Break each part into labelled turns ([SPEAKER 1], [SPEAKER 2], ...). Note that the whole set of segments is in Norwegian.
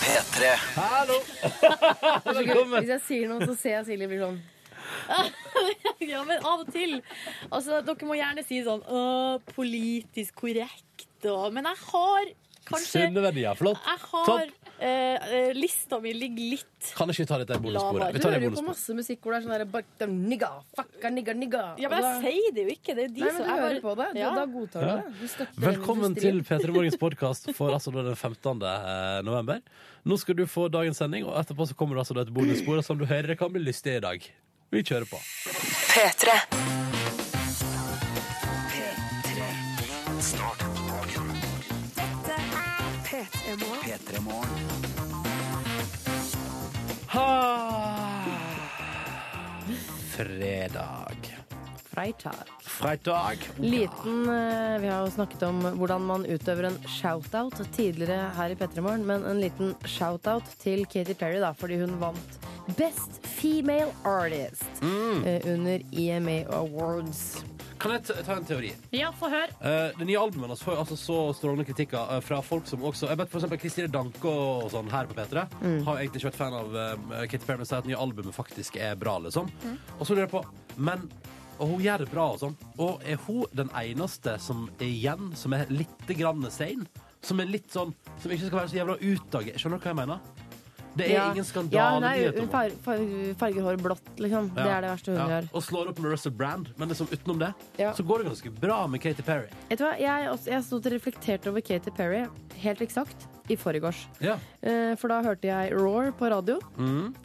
[SPEAKER 1] P3.
[SPEAKER 2] Hallo!
[SPEAKER 3] Hvis
[SPEAKER 2] Velkommen.
[SPEAKER 3] jeg sier noe, så ser jeg Silje blir sånn
[SPEAKER 4] Ja, men av og til. Altså, dere må gjerne si sånn «Åh, politisk korrekt og Men jeg har kanskje
[SPEAKER 2] Sunne verdier. Flott.
[SPEAKER 4] Jeg har
[SPEAKER 2] Topp.
[SPEAKER 4] eh, eh, Lista mi ligger litt
[SPEAKER 2] Kan ikke vi ta dette bonussporet? Vi
[SPEAKER 3] Du
[SPEAKER 2] tar det
[SPEAKER 3] hører jo på
[SPEAKER 2] bonussporet.
[SPEAKER 3] masse musikk hvor det er sånn derre bak- da, Nigga, fucka, nigga, nigga.
[SPEAKER 4] Ja, men
[SPEAKER 3] Og
[SPEAKER 4] jeg
[SPEAKER 3] da-
[SPEAKER 4] sier det jo ikke. Det er de
[SPEAKER 3] Nei, men
[SPEAKER 4] som
[SPEAKER 3] du
[SPEAKER 4] jeg
[SPEAKER 3] hører
[SPEAKER 4] bare-
[SPEAKER 3] på det. Du,
[SPEAKER 4] Ja.
[SPEAKER 3] Da godtar du
[SPEAKER 2] Ja.
[SPEAKER 3] det. Du støtter eller
[SPEAKER 2] Velkommen
[SPEAKER 3] du
[SPEAKER 2] til
[SPEAKER 3] stiller.
[SPEAKER 2] P3 Morgens podkast for altså da den 15. november. Nå skal du få dagens sending, og etterpå så kommer det altså da et bonusspor og som du hører, det kan bli lystig i dag. Vi kjører på.
[SPEAKER 5] P3.
[SPEAKER 1] Start dagen.
[SPEAKER 5] P3 Morgen.
[SPEAKER 1] P3 Morgen.
[SPEAKER 2] Fredag.
[SPEAKER 3] Freitag.
[SPEAKER 2] Fredag.
[SPEAKER 3] Liten, eh, Vi har jo snakket om hvordan man utøver en shout-out tidligere her i P3 Morgen, men en liten shout-out til Katy Perry, da, fordi hun vant Best Female Artist
[SPEAKER 2] Mm.
[SPEAKER 3] eh, under EMA Awards.
[SPEAKER 2] Kan jeg ta- ta en teori?
[SPEAKER 4] Ja, få høre.
[SPEAKER 2] Eh, det nye albumet hans får jo altså så strålende kritikker eh, fra folk som også Jeg vet for eksempel Kristine Danke og sånn her på P3
[SPEAKER 3] Mm.
[SPEAKER 2] har jo egentlig ikke vært fan av eh, Katy Perry, men sier at det nye albumet faktisk er bra, liksom.
[SPEAKER 3] Mm.
[SPEAKER 2] Og så lurer jeg på Men og hun gjør det bra og sånn. Og er hun den eneste som er igjen, som er litt grann sein? Som er litt sånn Som ikke skal være så jævla utdaget? Skjønner du hva jeg mener? Det er
[SPEAKER 3] Ja.
[SPEAKER 2] ingen
[SPEAKER 3] Ja,
[SPEAKER 2] skandale.
[SPEAKER 3] hun, er,
[SPEAKER 2] nyhet om
[SPEAKER 3] hun far, far, farger håret blått, liksom.
[SPEAKER 2] Ja.
[SPEAKER 3] Det er det verste hun
[SPEAKER 2] Ja.
[SPEAKER 3] gjør.
[SPEAKER 2] Og slår opp med Russell Brand, men liksom utenom det
[SPEAKER 3] Ja.
[SPEAKER 2] så går det ganske bra med Katy Perry.
[SPEAKER 3] Vet du hva? Jeg, også- jeg stod og reflekterte over Katy Perry helt eksakt i forgårs.
[SPEAKER 2] Ja.
[SPEAKER 3] Eh, For da hørte jeg Roar på radio.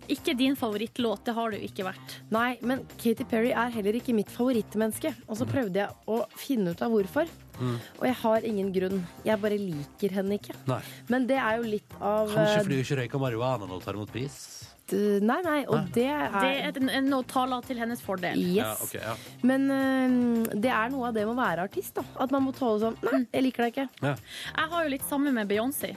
[SPEAKER 4] Ikke din favorittlåt. Det har det jo ikke vært.
[SPEAKER 3] Nei, men Katy Perry er heller ikke mitt favorittmenneske. Og så prøvde jeg å finne ut av hvorfor.
[SPEAKER 2] Mm.
[SPEAKER 3] Og jeg har ingen grunn. Jeg bare liker henne ikke.
[SPEAKER 2] Nei.
[SPEAKER 3] Men det er jo litt av
[SPEAKER 2] Kanskje
[SPEAKER 3] eh,
[SPEAKER 2] fordi du ikke røyker marihuana når du tar imot pris?
[SPEAKER 3] d- Nei, nei, og det er
[SPEAKER 4] Det er en- en- noe taler til hennes fordel.
[SPEAKER 3] Yes.
[SPEAKER 2] Ja, ok, ja.
[SPEAKER 3] Men eh, det er noe av det med å være artist. da At man må tåle sånn Nei, jeg liker deg ikke.
[SPEAKER 2] Ja.
[SPEAKER 4] Jeg har jo litt samme med Beyoncé.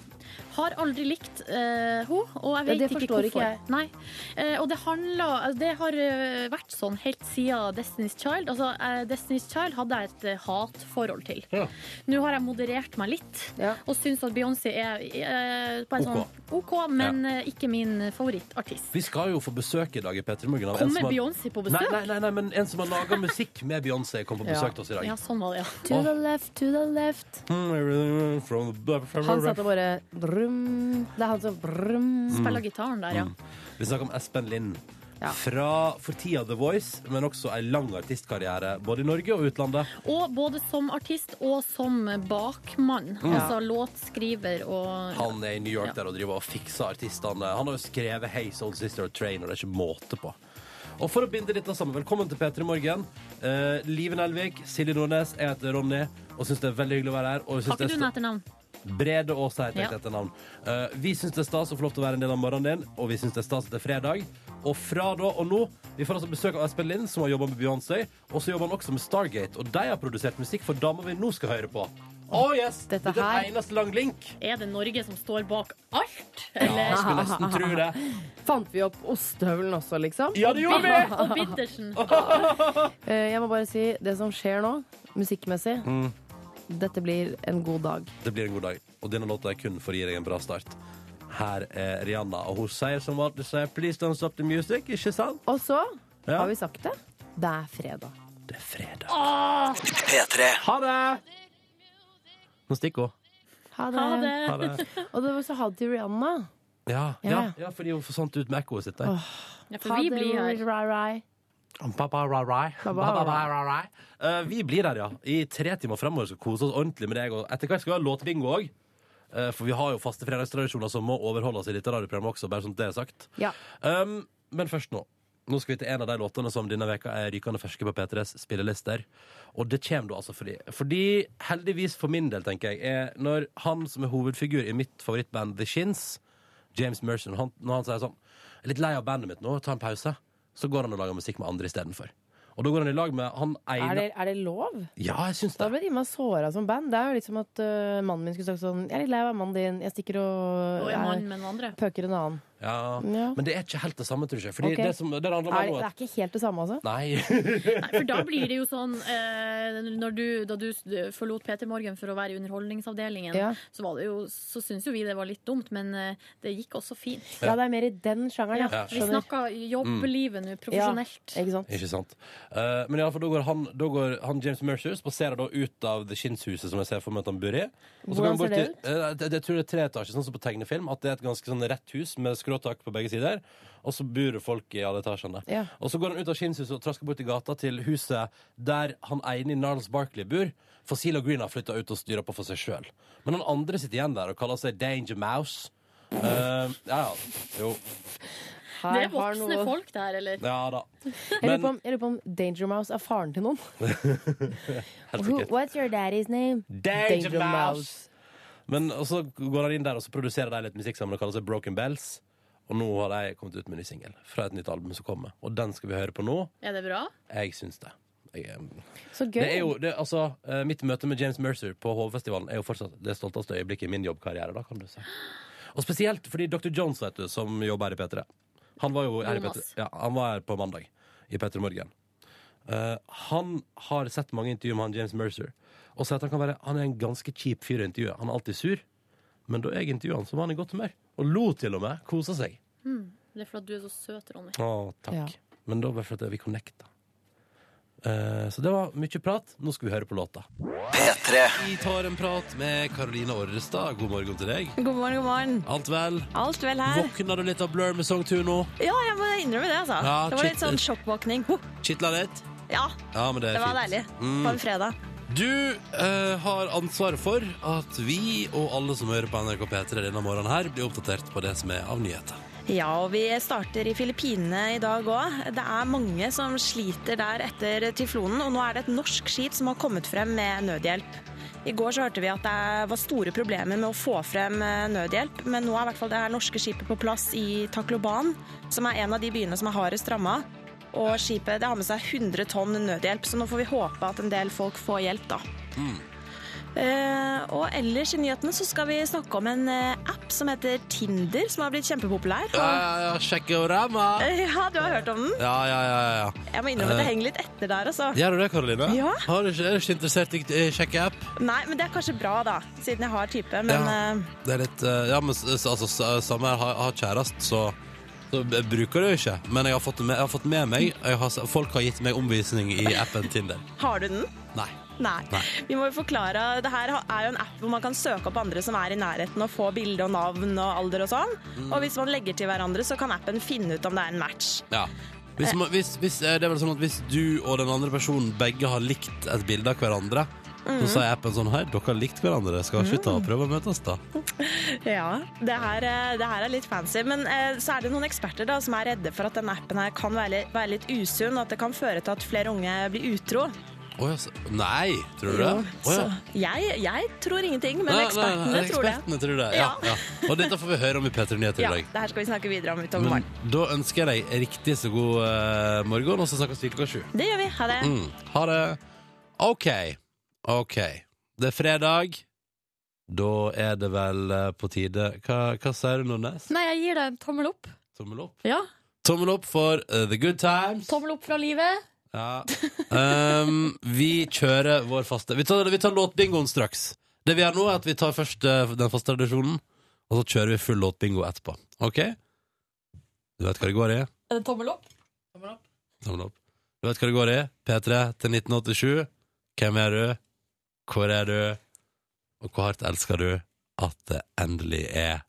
[SPEAKER 4] Har aldri likt uh, hun, og jeg
[SPEAKER 3] Ja,
[SPEAKER 4] vet
[SPEAKER 3] det
[SPEAKER 4] ikke
[SPEAKER 3] forstår
[SPEAKER 4] hvorfor.
[SPEAKER 3] ikke jeg.
[SPEAKER 4] Nei. Eh, og det handler altså, Det har eh, vært sånn helt siden Destiny's Child. Altså, eh, Destiny's Child hadde jeg et eh, hatforhold til.
[SPEAKER 2] Ja.
[SPEAKER 4] Nå har jeg moderert meg litt.
[SPEAKER 3] Ja.
[SPEAKER 4] Og syns at Beyoncé er eh, på en
[SPEAKER 2] Ok.
[SPEAKER 4] sånn OK, men eh, ikke min favorittartist.
[SPEAKER 2] Vi skal jo få besøk i dag i P3 Morgen. av en som
[SPEAKER 4] Kommer
[SPEAKER 2] har-
[SPEAKER 4] Beyoncé på
[SPEAKER 2] Nei,
[SPEAKER 4] besøk?
[SPEAKER 2] nei, nei, nei, men en som har laga musikk med Beyoncé, kom på
[SPEAKER 3] Ja.
[SPEAKER 2] besøk til oss i dag.
[SPEAKER 4] Ja, sånn var det, ja.
[SPEAKER 3] To the left, to the left.
[SPEAKER 2] Mm, from the- from
[SPEAKER 3] Han
[SPEAKER 2] the-
[SPEAKER 3] satt og bare brum. Det er han som brum.
[SPEAKER 2] Mm.
[SPEAKER 4] Spiller gitaren der, ja.
[SPEAKER 2] Vi snakker om Espen Lind.
[SPEAKER 3] Ja.
[SPEAKER 2] Fra for tida The Voice, men også ei lang artistkarriere både i Norge og utlandet.
[SPEAKER 4] Og både som artist og som
[SPEAKER 2] Mm.
[SPEAKER 4] bakmann. Altså låtskriver og
[SPEAKER 2] Han er i New York
[SPEAKER 4] Ja.
[SPEAKER 2] der og driver og fikser artistene. Han har jo skrevet 'Hey Soul Sister og Train', og det er ikke måte på. Og for å binde dette sammen, velkommen til P3 Morgen. Eh, Live Nelvik, Silje Nordnes, jeg heter Ronny og syns det er veldig hyggelig å være her. Og jeg synes
[SPEAKER 4] Har ikke
[SPEAKER 2] det
[SPEAKER 4] du
[SPEAKER 2] er
[SPEAKER 4] noe
[SPEAKER 2] sta-
[SPEAKER 4] etternavn?
[SPEAKER 2] Brede Aas heter jeg
[SPEAKER 4] Ja.
[SPEAKER 2] etter navn. Eh, vi syns det er stas å få lov til å være en del av morgenen din, og vi syns det er stas at det er fredag. Og fra da og nå Vi får altså besøk av Espen Lind, som har jobba med Beyoncé. Og så jobber han også med Stargate, og de har produsert musikk for dama vi nå skal høre på. Å yes!
[SPEAKER 3] Dette
[SPEAKER 2] Dette er
[SPEAKER 3] her-
[SPEAKER 2] eneste lang link.
[SPEAKER 4] Er det Norge som står bak alt?
[SPEAKER 2] Ja, jeg
[SPEAKER 4] Eller
[SPEAKER 2] skulle nesten tro det.
[SPEAKER 3] Fant vi opp ostehøvelen også, liksom?
[SPEAKER 2] Ja, det gjorde vi!
[SPEAKER 4] og Bittersen?
[SPEAKER 3] Eh, Jeg må bare si det som skjer nå, musikkmessig. Dette blir en god dag.
[SPEAKER 2] Det blir en god dag, og denne låta er kun for å gi deg en bra start. Her er Rihanna, og hun sier som alltid sier 'please don't stop the music', ikke sant?
[SPEAKER 3] Og så
[SPEAKER 2] Ja.
[SPEAKER 3] har vi sagt det. Det er fredag.
[SPEAKER 2] Det er fredag.
[SPEAKER 1] P3.
[SPEAKER 2] Ha det! Nå stikker hun.
[SPEAKER 3] Ha det.
[SPEAKER 4] Ha det.
[SPEAKER 2] Ha det.
[SPEAKER 3] Og det var så ha det til Rihanna.
[SPEAKER 2] Ja,
[SPEAKER 3] Ja.
[SPEAKER 2] ja, ja, fordi hun forsvant ut med ekkoet sitt der.
[SPEAKER 4] Ja,
[SPEAKER 3] Ha
[SPEAKER 4] for vi
[SPEAKER 3] det,
[SPEAKER 4] blir her.
[SPEAKER 3] Rai, rai.
[SPEAKER 2] Om pappa, ra, ra.
[SPEAKER 3] Pappa,
[SPEAKER 2] Pappa,
[SPEAKER 3] ra,
[SPEAKER 2] ra, ra, ra. Eh, Vi blir der, ja. I tre timer fremover skal vi kose oss ordentlig med deg. Og etter hvert skal vi ha låtbingo òg. For vi har jo faste fredagstradisjoner som må overholdes i dette radioprogrammet også, bare sånn at det er sagt.
[SPEAKER 3] Ja.
[SPEAKER 2] Um, men først nå. Nå skal vi til en av de låtene som denne veka er rykende ferske på P3s spillelister. Og det kommer du altså fordi. Fordi, heldigvis for min del, tenker jeg, er når han som er hovedfigur i mitt favorittband The Shins, James Merson, han, når han sier sånn Jeg er litt lei av bandet mitt nå, ta en pause. Så går han og lager musikk med andre istedenfor. Og da går han i lag med han
[SPEAKER 3] Er
[SPEAKER 2] ene
[SPEAKER 3] det, er det lov?
[SPEAKER 2] Ja, jeg syns
[SPEAKER 3] Da
[SPEAKER 2] det.
[SPEAKER 3] ble de meg såra som eh, band. Det er jo litt som at øh, mannen min skulle sagt sånn Jeg er litt lei av mannen din. Jeg stikker og
[SPEAKER 4] Og en
[SPEAKER 3] jeg
[SPEAKER 4] mann med noen andre.
[SPEAKER 3] pøker en annen.
[SPEAKER 2] Ja.
[SPEAKER 6] Ja.
[SPEAKER 2] Men det er ikke helt det samme, tror jeg. Fordi
[SPEAKER 6] Ok.
[SPEAKER 2] det, som, det handler
[SPEAKER 6] Er,
[SPEAKER 2] om
[SPEAKER 6] det
[SPEAKER 2] at
[SPEAKER 6] er ikke helt det samme, altså?
[SPEAKER 2] Nei.
[SPEAKER 4] Nei, for da blir det jo sånn eh, når du, Da du s- forlot PT Morgen for å være i Underholdningsavdelingen,
[SPEAKER 6] Ja.
[SPEAKER 4] så, var det jo, så syns jo vi det var litt dumt, men eh, det gikk også fint.
[SPEAKER 6] Ja, det er mer i den sjangeren, ja.
[SPEAKER 4] Ja, vi
[SPEAKER 6] Skjønner.
[SPEAKER 4] snakka jobblivet nå, profesjonelt.
[SPEAKER 6] Ikke sant?
[SPEAKER 2] Ikke sant. Eh, men i alle fall, da går han, da går han James Mercer spaserer da ut av The Shins-huset som jeg ser for meg at han bor i. Og så går
[SPEAKER 6] Hvordan
[SPEAKER 2] han bort
[SPEAKER 6] ser det
[SPEAKER 2] til- eh, det- jeg tror det er tre etasjer, sånn som på tegnefilm. At det er et ganske sånn rett hus med skråtak på begge sider. Og så bor det folk i alle etasjene.
[SPEAKER 6] Ja.
[SPEAKER 2] Og så går han ut av Shins-huset og trasker bort i gata til huset der han ene i Narls Barkley bor. For Seal og Green har flytta ut og styrer på for seg sjøl. Men han andre sitter igjen der og kaller seg Danger Mouse. Eh, ja, ja. Jo.
[SPEAKER 6] Her
[SPEAKER 4] Det er
[SPEAKER 6] har
[SPEAKER 4] voksne
[SPEAKER 6] noe-
[SPEAKER 4] folk der, eller?
[SPEAKER 2] Ja da.
[SPEAKER 6] Jeg lurer, på
[SPEAKER 2] Men
[SPEAKER 6] om, jeg lurer på om Danger Mouse er faren til noen.
[SPEAKER 2] helt
[SPEAKER 6] Who,
[SPEAKER 2] sikkert.
[SPEAKER 6] what's your daddy's name?
[SPEAKER 2] Danger Mouse. Men og så går han inn der og så produserer de litt musikk sammen og kaller seg Broken Bells. Og nå har de kommet ut med en ny singel fra et nytt album som kommer. Og den skal vi høre på nå.
[SPEAKER 4] Er det bra?
[SPEAKER 2] Jeg syns det. Jeg, eh,
[SPEAKER 6] Så gøy.
[SPEAKER 2] det er jo, det, altså, eh, mitt møte med James Mercer på Hovefestivalen er jo fortsatt det stolteste øyeblikket i min jobbkarriere. da, kan du si. Og spesielt fordi Dr. Jones, vet du, som jobber her i P3 Han var jo her, i
[SPEAKER 4] Jonas.
[SPEAKER 2] P3, ja, han var her på mandag i P3 Morgen. Eh, han har sett mange intervjuer med han James Mercer og sett at han kan være Han er en ganske kjip fyr i intervjuet. Han er alltid sur, men da jeg intervjuet han, så var han i godt humør. Og lo til og med. Kosa seg.
[SPEAKER 4] Det er fordi at du er så søt, Ronny.
[SPEAKER 2] Å, takk.
[SPEAKER 6] Ja.
[SPEAKER 2] Men da var det fordi vi connecta. Eh, så det var mye prat. Nå skal vi høre på låta.
[SPEAKER 1] P3.
[SPEAKER 2] Vi tar en prat med Karoline Orrestad. God morgen til deg.
[SPEAKER 7] God morgen, god morgen.
[SPEAKER 2] Alt vel?
[SPEAKER 7] Alt vel her?
[SPEAKER 2] Våkna du litt av Blur med Song 2 nå?
[SPEAKER 7] Ja, jeg må innrømme det, altså.
[SPEAKER 2] Ja,
[SPEAKER 7] det var litt
[SPEAKER 2] shit.
[SPEAKER 7] sånn sjokkvåkning. Ho!
[SPEAKER 2] Kitla litt?
[SPEAKER 7] Ja,
[SPEAKER 2] Ja, men det er
[SPEAKER 7] det var
[SPEAKER 2] fint. Mm.
[SPEAKER 7] deilig. På en fredag.
[SPEAKER 2] Du eh, har ansvaret for at vi og alle som hører på NRK P3 denne morgenen her, blir oppdatert på det som er av nyheter.
[SPEAKER 7] Ja, og vi starter i Filippinene i dag òg. Det er mange som sliter der etter tyflonen, og nå er det et norsk skip som har kommet frem med nødhjelp. I går så hørte vi at det var store problemer med å få frem eh, nødhjelp, men nå er i hvert fall det her norske skipet på plass i Takloban, som er en av de byene som er hardest ramma. Og skipet det har med seg 100 tonn nødhjelp, så nå får vi håpe at en del folk får hjelp, da. Eh, og ellers i nyhetene så skal vi snakke om en eh, app som heter Tinder, som har blitt kjempepopulær. Og
[SPEAKER 2] Ja, ja, ja, sjekkorama!
[SPEAKER 7] ja, du har hørt om den.
[SPEAKER 2] Ja, ja, ja, ja.
[SPEAKER 7] Jeg må innrømme at jeg henger litt etter der, altså.
[SPEAKER 2] Gjør du det, Karoline?
[SPEAKER 7] Ja.
[SPEAKER 2] Har du ikke, er du ikke interessert i eh, sjekkeapp?
[SPEAKER 7] Nei, men det er kanskje bra, da, siden jeg har type. Men eh,
[SPEAKER 2] Det er litt eh, Ja, men s- s- altså, s- samme her, har, har kjærest, så så b- bruker det jo ikke, men jeg har fått det med, jeg har fått med meg jeg har, s- Folk har gitt meg omvisning i appen Tinder.
[SPEAKER 7] har du den?
[SPEAKER 2] Nei.
[SPEAKER 7] Nei. Vi må jo forklare. Det her er jo en app hvor man kan søke opp andre som er i nærheten, og få bilde og navn og alder og sånn. Og hvis man legger til hverandre, så kan appen finne ut om det er en match.
[SPEAKER 2] Ja. Hvis, man- hvis, hvis, eh, det er vel sånn at hvis du og den andre personen begge har likt et bilde av hverandre, så sier appen sånn Hei, dere har likt hverandre, skal ikke vi
[SPEAKER 7] Mm.
[SPEAKER 2] ta og prøve å møtes, da?
[SPEAKER 7] Ja, det her, eh, det her er litt fancy. Men eh, så er det noen eksperter da, som er redde for at denne appen her kan være litt, være litt usunn, og at det kan føre til at flere unge blir utro.
[SPEAKER 2] Å ja, så Nei, tror du det? Å ja.
[SPEAKER 7] Så jeg, jeg tror ingenting, men
[SPEAKER 2] Nei, nei,
[SPEAKER 7] ekspertene
[SPEAKER 2] nei,
[SPEAKER 7] tror det.
[SPEAKER 2] ekspertene tror det. Ja, ja. Og dette får vi høre om i P3 Nyheter
[SPEAKER 7] Ja,
[SPEAKER 2] i dag.
[SPEAKER 7] det her skal vi snakke videre om utover
[SPEAKER 2] Men
[SPEAKER 7] morgenen.
[SPEAKER 2] da ønsker jeg deg riktig så god eh, morgen, og så snakkes vi klokka sju.
[SPEAKER 7] Det gjør vi. Ha det.
[SPEAKER 2] Mm. Ha det. OK. OK. Det er fredag. Da er det vel eh, på tide Hva, hva sier du, Nordnes?
[SPEAKER 4] Nei, jeg gir deg en tommel opp.
[SPEAKER 2] Tommel opp?
[SPEAKER 4] Ja,
[SPEAKER 2] Tommel opp for eh, the good times.
[SPEAKER 4] Tommel opp fra livet.
[SPEAKER 2] Ja. Um, vi kjører vår faste Vi tar, vi tar låtbingoen straks. Det vi gjør nå, er at vi tar først eh, den faste tradisjonen, og så kjører vi full låtbingo etterpå. OK? Du vet hva det går i?
[SPEAKER 4] Er det tommel opp?
[SPEAKER 2] Tommel opp. Du vet hva det går i? P3 til 1987. Hvem er du? Hvor er du? Og hvor hardt elsker du at det endelig er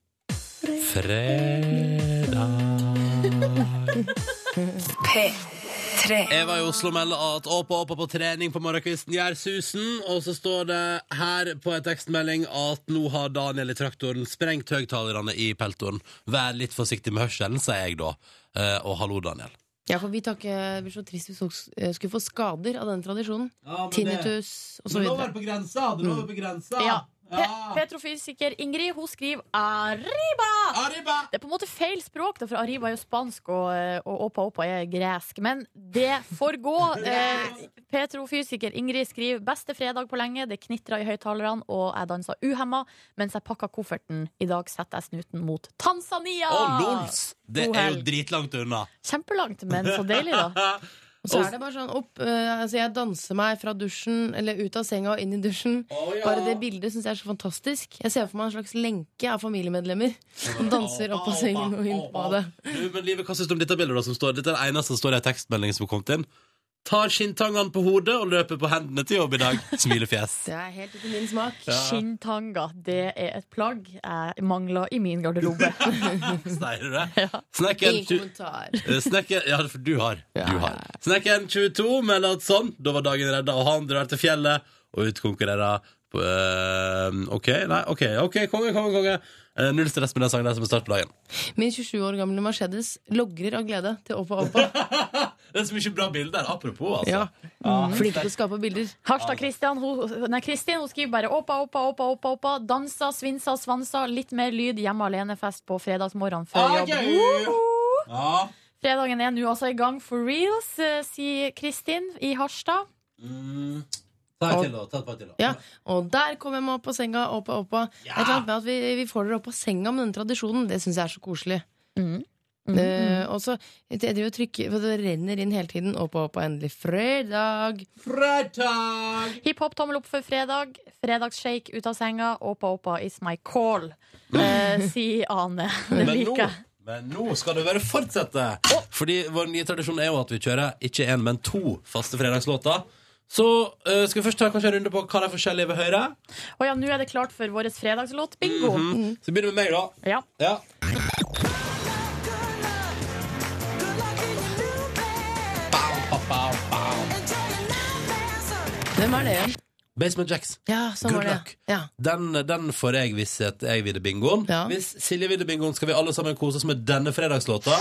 [SPEAKER 2] fredag? Eva i Oslo melder at Åpa Åpa på trening på morgenkvisten gjør susen. Og så står det her på en tekstmelding at nå har Daniel i traktoren sprengt høyttalerne i peltoren. Vær litt forsiktig med hørselen, sier jeg da. Eh, og hallo, Daniel.
[SPEAKER 3] Ja, for vi tar ikke, det blir så trist hvis folk s- eh, skulle få skader av den tradisjonen. Tinnitus og så videre. Mm.
[SPEAKER 2] på grensa! Det lå på grensa!
[SPEAKER 3] Ja,
[SPEAKER 4] Pe
[SPEAKER 2] Ah.
[SPEAKER 4] petrofysiker Ingrid hun skriver 'arriba'.
[SPEAKER 8] Arriba!
[SPEAKER 4] Det er på en måte feil språk, da, for arriba er jo spansk, og, eh, og opa opa er gresk. Men det får gå. Eh, Petrofysiker Ingrid skriver 'beste fredag på lenge'. Det knitra i høyttalerne, og jeg dansa uhemma mens jeg pakka kofferten. I dag setter jeg snuten mot Tanzania.
[SPEAKER 2] Å, lols! Det
[SPEAKER 4] God
[SPEAKER 2] er jo
[SPEAKER 4] helg.
[SPEAKER 2] dritlangt unna.
[SPEAKER 4] Kjempelangt, men så deilig, da.
[SPEAKER 3] Og så er det bare sånn opp eh, Altså, jeg danser meg fra dusjen, eller ut av senga og inn i dusjen. Bare det bildet syns jeg er så fantastisk. Jeg ser for meg en slags lenke av familiemedlemmer som danser opp av sengen og inn på badet.
[SPEAKER 2] Du, men Live, hva synes du om dette bildet da, som står? Dette er det eneste som står i en tekstmelding som kom inn. Tar skinntangene på hodet og løper på hendene til jobb i dag. Smilefjes.
[SPEAKER 3] Det er helt etter min smak.
[SPEAKER 4] Skinntanga, det er et plagg jeg mangler i min garderobe.
[SPEAKER 2] Sier du det?
[SPEAKER 3] Ingen
[SPEAKER 2] Snekken, tju-
[SPEAKER 3] kommentar.
[SPEAKER 2] eh, snekken Ja, for du har. Du har. Snekken 22 melder at sånn, da var dagen redda, og han drar til fjellet og utkonkurrerer på, eh, OK, nei, OK, ok, konge, konge, konge. Eh, null stress med den sangen der som er start på dagen.
[SPEAKER 3] Min 27 år gamle Mercedes logrer av glede til Oppa Oppa.
[SPEAKER 2] Det er så mye bra bilder der, apropos, altså.
[SPEAKER 3] Ja. Flink til å skape bilder.
[SPEAKER 2] Ah.
[SPEAKER 4] Harstad Kristian hun, nei, Kristin hun skriver bare oppa, oppa, oppa, oppa, oppa. Dansa, svinsa, svansa. Litt mer lyd. Hjemme alene-fest på fredagsmorgenen
[SPEAKER 2] Ah,
[SPEAKER 4] før jobb. Woho! Fredagen er nå altså i gang for reals, eh, sier Kristin i Harstad.
[SPEAKER 2] mm. Ta et til, da. Ta et par til, da.
[SPEAKER 3] Ja, Og der kom jeg meg opp av senga. Opp, opp, opp. Et eller annet med at vi, vi får dere opp av senga med denne tradisjonen, det syns jeg er så koselig. Eh, og så jeg driver og trykker, for det renner inn hele tiden. Opp og opp, og endelig fredag.
[SPEAKER 4] Hiphop tommel opp for fredag. Fredagsshake ut av senga. Oppa, oppa is my call, eh, sier Ane. Det
[SPEAKER 2] Men
[SPEAKER 4] liker
[SPEAKER 2] nå,
[SPEAKER 4] jeg.
[SPEAKER 2] men nå skal det bare fortsette. Fordi vår nye tradisjon er jo at vi kjører ikke én, men to faste fredagslåter. Så eh, skal vi først ta kanskje en runde på hva de forskjellige vil høre.
[SPEAKER 4] Å ja, nå er det klart for vår fredagslåt. Bingo!
[SPEAKER 2] Så begynner vi med meg, da.
[SPEAKER 4] Ja.
[SPEAKER 2] Ja.
[SPEAKER 3] Hvem er det igjen?
[SPEAKER 2] Basement Jacks.
[SPEAKER 3] Ja, sånn
[SPEAKER 2] Good
[SPEAKER 3] var det.
[SPEAKER 2] luck.
[SPEAKER 3] Ja.
[SPEAKER 2] Den, den får jeg hvis at jeg vinner bingoen.
[SPEAKER 3] Ja.
[SPEAKER 2] Hvis Silje vinner bingoen, skal vi alle sammen kose oss med denne fredagslåta.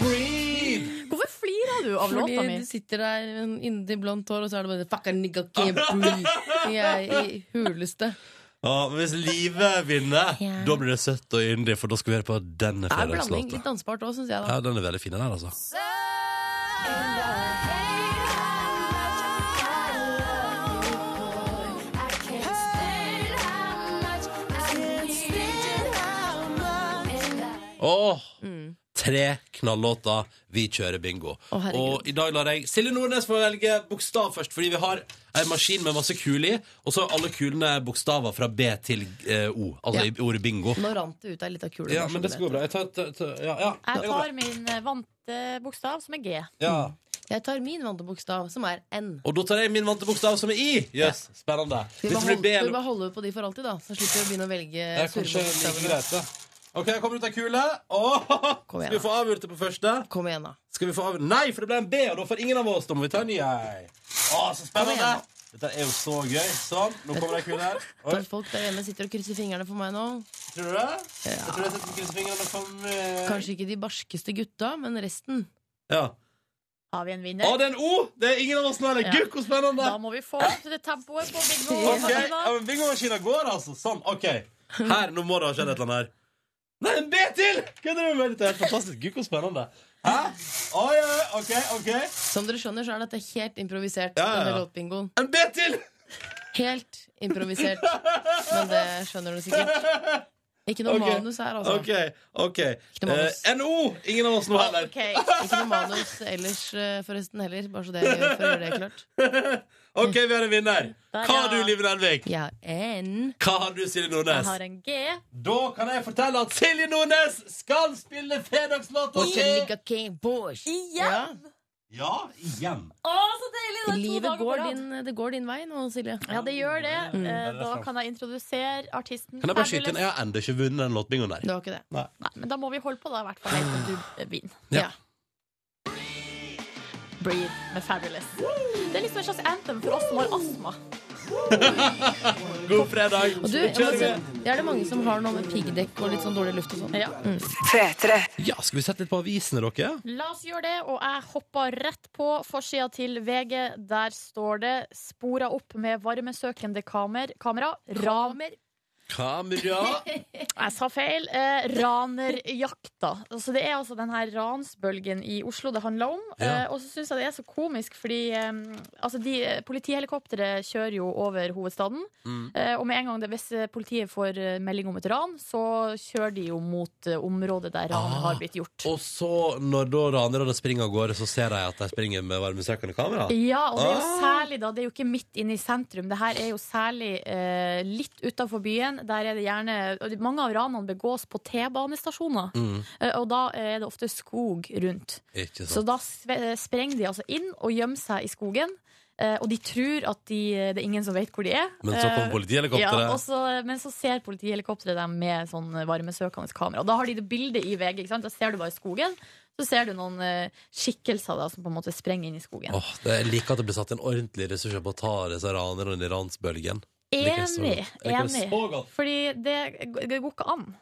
[SPEAKER 4] Hvorfor flirer du av
[SPEAKER 3] Fordi
[SPEAKER 4] låta mi?
[SPEAKER 3] du sitter der med en yndig blondt hår, og så er det bare Fucker nigga can't breathe. Jeg er i huleste.
[SPEAKER 2] Ja, men hvis Live vinner, da blir det søtt og yndig, for da skal vi høre på denne
[SPEAKER 3] Det er blanding. Mm. Litt
[SPEAKER 2] fredagslåta.
[SPEAKER 3] dansbart òg, syns jeg. da
[SPEAKER 2] Ja, den er veldig fin, den her, altså. Åh! Tre knallåter. Vi kjører bingo.
[SPEAKER 3] Mm. Å, herregud.
[SPEAKER 2] og i dag lar jeg Silje Nordnes få velge bokstav først, fordi vi har en maskin med masse kuler i, og så er alle kulene bokstaver fra B til eh, O. Altså
[SPEAKER 3] Ja. Mm.
[SPEAKER 2] i ordet bingo.
[SPEAKER 3] Nå rant det ut ei lita kule.
[SPEAKER 2] Ja,
[SPEAKER 3] bare så
[SPEAKER 2] men
[SPEAKER 3] du
[SPEAKER 2] det skal
[SPEAKER 3] vet.
[SPEAKER 2] gå bra. Jeg tar, tar, tar, ja, ja.
[SPEAKER 4] Jeg
[SPEAKER 2] det går bra.
[SPEAKER 4] tar min eh, vante bokstav, som er G.
[SPEAKER 2] ja.
[SPEAKER 3] Jeg tar min vante bokstav, som er N.
[SPEAKER 2] Og da tar jeg min vante bokstav, som er I. Jøss, yes, spennende.
[SPEAKER 3] Skal vi
[SPEAKER 2] Hvis
[SPEAKER 3] bare
[SPEAKER 2] det blir
[SPEAKER 3] holde,
[SPEAKER 2] B
[SPEAKER 3] skal vi
[SPEAKER 2] eller
[SPEAKER 3] bare holde på de for alltid, da? Så slipper vi å begynne å velge
[SPEAKER 2] Det er kanskje like
[SPEAKER 3] surrebokstavene.
[SPEAKER 2] greit, da. OK, jeg kommer ut av kule. Åh,
[SPEAKER 3] Kom
[SPEAKER 2] skal
[SPEAKER 3] igjen,
[SPEAKER 2] vi få avgjort det på første?
[SPEAKER 3] Kom igjen, da.
[SPEAKER 2] Skal vi få av... Nei, for det ble en B, og da får ingen av oss. Da må vi ta en ny ei. Å, så spennende! Dette er jo så gøy. Sånn, nå kommer det en kule her. Oi,
[SPEAKER 3] At folk der hjemme sitter og krysser fingrene for meg nå.
[SPEAKER 2] tror du det? Jeg tror jeg setter kryssfingrene for eh,
[SPEAKER 3] Kanskje ikke de barskeste gutta, men resten.
[SPEAKER 2] Ja.
[SPEAKER 4] Har vi en
[SPEAKER 2] Å,
[SPEAKER 4] vinner?
[SPEAKER 2] det er en O! Det er ingen av oss nå, eller?
[SPEAKER 4] Ja.
[SPEAKER 2] Gukk, hvor spennende!
[SPEAKER 4] Da må vi få opp det tempoet på bingo.
[SPEAKER 2] Ok, ja,
[SPEAKER 4] Katarina.
[SPEAKER 2] men Bingomaskina går, altså. Sånn, OK. Her, nå må det ha skjedd et eller annet her. Nei, en B til! Hva driver du med? Dette er helt fantastisk. Gukk, hvor spennende. Hæ? Oi, oi, OK, OK.
[SPEAKER 3] Som dere skjønner, så er dette helt improvisert.
[SPEAKER 2] Ja, ja, ja.
[SPEAKER 3] Denne låtbingoen.
[SPEAKER 2] En B til!
[SPEAKER 3] Helt improvisert. Men det skjønner du sikkert. Ikke noe
[SPEAKER 2] Ok.
[SPEAKER 3] manus her, altså.
[SPEAKER 2] OK. ok
[SPEAKER 3] noe manus.
[SPEAKER 2] Eh, NO! Ingen av oss nå heller.
[SPEAKER 4] Ok.
[SPEAKER 3] Ikke noe manus ellers, eh, forresten, heller. Bare så det, for å gjøre det klart.
[SPEAKER 2] OK, vi har en vinner.
[SPEAKER 4] Der,
[SPEAKER 2] Hva har
[SPEAKER 4] ja.
[SPEAKER 2] du, Liv Nelvik?
[SPEAKER 3] Jeg har N.
[SPEAKER 2] Hva har du, Silje
[SPEAKER 4] Jeg
[SPEAKER 2] Nordnes?
[SPEAKER 4] har en G.
[SPEAKER 2] Da kan jeg fortelle at Silje Nordnes skal spille fredagslåta
[SPEAKER 3] Borske nigga can't bosh.
[SPEAKER 4] Igjen!
[SPEAKER 2] Ja, igjen.
[SPEAKER 4] Å, så deilig! Det er to
[SPEAKER 3] Livet
[SPEAKER 4] dager på
[SPEAKER 3] går
[SPEAKER 4] rad.
[SPEAKER 3] din, det går din vei nå, Silje.
[SPEAKER 4] Ja, det gjør det. Eh, Da
[SPEAKER 2] sant.
[SPEAKER 4] kan jeg introdusere artisten.
[SPEAKER 2] Kan jeg bare skyte inn?
[SPEAKER 4] Fabulous.
[SPEAKER 2] Jeg har ennå ikke vunnet den låtbingoen der.
[SPEAKER 3] Du har ikke det.
[SPEAKER 4] Nei, men da må vi holde på, da, i hvert fall helt til du eh, vinner.
[SPEAKER 2] Ja.
[SPEAKER 4] Breathe med Fabulous. Det er liksom en slags anthem for oss som har astma.
[SPEAKER 2] God fredag.
[SPEAKER 3] Og du, jeg må si, det er det mange som har noe med piggdekk og litt sånn dårlig luft og sånn.
[SPEAKER 8] P3.
[SPEAKER 2] Ja, skal vi sette litt på avisene, dere?
[SPEAKER 4] La oss gjøre det, og jeg hopper rett på forsida til VG. Der står det 'Spora opp med varmesøkende kamer, kamera'. Ramer
[SPEAKER 2] Kamera.
[SPEAKER 4] Jeg sa feil. Eh, ranerjakta. Altså, det er altså den her ransbølgen i Oslo det handler om.
[SPEAKER 2] Ja.
[SPEAKER 4] Eh, og så syns jeg det er så komisk, fordi eh, altså de, politihelikopteret kjører jo over hovedstaden.
[SPEAKER 2] Mm.
[SPEAKER 4] Eh, og med en gang det, hvis eh, politiet får eh, melding om et ran, så kjører de jo mot eh, området der ranet
[SPEAKER 2] Ah.
[SPEAKER 4] har blitt gjort.
[SPEAKER 2] Og så, når da ranerne springer av gårde, så ser de at de springer med varmesøkende kamera?
[SPEAKER 4] Ja, og det er jo
[SPEAKER 2] Ah.
[SPEAKER 4] særlig da, det er jo ikke midt inne i sentrum. Det her er jo særlig eh, litt utafor byen. Der er det gjerne og det- Mange av ranene begås på T-banestasjoner,
[SPEAKER 2] Mm.
[SPEAKER 4] eh, og da er det ofte skog rundt.
[SPEAKER 2] Ikke
[SPEAKER 4] Så
[SPEAKER 2] sant.
[SPEAKER 4] da sve- eh, sprenger de altså inn og gjemmer seg i skogen. eh, Og de tror at de, eh, det er ingen som vet hvor de er.
[SPEAKER 2] Men så kommer
[SPEAKER 4] Eh,
[SPEAKER 2] politihelikopteret.
[SPEAKER 4] Ja, og så, men så ser politihelikopteret dem med sånn varmesøkende kamera. Og Da har de det bildet i VG. ikke sant? Da ser du bare skogen. Så ser du noen eh, skikkelser da, som på en måte sprenger inn i skogen.
[SPEAKER 2] Åh, det jeg liker at det blir satt en ordentlig ressurs på å ta disse ranerne i ransbølgen. Liker jeg så
[SPEAKER 4] Enig.
[SPEAKER 2] godt. Jeg liker det
[SPEAKER 4] enig.
[SPEAKER 2] så godt.
[SPEAKER 4] Fordi det, det går ikke an.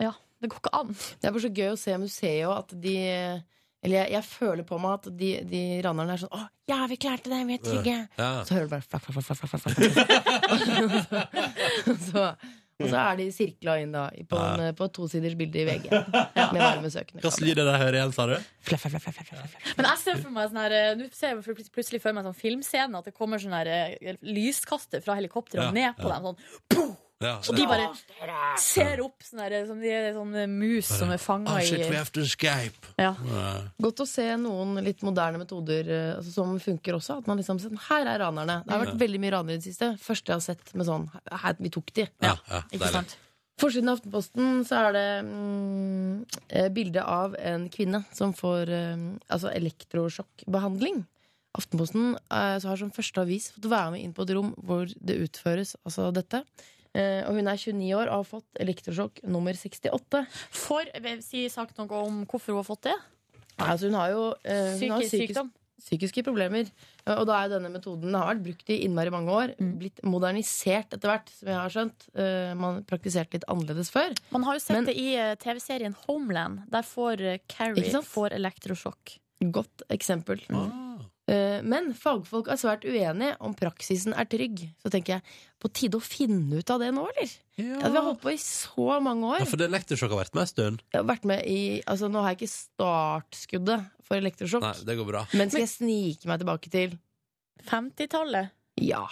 [SPEAKER 4] Ja, det går ikke an.
[SPEAKER 3] Det er bare så gøy å se museet og at de Eller jeg, jeg føler på meg at de, de ranerne er sånn Å, ja, vi klarte det, vi er trygge.
[SPEAKER 2] Ja.
[SPEAKER 3] Så hører du bare flak, flak, flak, flak, flak, flak. og, så, og så er de sirkla inn da på, en, på et tosiders bilde i VG med varmesøkende.
[SPEAKER 2] Hvilken lyd er det jeg hører igjen, sa du?
[SPEAKER 3] Flak, flak, flak, flak, flak, flak.
[SPEAKER 4] Men jeg ser for meg sånn her eh, Nå ser jeg plut- plutselig for meg en sånn filmscene at det kommer sånn her eh, lyskaster fra helikopteret og
[SPEAKER 2] Ja,
[SPEAKER 4] ned på dem. Sånn.
[SPEAKER 2] Ja,
[SPEAKER 4] Og de bare ser opp sånn her, eh, som de er sånn eh, mus som er fanga
[SPEAKER 2] Oh shit, we
[SPEAKER 4] i
[SPEAKER 2] have to escape.
[SPEAKER 4] ja.
[SPEAKER 2] Ja.
[SPEAKER 3] Godt å se noen litt moderne metoder eh, altså, som funker også. At man liksom ser, Her er ranerne. Det har vært veldig mye ranere i det siste. Første jeg har sett med sånn her, Vi tok de.
[SPEAKER 2] Ja, ja,
[SPEAKER 4] Ikke
[SPEAKER 2] deilig.
[SPEAKER 4] sant?
[SPEAKER 3] Forsiden av Aftenposten så er det mm, eh, bilde av en kvinne som får eh, altså elektrosjokkbehandling. Aftenposten eh, så har som første avis fått være med inn på et rom hvor det utføres altså dette. Eh, og hun er 29 år og har fått elektrosjokk nummer 68.
[SPEAKER 4] For, eh, Sier sagt noe om hvorfor hun har fått det?
[SPEAKER 3] Altså hun har jo eh, hun har
[SPEAKER 4] Psykisk
[SPEAKER 3] psykisk,
[SPEAKER 4] sykdom?
[SPEAKER 3] psykiske problemer. Eh, Og da er denne metoden den har vært brukt i innmari mange år.
[SPEAKER 4] Mm.
[SPEAKER 3] Blitt modernisert etter hvert, som jeg har skjønt. Eh, man praktiserte litt annerledes før.
[SPEAKER 4] Man har jo sett
[SPEAKER 3] Men-
[SPEAKER 4] det i eh, TV-serien Homeland. Der får eh,
[SPEAKER 3] Ikke
[SPEAKER 4] Carrie
[SPEAKER 3] sant?
[SPEAKER 4] får elektrosjokk.
[SPEAKER 3] Godt eksempel.
[SPEAKER 2] Ah.
[SPEAKER 3] Eh, Men fagfolk er svært uenige om praksisen er trygg. Så tenker jeg, på tide å finne ut av det nå, eller? At vi har holdt på i så mange
[SPEAKER 2] Ja,
[SPEAKER 3] år.
[SPEAKER 2] for det elektrosjokk har vært med en stund.
[SPEAKER 3] Jeg har vært med i, altså Nå har jeg ikke startskuddet for elektrosjokk,
[SPEAKER 2] Nei, det går bra.
[SPEAKER 3] men skal jeg snike meg tilbake til
[SPEAKER 4] 50-tallet.
[SPEAKER 3] ja.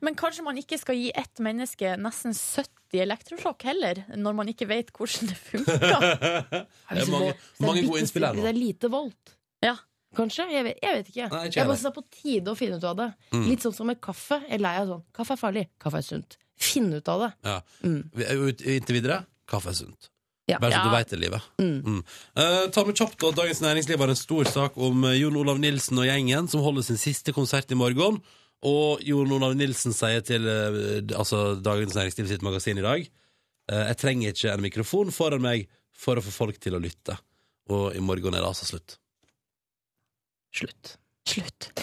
[SPEAKER 4] Men kanskje man ikke skal gi ett menneske nesten 70 elektrosjokk heller, når man ikke vet hvordan det funker.
[SPEAKER 2] Det er mange,
[SPEAKER 3] Så det er
[SPEAKER 2] mange
[SPEAKER 3] bitte-
[SPEAKER 2] gode innspill her
[SPEAKER 3] Det
[SPEAKER 2] nå.
[SPEAKER 3] er lite voldt.
[SPEAKER 4] Ja.
[SPEAKER 3] Kanskje? Jeg vet, jeg vet ikke.
[SPEAKER 2] Nei, ikke
[SPEAKER 3] jeg bare
[SPEAKER 2] heller.
[SPEAKER 3] synes det er på tide å finne ut av det.
[SPEAKER 2] Mm.
[SPEAKER 3] Litt sånn som med kaffe. Jeg er lei av sånn. Kaffe er farlig. Kaffe er sunt. Finn ut av det.
[SPEAKER 2] Ja.
[SPEAKER 3] Mm.
[SPEAKER 2] Vi er jo ut- Inntil videre kaffe er sunt.
[SPEAKER 3] Ja.
[SPEAKER 2] Bare så du
[SPEAKER 4] Ja.
[SPEAKER 2] veit det, livet.
[SPEAKER 3] Mm.
[SPEAKER 2] Mm. Eh, ta med kjapt at Dagens Næringsliv har en stor sak om eh, Jon Olav Nilsen og gjengen som holder sin siste konsert i morgen. Og Jon Olav Nilsen sier til eh, d- altså Dagens Næringsliv sitt magasin i dag eh, Jeg trenger ikke en mikrofon foran meg for å få folk til å lytte. Og i morgen er det altså slutt.
[SPEAKER 3] Slutt.
[SPEAKER 4] Slutt.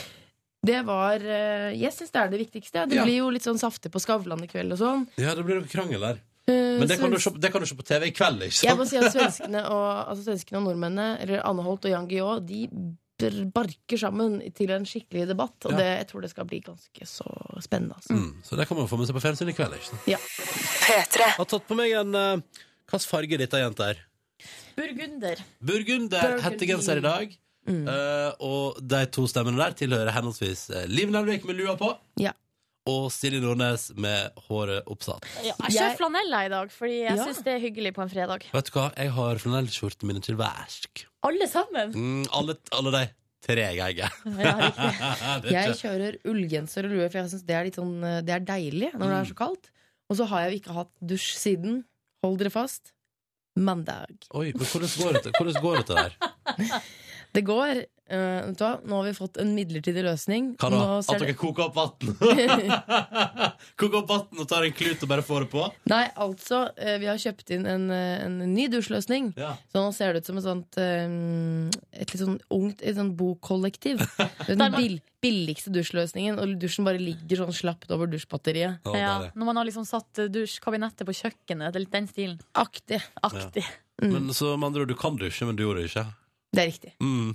[SPEAKER 3] Det var eh, Jeg syns det er det viktigste. ja. Det
[SPEAKER 2] Ja.
[SPEAKER 3] blir jo litt sånn saftig på Skavlan i kveld og sånn.
[SPEAKER 2] Ja, det blir noe krangel der.
[SPEAKER 3] Eh,
[SPEAKER 2] Men det kan, du
[SPEAKER 3] svensk-
[SPEAKER 2] se, det kan du se på TV i kveld, ikke
[SPEAKER 3] Jeg må
[SPEAKER 2] sant?
[SPEAKER 3] si at svenskene og, altså svenskene og nordmennene, eller Anne Holt og Jan Guillaud, de br- barker sammen til en skikkelig debatt. Og
[SPEAKER 2] Ja.
[SPEAKER 3] det, jeg tror det skal bli ganske så spennende. Altså.
[SPEAKER 2] Mm, så det kan man få med seg på fjernsyn i kveld. ikke sant?
[SPEAKER 8] P3.
[SPEAKER 2] Jeg har tatt på meg en eh, Hvilken farge er dette, jenta her?
[SPEAKER 4] Burgunder.
[SPEAKER 2] Burgunder hettegenser i dag.
[SPEAKER 3] Mm.
[SPEAKER 2] Eh, og de to stemmene der tilhører henholdsvis eh, Liv Nelvik med lua på
[SPEAKER 3] Ja.
[SPEAKER 2] og Silje Nordnes med håret oppsatt.
[SPEAKER 4] Ja, jeg kjører
[SPEAKER 3] Jeg-
[SPEAKER 4] flanella i dag, fordi jeg
[SPEAKER 3] Ja.
[SPEAKER 4] synes syns det er hyggelig på en fredag.
[SPEAKER 2] Vet du hva? Jeg har flanellskjortene mine til værsk.
[SPEAKER 4] Alle sammen!
[SPEAKER 2] Mm, alle, alle de tre jeg eier.
[SPEAKER 4] Ja, riktig.
[SPEAKER 2] Det er
[SPEAKER 3] Jeg
[SPEAKER 2] ikke-
[SPEAKER 3] kjører ullgenser og lue, for jeg syns det, er litt sånn, eh, det er deilig når det er så kaldt. Og så har jeg jo ikke hatt dusj siden. Hold dere fast. Mandag.
[SPEAKER 2] Oi, men hvordan går det, hvordan går det til der?
[SPEAKER 3] Det går. eh, vet du hva? Nå har vi fått en midlertidig løsning.
[SPEAKER 2] Hva da?
[SPEAKER 3] Nå ser
[SPEAKER 2] At dere
[SPEAKER 3] det-
[SPEAKER 2] koker opp vann? koker opp vann og tar en klut og bare får det på?
[SPEAKER 3] Nei, altså, eh, vi har kjøpt inn en, eh, en ny dusjløsning.
[SPEAKER 2] Ja.
[SPEAKER 3] Så nå ser det ut som et sånt eh, Et litt sånn ungt et sånn bokollektiv. Det er
[SPEAKER 4] Der
[SPEAKER 3] Den
[SPEAKER 4] man-
[SPEAKER 3] bill billigste dusjløsningen, og dusjen bare ligger sånn slapt over dusjbatteriet.
[SPEAKER 2] Å,
[SPEAKER 4] Ja,
[SPEAKER 2] deilig.
[SPEAKER 4] når man har liksom satt eh, dusjkabinettet på kjøkkenet. Det er litt den stilen.
[SPEAKER 3] Aktig.
[SPEAKER 4] Aktig.
[SPEAKER 3] Mm.
[SPEAKER 2] Men så med andre ord, du kan dusje, men du gjorde det ikke.
[SPEAKER 3] Det er riktig.
[SPEAKER 2] Mm.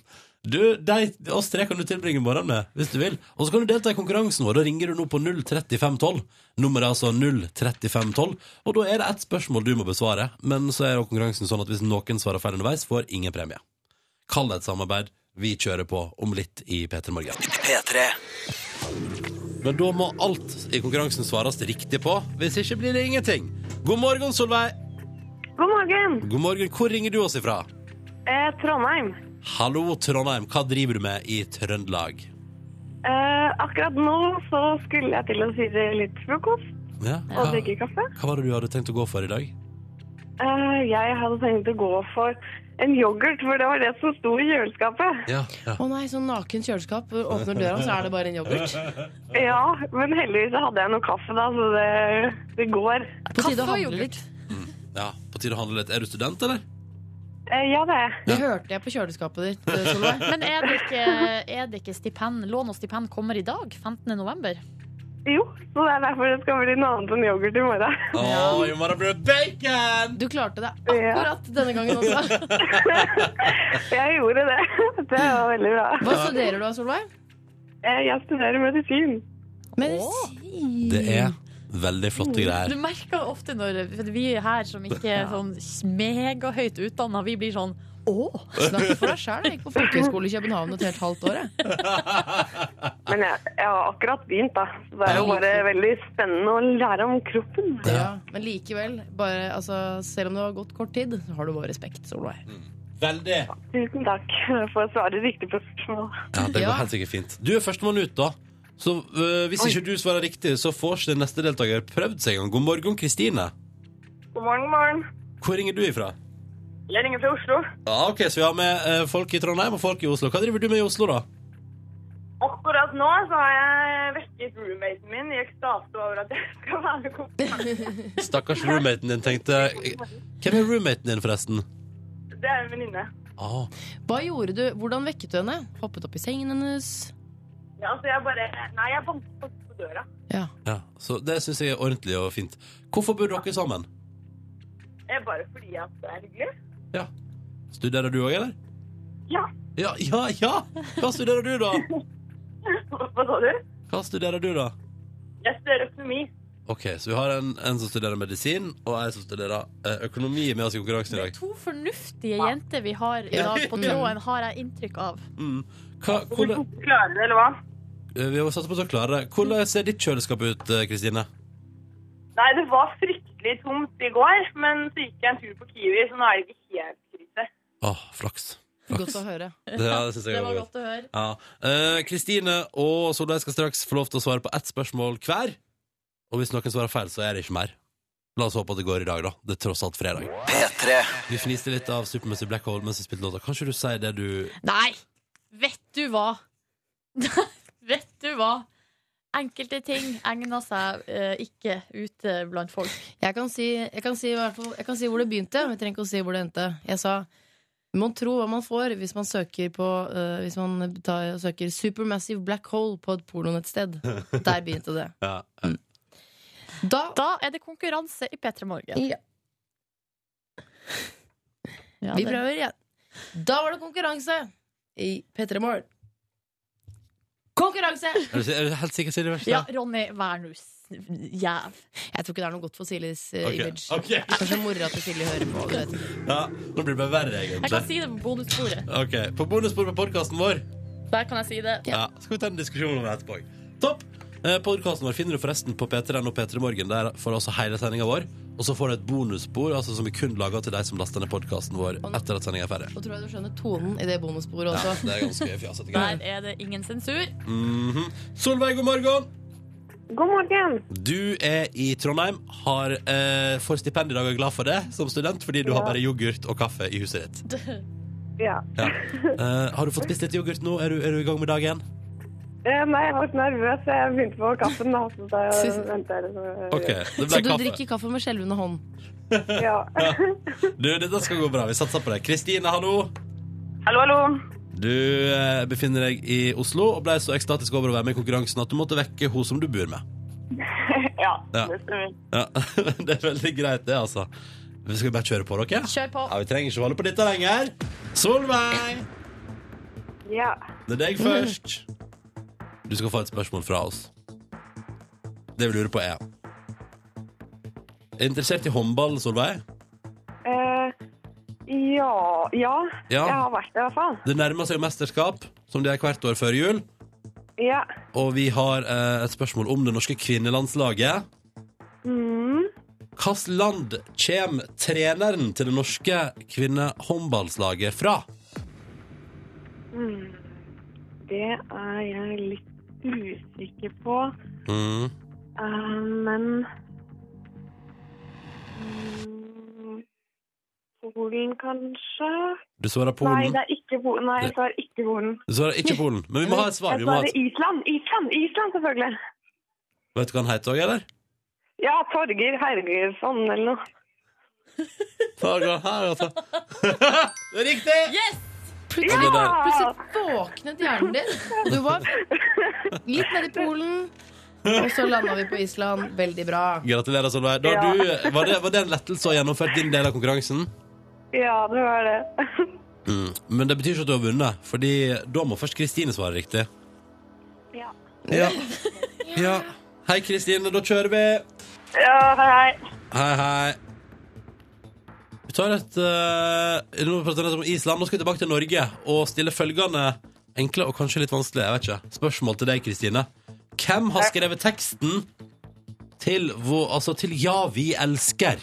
[SPEAKER 2] Du, deg, oss tre kan du tilbringe morgenen med, hvis du vil. Og så kan du delta i konkurransen vår. Da ringer du nå på 03512. Nummeret er altså 03512. Og da er det ett spørsmål du må besvare. Men så er jo konkurransen sånn at hvis noen svarer feil underveis, får ingen premie. Kall det et samarbeid. Vi kjører på om litt i P3 Morgen.
[SPEAKER 1] P3.
[SPEAKER 2] Men da må alt i konkurransen svares riktig på. Hvis ikke blir det ingenting. God morgen, Solveig.
[SPEAKER 9] God morgen.
[SPEAKER 2] God morgen. Hvor ringer du oss ifra?
[SPEAKER 9] Eh, Trondheim.
[SPEAKER 2] Hallo, Trondheim. Hva driver du med i Trøndelag?
[SPEAKER 9] Eh, akkurat nå så skulle jeg til å spise litt frokost
[SPEAKER 2] Ja,
[SPEAKER 9] og
[SPEAKER 2] hva-
[SPEAKER 9] drikke kaffe.
[SPEAKER 2] Hva var det du hadde tenkt å gå for i dag?
[SPEAKER 9] Eh, jeg hadde tenkt å gå for en yoghurt, for det var det som sto i kjøleskapet.
[SPEAKER 2] Ja,
[SPEAKER 3] Å nei, sånn naken kjøleskap. Hvor Åpner døra, så er det bare en yoghurt.
[SPEAKER 9] Ja, men heldigvis så hadde jeg noe kaffe da, så det, det går.
[SPEAKER 3] På tide å
[SPEAKER 4] Kaffe og
[SPEAKER 3] handle litt.
[SPEAKER 2] På tide å handle litt. Er du student, eller?
[SPEAKER 9] Eh, ja, det.
[SPEAKER 3] Det hørte jeg på kjøleskapet ditt, eh, Solveig.
[SPEAKER 4] Men er det ikke, er det ikke stipend? Lån og stipend kommer i dag, 15. november.
[SPEAKER 9] Jo, så det er derfor det skal bli noe annet enn yoghurt i morgen.
[SPEAKER 2] Å, i morgen blir det bacon!
[SPEAKER 3] Du klarte det
[SPEAKER 9] Ja,
[SPEAKER 3] akkurat denne gangen også.
[SPEAKER 9] jeg gjorde det. Det var veldig bra.
[SPEAKER 3] Hva studerer du av, Solveig?
[SPEAKER 9] Eh, jeg studerer medisin.
[SPEAKER 3] Medisin.
[SPEAKER 2] Det er veldig flotte
[SPEAKER 4] Du
[SPEAKER 2] greier.
[SPEAKER 4] merker ofte når for vi her som ikke er sånn megahøyt utdanna, vi blir sånn Å!
[SPEAKER 3] Snakk for deg sjæl. Jeg gikk på folkehøyskole i København et helt halvt år. jeg.
[SPEAKER 9] Men jeg, jeg har akkurat begynt, da. Så det er jo bare veldig spennende å lære om kroppen.
[SPEAKER 3] Ja, men likevel, bare, altså, selv om det har gått kort tid, så har du vår respekt, Solveig.
[SPEAKER 2] Veldig.
[SPEAKER 9] Tusen takk for å svare riktig på spørsmål.
[SPEAKER 2] Ja, Det går
[SPEAKER 3] Ja.
[SPEAKER 2] helt sikkert fint. Du er førstemann ut, da. Så øh, hvis ikke du svarer riktig, så får ikke den neste deltaker prøvd seg en gang. God morgen, Kristine.
[SPEAKER 9] God morgen, morgen.
[SPEAKER 2] Hvor ringer du ifra?
[SPEAKER 9] Jeg ringer fra Oslo.
[SPEAKER 2] Ja, ok, Så vi har med eh, folk i Trondheim og folk i Oslo. Hva driver du med i Oslo, da?
[SPEAKER 9] Akkurat nå så har jeg vekket roommaten min i ekstase over at jeg skal være med kompis.
[SPEAKER 2] Stakkars roommaten din tenkte Hvem er roommaten din, forresten?
[SPEAKER 9] Det er en venninne.
[SPEAKER 2] Ah,
[SPEAKER 3] Hva gjorde du? Hvordan vekket du henne? Hoppet opp i sengen hennes?
[SPEAKER 9] Ja, så jeg bare Nei, jeg banket på på døra.
[SPEAKER 3] Ja.
[SPEAKER 2] ja. Så det syns jeg er ordentlig og fint. Hvorfor bor dere sammen?
[SPEAKER 9] Eh, Bare fordi at det er hyggelig.
[SPEAKER 2] Studerer du òg, eller?
[SPEAKER 9] Ja.
[SPEAKER 2] Ja, ja, ja! Hva studerer du, da?
[SPEAKER 9] Hva sa du?
[SPEAKER 2] Hva studerer du, da?
[SPEAKER 9] Jeg studerer økonomi.
[SPEAKER 2] Ok, så vi har en, en som studerer medisin, og en som studerer eh, økonomi med oss i konkurransen i
[SPEAKER 4] Det er
[SPEAKER 2] dag.
[SPEAKER 4] to fornuftige jenter vi har i dag på tråden, har jeg inntrykk av.
[SPEAKER 2] Mm. Hva, hvordan,
[SPEAKER 9] Klarer det, eller hva?
[SPEAKER 2] eh, vi har satset på å klare det. Hvordan ser ditt kjøleskap ut, eh, Kristine?
[SPEAKER 9] Nei, det var fryktelig tomt i går, men så gikk jeg en tur på Kiwi, så nå er det ikke helt krise.
[SPEAKER 2] Åh, flaks.
[SPEAKER 3] Godt å høre.
[SPEAKER 2] Det, ja, det synes jeg
[SPEAKER 4] Det
[SPEAKER 2] var
[SPEAKER 4] var
[SPEAKER 2] godt.
[SPEAKER 4] godt å høre.
[SPEAKER 2] Ja. Eh, Kristine og Solveig skal straks få lov til å svare på ett spørsmål hver. Og hvis noen svarer feil, så er det ikke mer. La oss håpe at det går i dag, da. Det er tross alt fredag.
[SPEAKER 1] P3.
[SPEAKER 2] Vi fniste litt av Supermassive Black Hole mens vi spilte låta. Kan ikke du si det du
[SPEAKER 4] Nei! Vet du hva? Vet du hva? Enkelte ting egner seg eh, ikke ute blant folk.
[SPEAKER 3] Jeg kan, si, jeg, kan si, i hvert fall- jeg kan si hvor det begynte, men jeg trenger ikke å si hvor det endte. Jeg sa man tro hva man får hvis man søker på eh, Hvis man tar, søker 'Supermassive Black Hole' på et pornonettsted. Der begynte det.
[SPEAKER 2] Ja,
[SPEAKER 3] Da
[SPEAKER 4] Da er det konkurranse i P3 Morgen.
[SPEAKER 3] Ja.
[SPEAKER 4] Ja,
[SPEAKER 3] Vi
[SPEAKER 4] det-
[SPEAKER 3] prøver igjen. Da var det konkurranse i P3 Morgen. Konkurranse!
[SPEAKER 2] Er du, er du helt sikker, Silje?
[SPEAKER 4] Ja, Ronny, vær nå s- jæv.
[SPEAKER 3] Jeg tror ikke det er noe godt for Siljes eh,
[SPEAKER 2] Ok,
[SPEAKER 3] image.
[SPEAKER 2] ok.
[SPEAKER 3] Kanskje mora til Silje hører på. Du vet.
[SPEAKER 2] Ja, nå blir det bare verre,
[SPEAKER 4] Jeg kan
[SPEAKER 2] egentlig.
[SPEAKER 4] si det på bonussporet.
[SPEAKER 2] Ok, På bonusbordet på podkasten vår
[SPEAKER 4] Der kan jeg si det.
[SPEAKER 2] ja. skal vi ta en diskusjon om det etterpå. Topp! Eh, podcasten vår finner du forresten på p3.no p3morgen. Der får du også hele sendinga vår. Og så får du et bonusspor altså som vi kun lager til deg som laster ned podkasten vår etter at sendinga er ferdig.
[SPEAKER 3] Og tror jeg du skjønner tonen i det bonussporet
[SPEAKER 2] Ja,
[SPEAKER 3] også.
[SPEAKER 2] det er ganske fjasete
[SPEAKER 4] Der
[SPEAKER 2] greier.
[SPEAKER 4] er det ingen sensur.
[SPEAKER 2] Mhm. Solveig, god morgen!
[SPEAKER 9] God morgen.
[SPEAKER 2] Du er i Trondheim, har eh, får stipend i dag og er glad for det som student fordi du har bare yoghurt og kaffe i huset ditt.
[SPEAKER 10] Ja.
[SPEAKER 2] Ja. Eh, har du fått spist litt yoghurt nå? Er du, er du i gang med dagen?
[SPEAKER 10] Eh, Nei, jeg var så nervøs, så jeg begynte på kaffen. Da, så da venter jeg liksom.
[SPEAKER 2] OK. Det
[SPEAKER 3] Så
[SPEAKER 2] ble
[SPEAKER 3] du
[SPEAKER 2] kaffe.
[SPEAKER 3] drikker kaffe med skjelvende hånd.
[SPEAKER 10] Ja.
[SPEAKER 2] Du, dette skal gå bra. Vi satser på deg. Kristine, hallo.
[SPEAKER 9] Hallo, hallo.
[SPEAKER 2] Du eh, befinner deg i Oslo og ble så ekstatisk over å være med i konkurransen at du måtte vekke hun som du bor med.
[SPEAKER 9] Ja,
[SPEAKER 2] Ja.
[SPEAKER 9] det stemmer.
[SPEAKER 2] Ja, Det er veldig greit, det, altså. Vi skal bare kjøre på dere.
[SPEAKER 4] Kjør på.
[SPEAKER 2] Ja, Vi trenger ikke holde på dette lenger. Solveig,
[SPEAKER 10] ja.
[SPEAKER 2] det er deg først. Du skal få et spørsmål fra oss. Det vi lurer på, er Er interessert i håndball, Solveig?
[SPEAKER 10] Eh, ja. Ja.
[SPEAKER 2] Ja.
[SPEAKER 10] Jeg har vært det, i hvert fall.
[SPEAKER 2] Det nærmer seg jo mesterskap, som det er hvert år før jul.
[SPEAKER 10] Ja.
[SPEAKER 2] Og vi har eh, et spørsmål om det norske kvinnelandslaget.
[SPEAKER 10] Mm.
[SPEAKER 2] Hvilket land kommer treneren til det norske kvinnehåndballslaget fra?
[SPEAKER 10] Mm. Det er jeg litt usikker på,
[SPEAKER 2] Mm.
[SPEAKER 10] eh, men mm, Polen, kanskje?
[SPEAKER 2] Du svarer
[SPEAKER 10] Nei,
[SPEAKER 2] Polen.
[SPEAKER 10] det er ikke Polen. Nei, jeg svarer ikke Polen.
[SPEAKER 2] Du svarer ikke Polen, men vi må ha et svar.
[SPEAKER 10] Jeg
[SPEAKER 2] Vi må ha
[SPEAKER 10] svarer
[SPEAKER 2] et...
[SPEAKER 10] Island. Island, Island selvfølgelig.
[SPEAKER 2] Vet du hva han heter òg, eller?
[SPEAKER 10] Ja, Torger Hergersson eller noe.
[SPEAKER 2] Farga her, altså. det er riktig! Ja, det der.
[SPEAKER 10] Ja!
[SPEAKER 3] Plutselig våknet hjernen din, og du var litt nede i Polen. Og så landa vi på Island. Veldig bra.
[SPEAKER 2] Gratulerer, Solveig. Da, har du, var, det, var det en lettelse å ha gjennomført din del av konkurransen?
[SPEAKER 10] Ja, det var det.
[SPEAKER 2] Mm. Men det betyr ikke at du har vunnet, Fordi da må først Kristine svare riktig.
[SPEAKER 10] Ja.
[SPEAKER 2] Ja. ja. Hei, Kristine. Da kjører vi.
[SPEAKER 9] Ja, hei, hei.
[SPEAKER 2] Hei, hei. Vi tar et eh, Nå prater vi nettopp om Island. Nå skal vi tilbake til Norge og stille følgende enkle og kanskje litt vanskelige jeg vet ikke, spørsmål til deg, Kristine. Hvem har skrevet teksten til, hvor, altså, til Ja, vi elsker?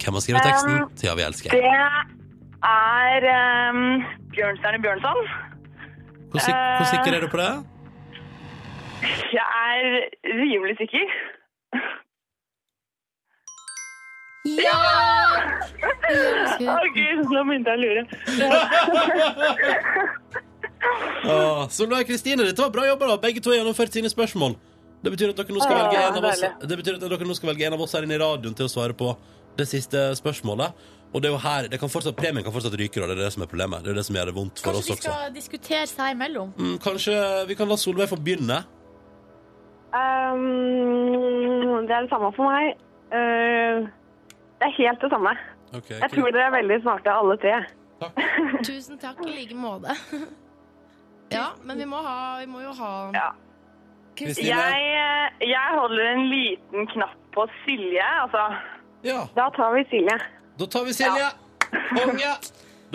[SPEAKER 2] Hvem har skrevet teksten til Ja, vi elsker?
[SPEAKER 9] Det er um, Bjørnstjerne Bjørnson.
[SPEAKER 2] Hvor, sik hvor sikker er du på det?
[SPEAKER 9] Jeg er rimelig sikker. Ja! Å, gud, nå begynte jeg å lure.
[SPEAKER 2] Åh, Solveig og Kristine, dette var bra jobba. da. Begge to har gjennomført sine spørsmål. Det betyr, at dere nå skal
[SPEAKER 10] Åh,
[SPEAKER 2] velge en av oss,
[SPEAKER 10] deilig.
[SPEAKER 2] det betyr at dere nå skal velge en av oss her inne i radioen til å svare på det siste spørsmålet. Og det er jo her, det kan fortsatt, Premien kan fortsatt ryke, da. det er det som er problemet. Det er det som gjør det vondt for
[SPEAKER 4] Kanskje de
[SPEAKER 2] oss også.
[SPEAKER 4] skal diskutere seg imellom.
[SPEAKER 2] Mm, kanskje vi kan la Solveig få begynne?
[SPEAKER 10] Um, det er det samme for meg. Uh, det er helt det samme.
[SPEAKER 2] Ok,
[SPEAKER 10] Jeg tror dere er veldig smarte, alle tre.
[SPEAKER 3] Tusen takk i like måte. Ja, men vi må, ha, vi må jo ha
[SPEAKER 2] Kristine?
[SPEAKER 9] Jeg, eh, jeg holder en liten knapp på Silje, altså.
[SPEAKER 2] Ja,
[SPEAKER 10] Da tar vi Silje.
[SPEAKER 2] da tar vi Silje. Konge!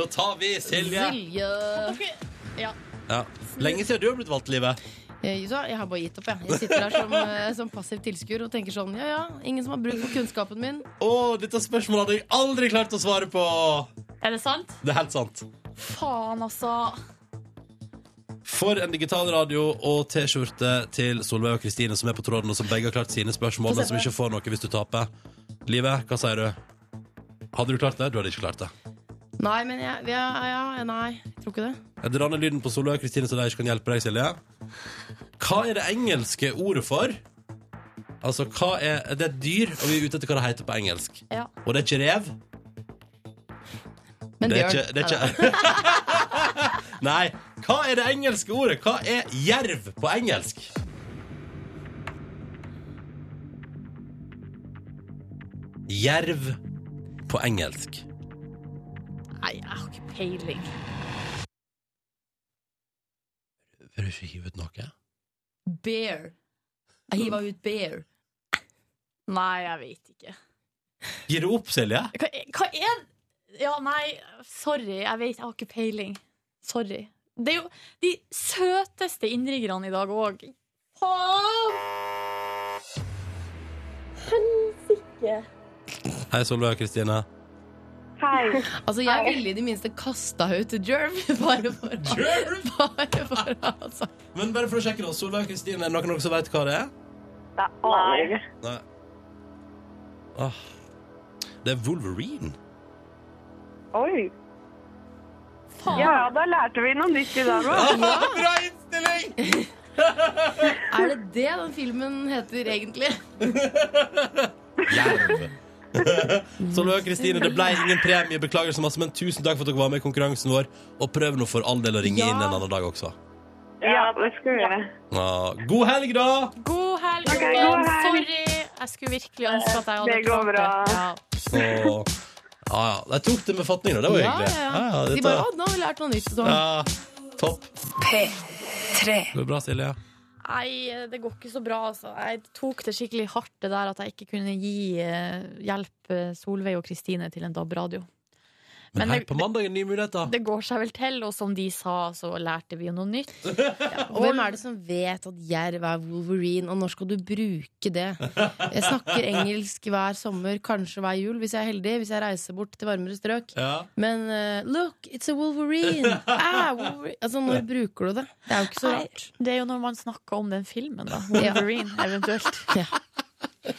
[SPEAKER 2] Da tar vi Silje.
[SPEAKER 3] Silje.
[SPEAKER 2] Ja. Lenge siden du har blitt valgt, Livet.
[SPEAKER 3] Jeg, så, jeg har bare gitt opp, jeg. Jeg sitter her som, eh, som passiv tilskuer og tenker sånn ja ja, ingen som har bruk for kunnskapen min.
[SPEAKER 2] Å, dette spørsmålet hadde jeg aldri klart å svare på!
[SPEAKER 4] Er det sant?
[SPEAKER 2] Det er helt sant.
[SPEAKER 4] Faen, altså.
[SPEAKER 2] For en digital radio og T-skjorte til Solveig og Kristine, som er på tråden, og som begge har klart sine spørsmål, men som ikke får noe hvis du taper. Live, hva sier du? Hadde du klart det? Du hadde ikke klart det.
[SPEAKER 3] Nei, men jeg ja, ja, Nei, jeg tror ikke det.
[SPEAKER 2] Jeg drar ned lyden på Solveig og Kristine, så de ikke kan hjelpe deg, Silje. Hva er det engelske ordet for? Altså, hva er Det er et dyr, og vi er ute etter hva det heter på engelsk.
[SPEAKER 4] Ja.
[SPEAKER 2] Og det er ikke rev.
[SPEAKER 3] Men
[SPEAKER 2] Det er
[SPEAKER 3] bjørn.
[SPEAKER 2] ikke, det er ikke. Nei. Hva er det engelske ordet? Hva er jerv på engelsk? Jerv på engelsk.
[SPEAKER 4] Nei, jeg har ikke peiling.
[SPEAKER 2] Vil du ikke hive ut noe?
[SPEAKER 4] Bear. Jeg hiva ut bear. Nei, jeg vet ikke.
[SPEAKER 2] Gir du opp, Silje?
[SPEAKER 4] Hva, hva er Ja, nei, sorry. Jeg vet, jeg har ikke peiling. Sorry. Det er jo de søteste innringerne i dag òg. Faen! Helsike.
[SPEAKER 2] Hei, Solveig og Kristine.
[SPEAKER 10] Hei.
[SPEAKER 3] Altså, jeg ville i det minste kasta ut Jerv, bare for å Bare for å altså.
[SPEAKER 2] Men bare for å sjekke det, Solveig og Kristine, er det noen som vet hva det er?
[SPEAKER 10] Det er aner ikke.
[SPEAKER 2] Nei. Ah. Åh. Det er Wolverine.
[SPEAKER 10] Oi.
[SPEAKER 4] Faen.
[SPEAKER 10] Ja, da lærte vi noe nytt i dag òg.
[SPEAKER 2] Bra innstilling!
[SPEAKER 3] Er det det den filmen heter egentlig?
[SPEAKER 2] Jerv. Så nå, Kristine, det ble ingen premie. Beklager så masse, men tusen takk for at dere var med i konkurransen vår. Og prøv nå for all del å ringe inn en annen dag også.
[SPEAKER 10] Ja, det skal vi gjøre.
[SPEAKER 2] Ah, god helg, da!
[SPEAKER 4] God helg,
[SPEAKER 10] Ok,
[SPEAKER 4] Jørgen.
[SPEAKER 10] god helg. Eh,
[SPEAKER 4] Sorry. Jeg skulle virkelig ønske at jeg hadde
[SPEAKER 10] Det går bra.
[SPEAKER 4] Ja.
[SPEAKER 2] Så Ja, ja. De tok det med fatning, da. Det var
[SPEAKER 3] Ja,
[SPEAKER 2] hyggelig.
[SPEAKER 3] ja,
[SPEAKER 2] Ja, ja,
[SPEAKER 3] De
[SPEAKER 2] dette-
[SPEAKER 3] bare 'Å, nå har vi lært noe nytt'. Sånn.
[SPEAKER 2] ja, topp.
[SPEAKER 8] P3.
[SPEAKER 2] Det går bra, Silje.
[SPEAKER 4] Nei, det går ikke så bra, altså. Jeg tok det skikkelig hardt, det der at jeg ikke kunne gi eh, hjelp eh, Solveig og Kristine til en DAB-radio.
[SPEAKER 2] Men,
[SPEAKER 4] Men
[SPEAKER 2] her
[SPEAKER 4] det-
[SPEAKER 2] på mandag er nye muligheter.
[SPEAKER 4] Det går seg vel til, og som de sa, så lærte vi jo noe nytt.
[SPEAKER 3] Og hvem er det som vet at jerv er Wolverine, og når skal du bruke det? Jeg snakker engelsk hver sommer, kanskje hver jul, hvis jeg er heldig, hvis jeg reiser bort til varmere strøk.
[SPEAKER 2] Ja.
[SPEAKER 3] Men eh, look, it's a Wolverine! Ah, Wolverine. Altså, når bruker du det? Det er jo ikke så
[SPEAKER 4] Nei,
[SPEAKER 3] rart.
[SPEAKER 4] det er jo når man snakker om den filmen, da. Wolverine, eventuelt.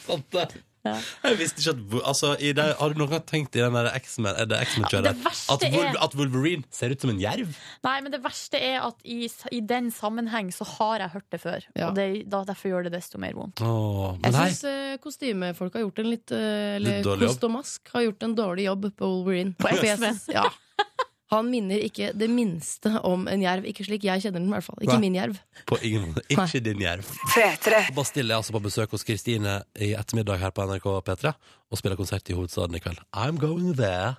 [SPEAKER 2] Sant det.
[SPEAKER 4] Ja.
[SPEAKER 2] Jeg visste ikke at Wo- altså, i det, Har du noen gang tenkt i den der X-Men Er det X-Men-kjøret?
[SPEAKER 4] Ja, det verste
[SPEAKER 2] at, Wol-
[SPEAKER 4] er-
[SPEAKER 2] at Wolverine ser ut som en jerv?
[SPEAKER 4] Nei, men det verste er at i, i den sammenheng så har jeg hørt det før.
[SPEAKER 3] Ja.
[SPEAKER 4] Og det, da, derfor gjør det desto mer vondt.
[SPEAKER 2] Åh, men
[SPEAKER 3] Jeg
[SPEAKER 2] nei.
[SPEAKER 3] syns eh, kostymefolk har gjort en litt eh, Eller
[SPEAKER 2] Litt dårlig jobb.
[SPEAKER 3] Kostomask har gjort en dårlig jobb på Wolverine.
[SPEAKER 4] På
[SPEAKER 3] For jeg
[SPEAKER 4] X-Men.
[SPEAKER 3] synes- Ja. Han minner ikke det minste om en jerv. Ikke slik jeg kjenner den, i hvert fall. Ikke
[SPEAKER 2] Nei.
[SPEAKER 3] min jerv.
[SPEAKER 2] På ingen måte. Ikke din jerv.
[SPEAKER 8] P3.
[SPEAKER 2] Bastille er altså på besøk hos Kristine i ettermiddag her på NRK P3 og spiller konsert i hovedstaden i kveld. I'm going there.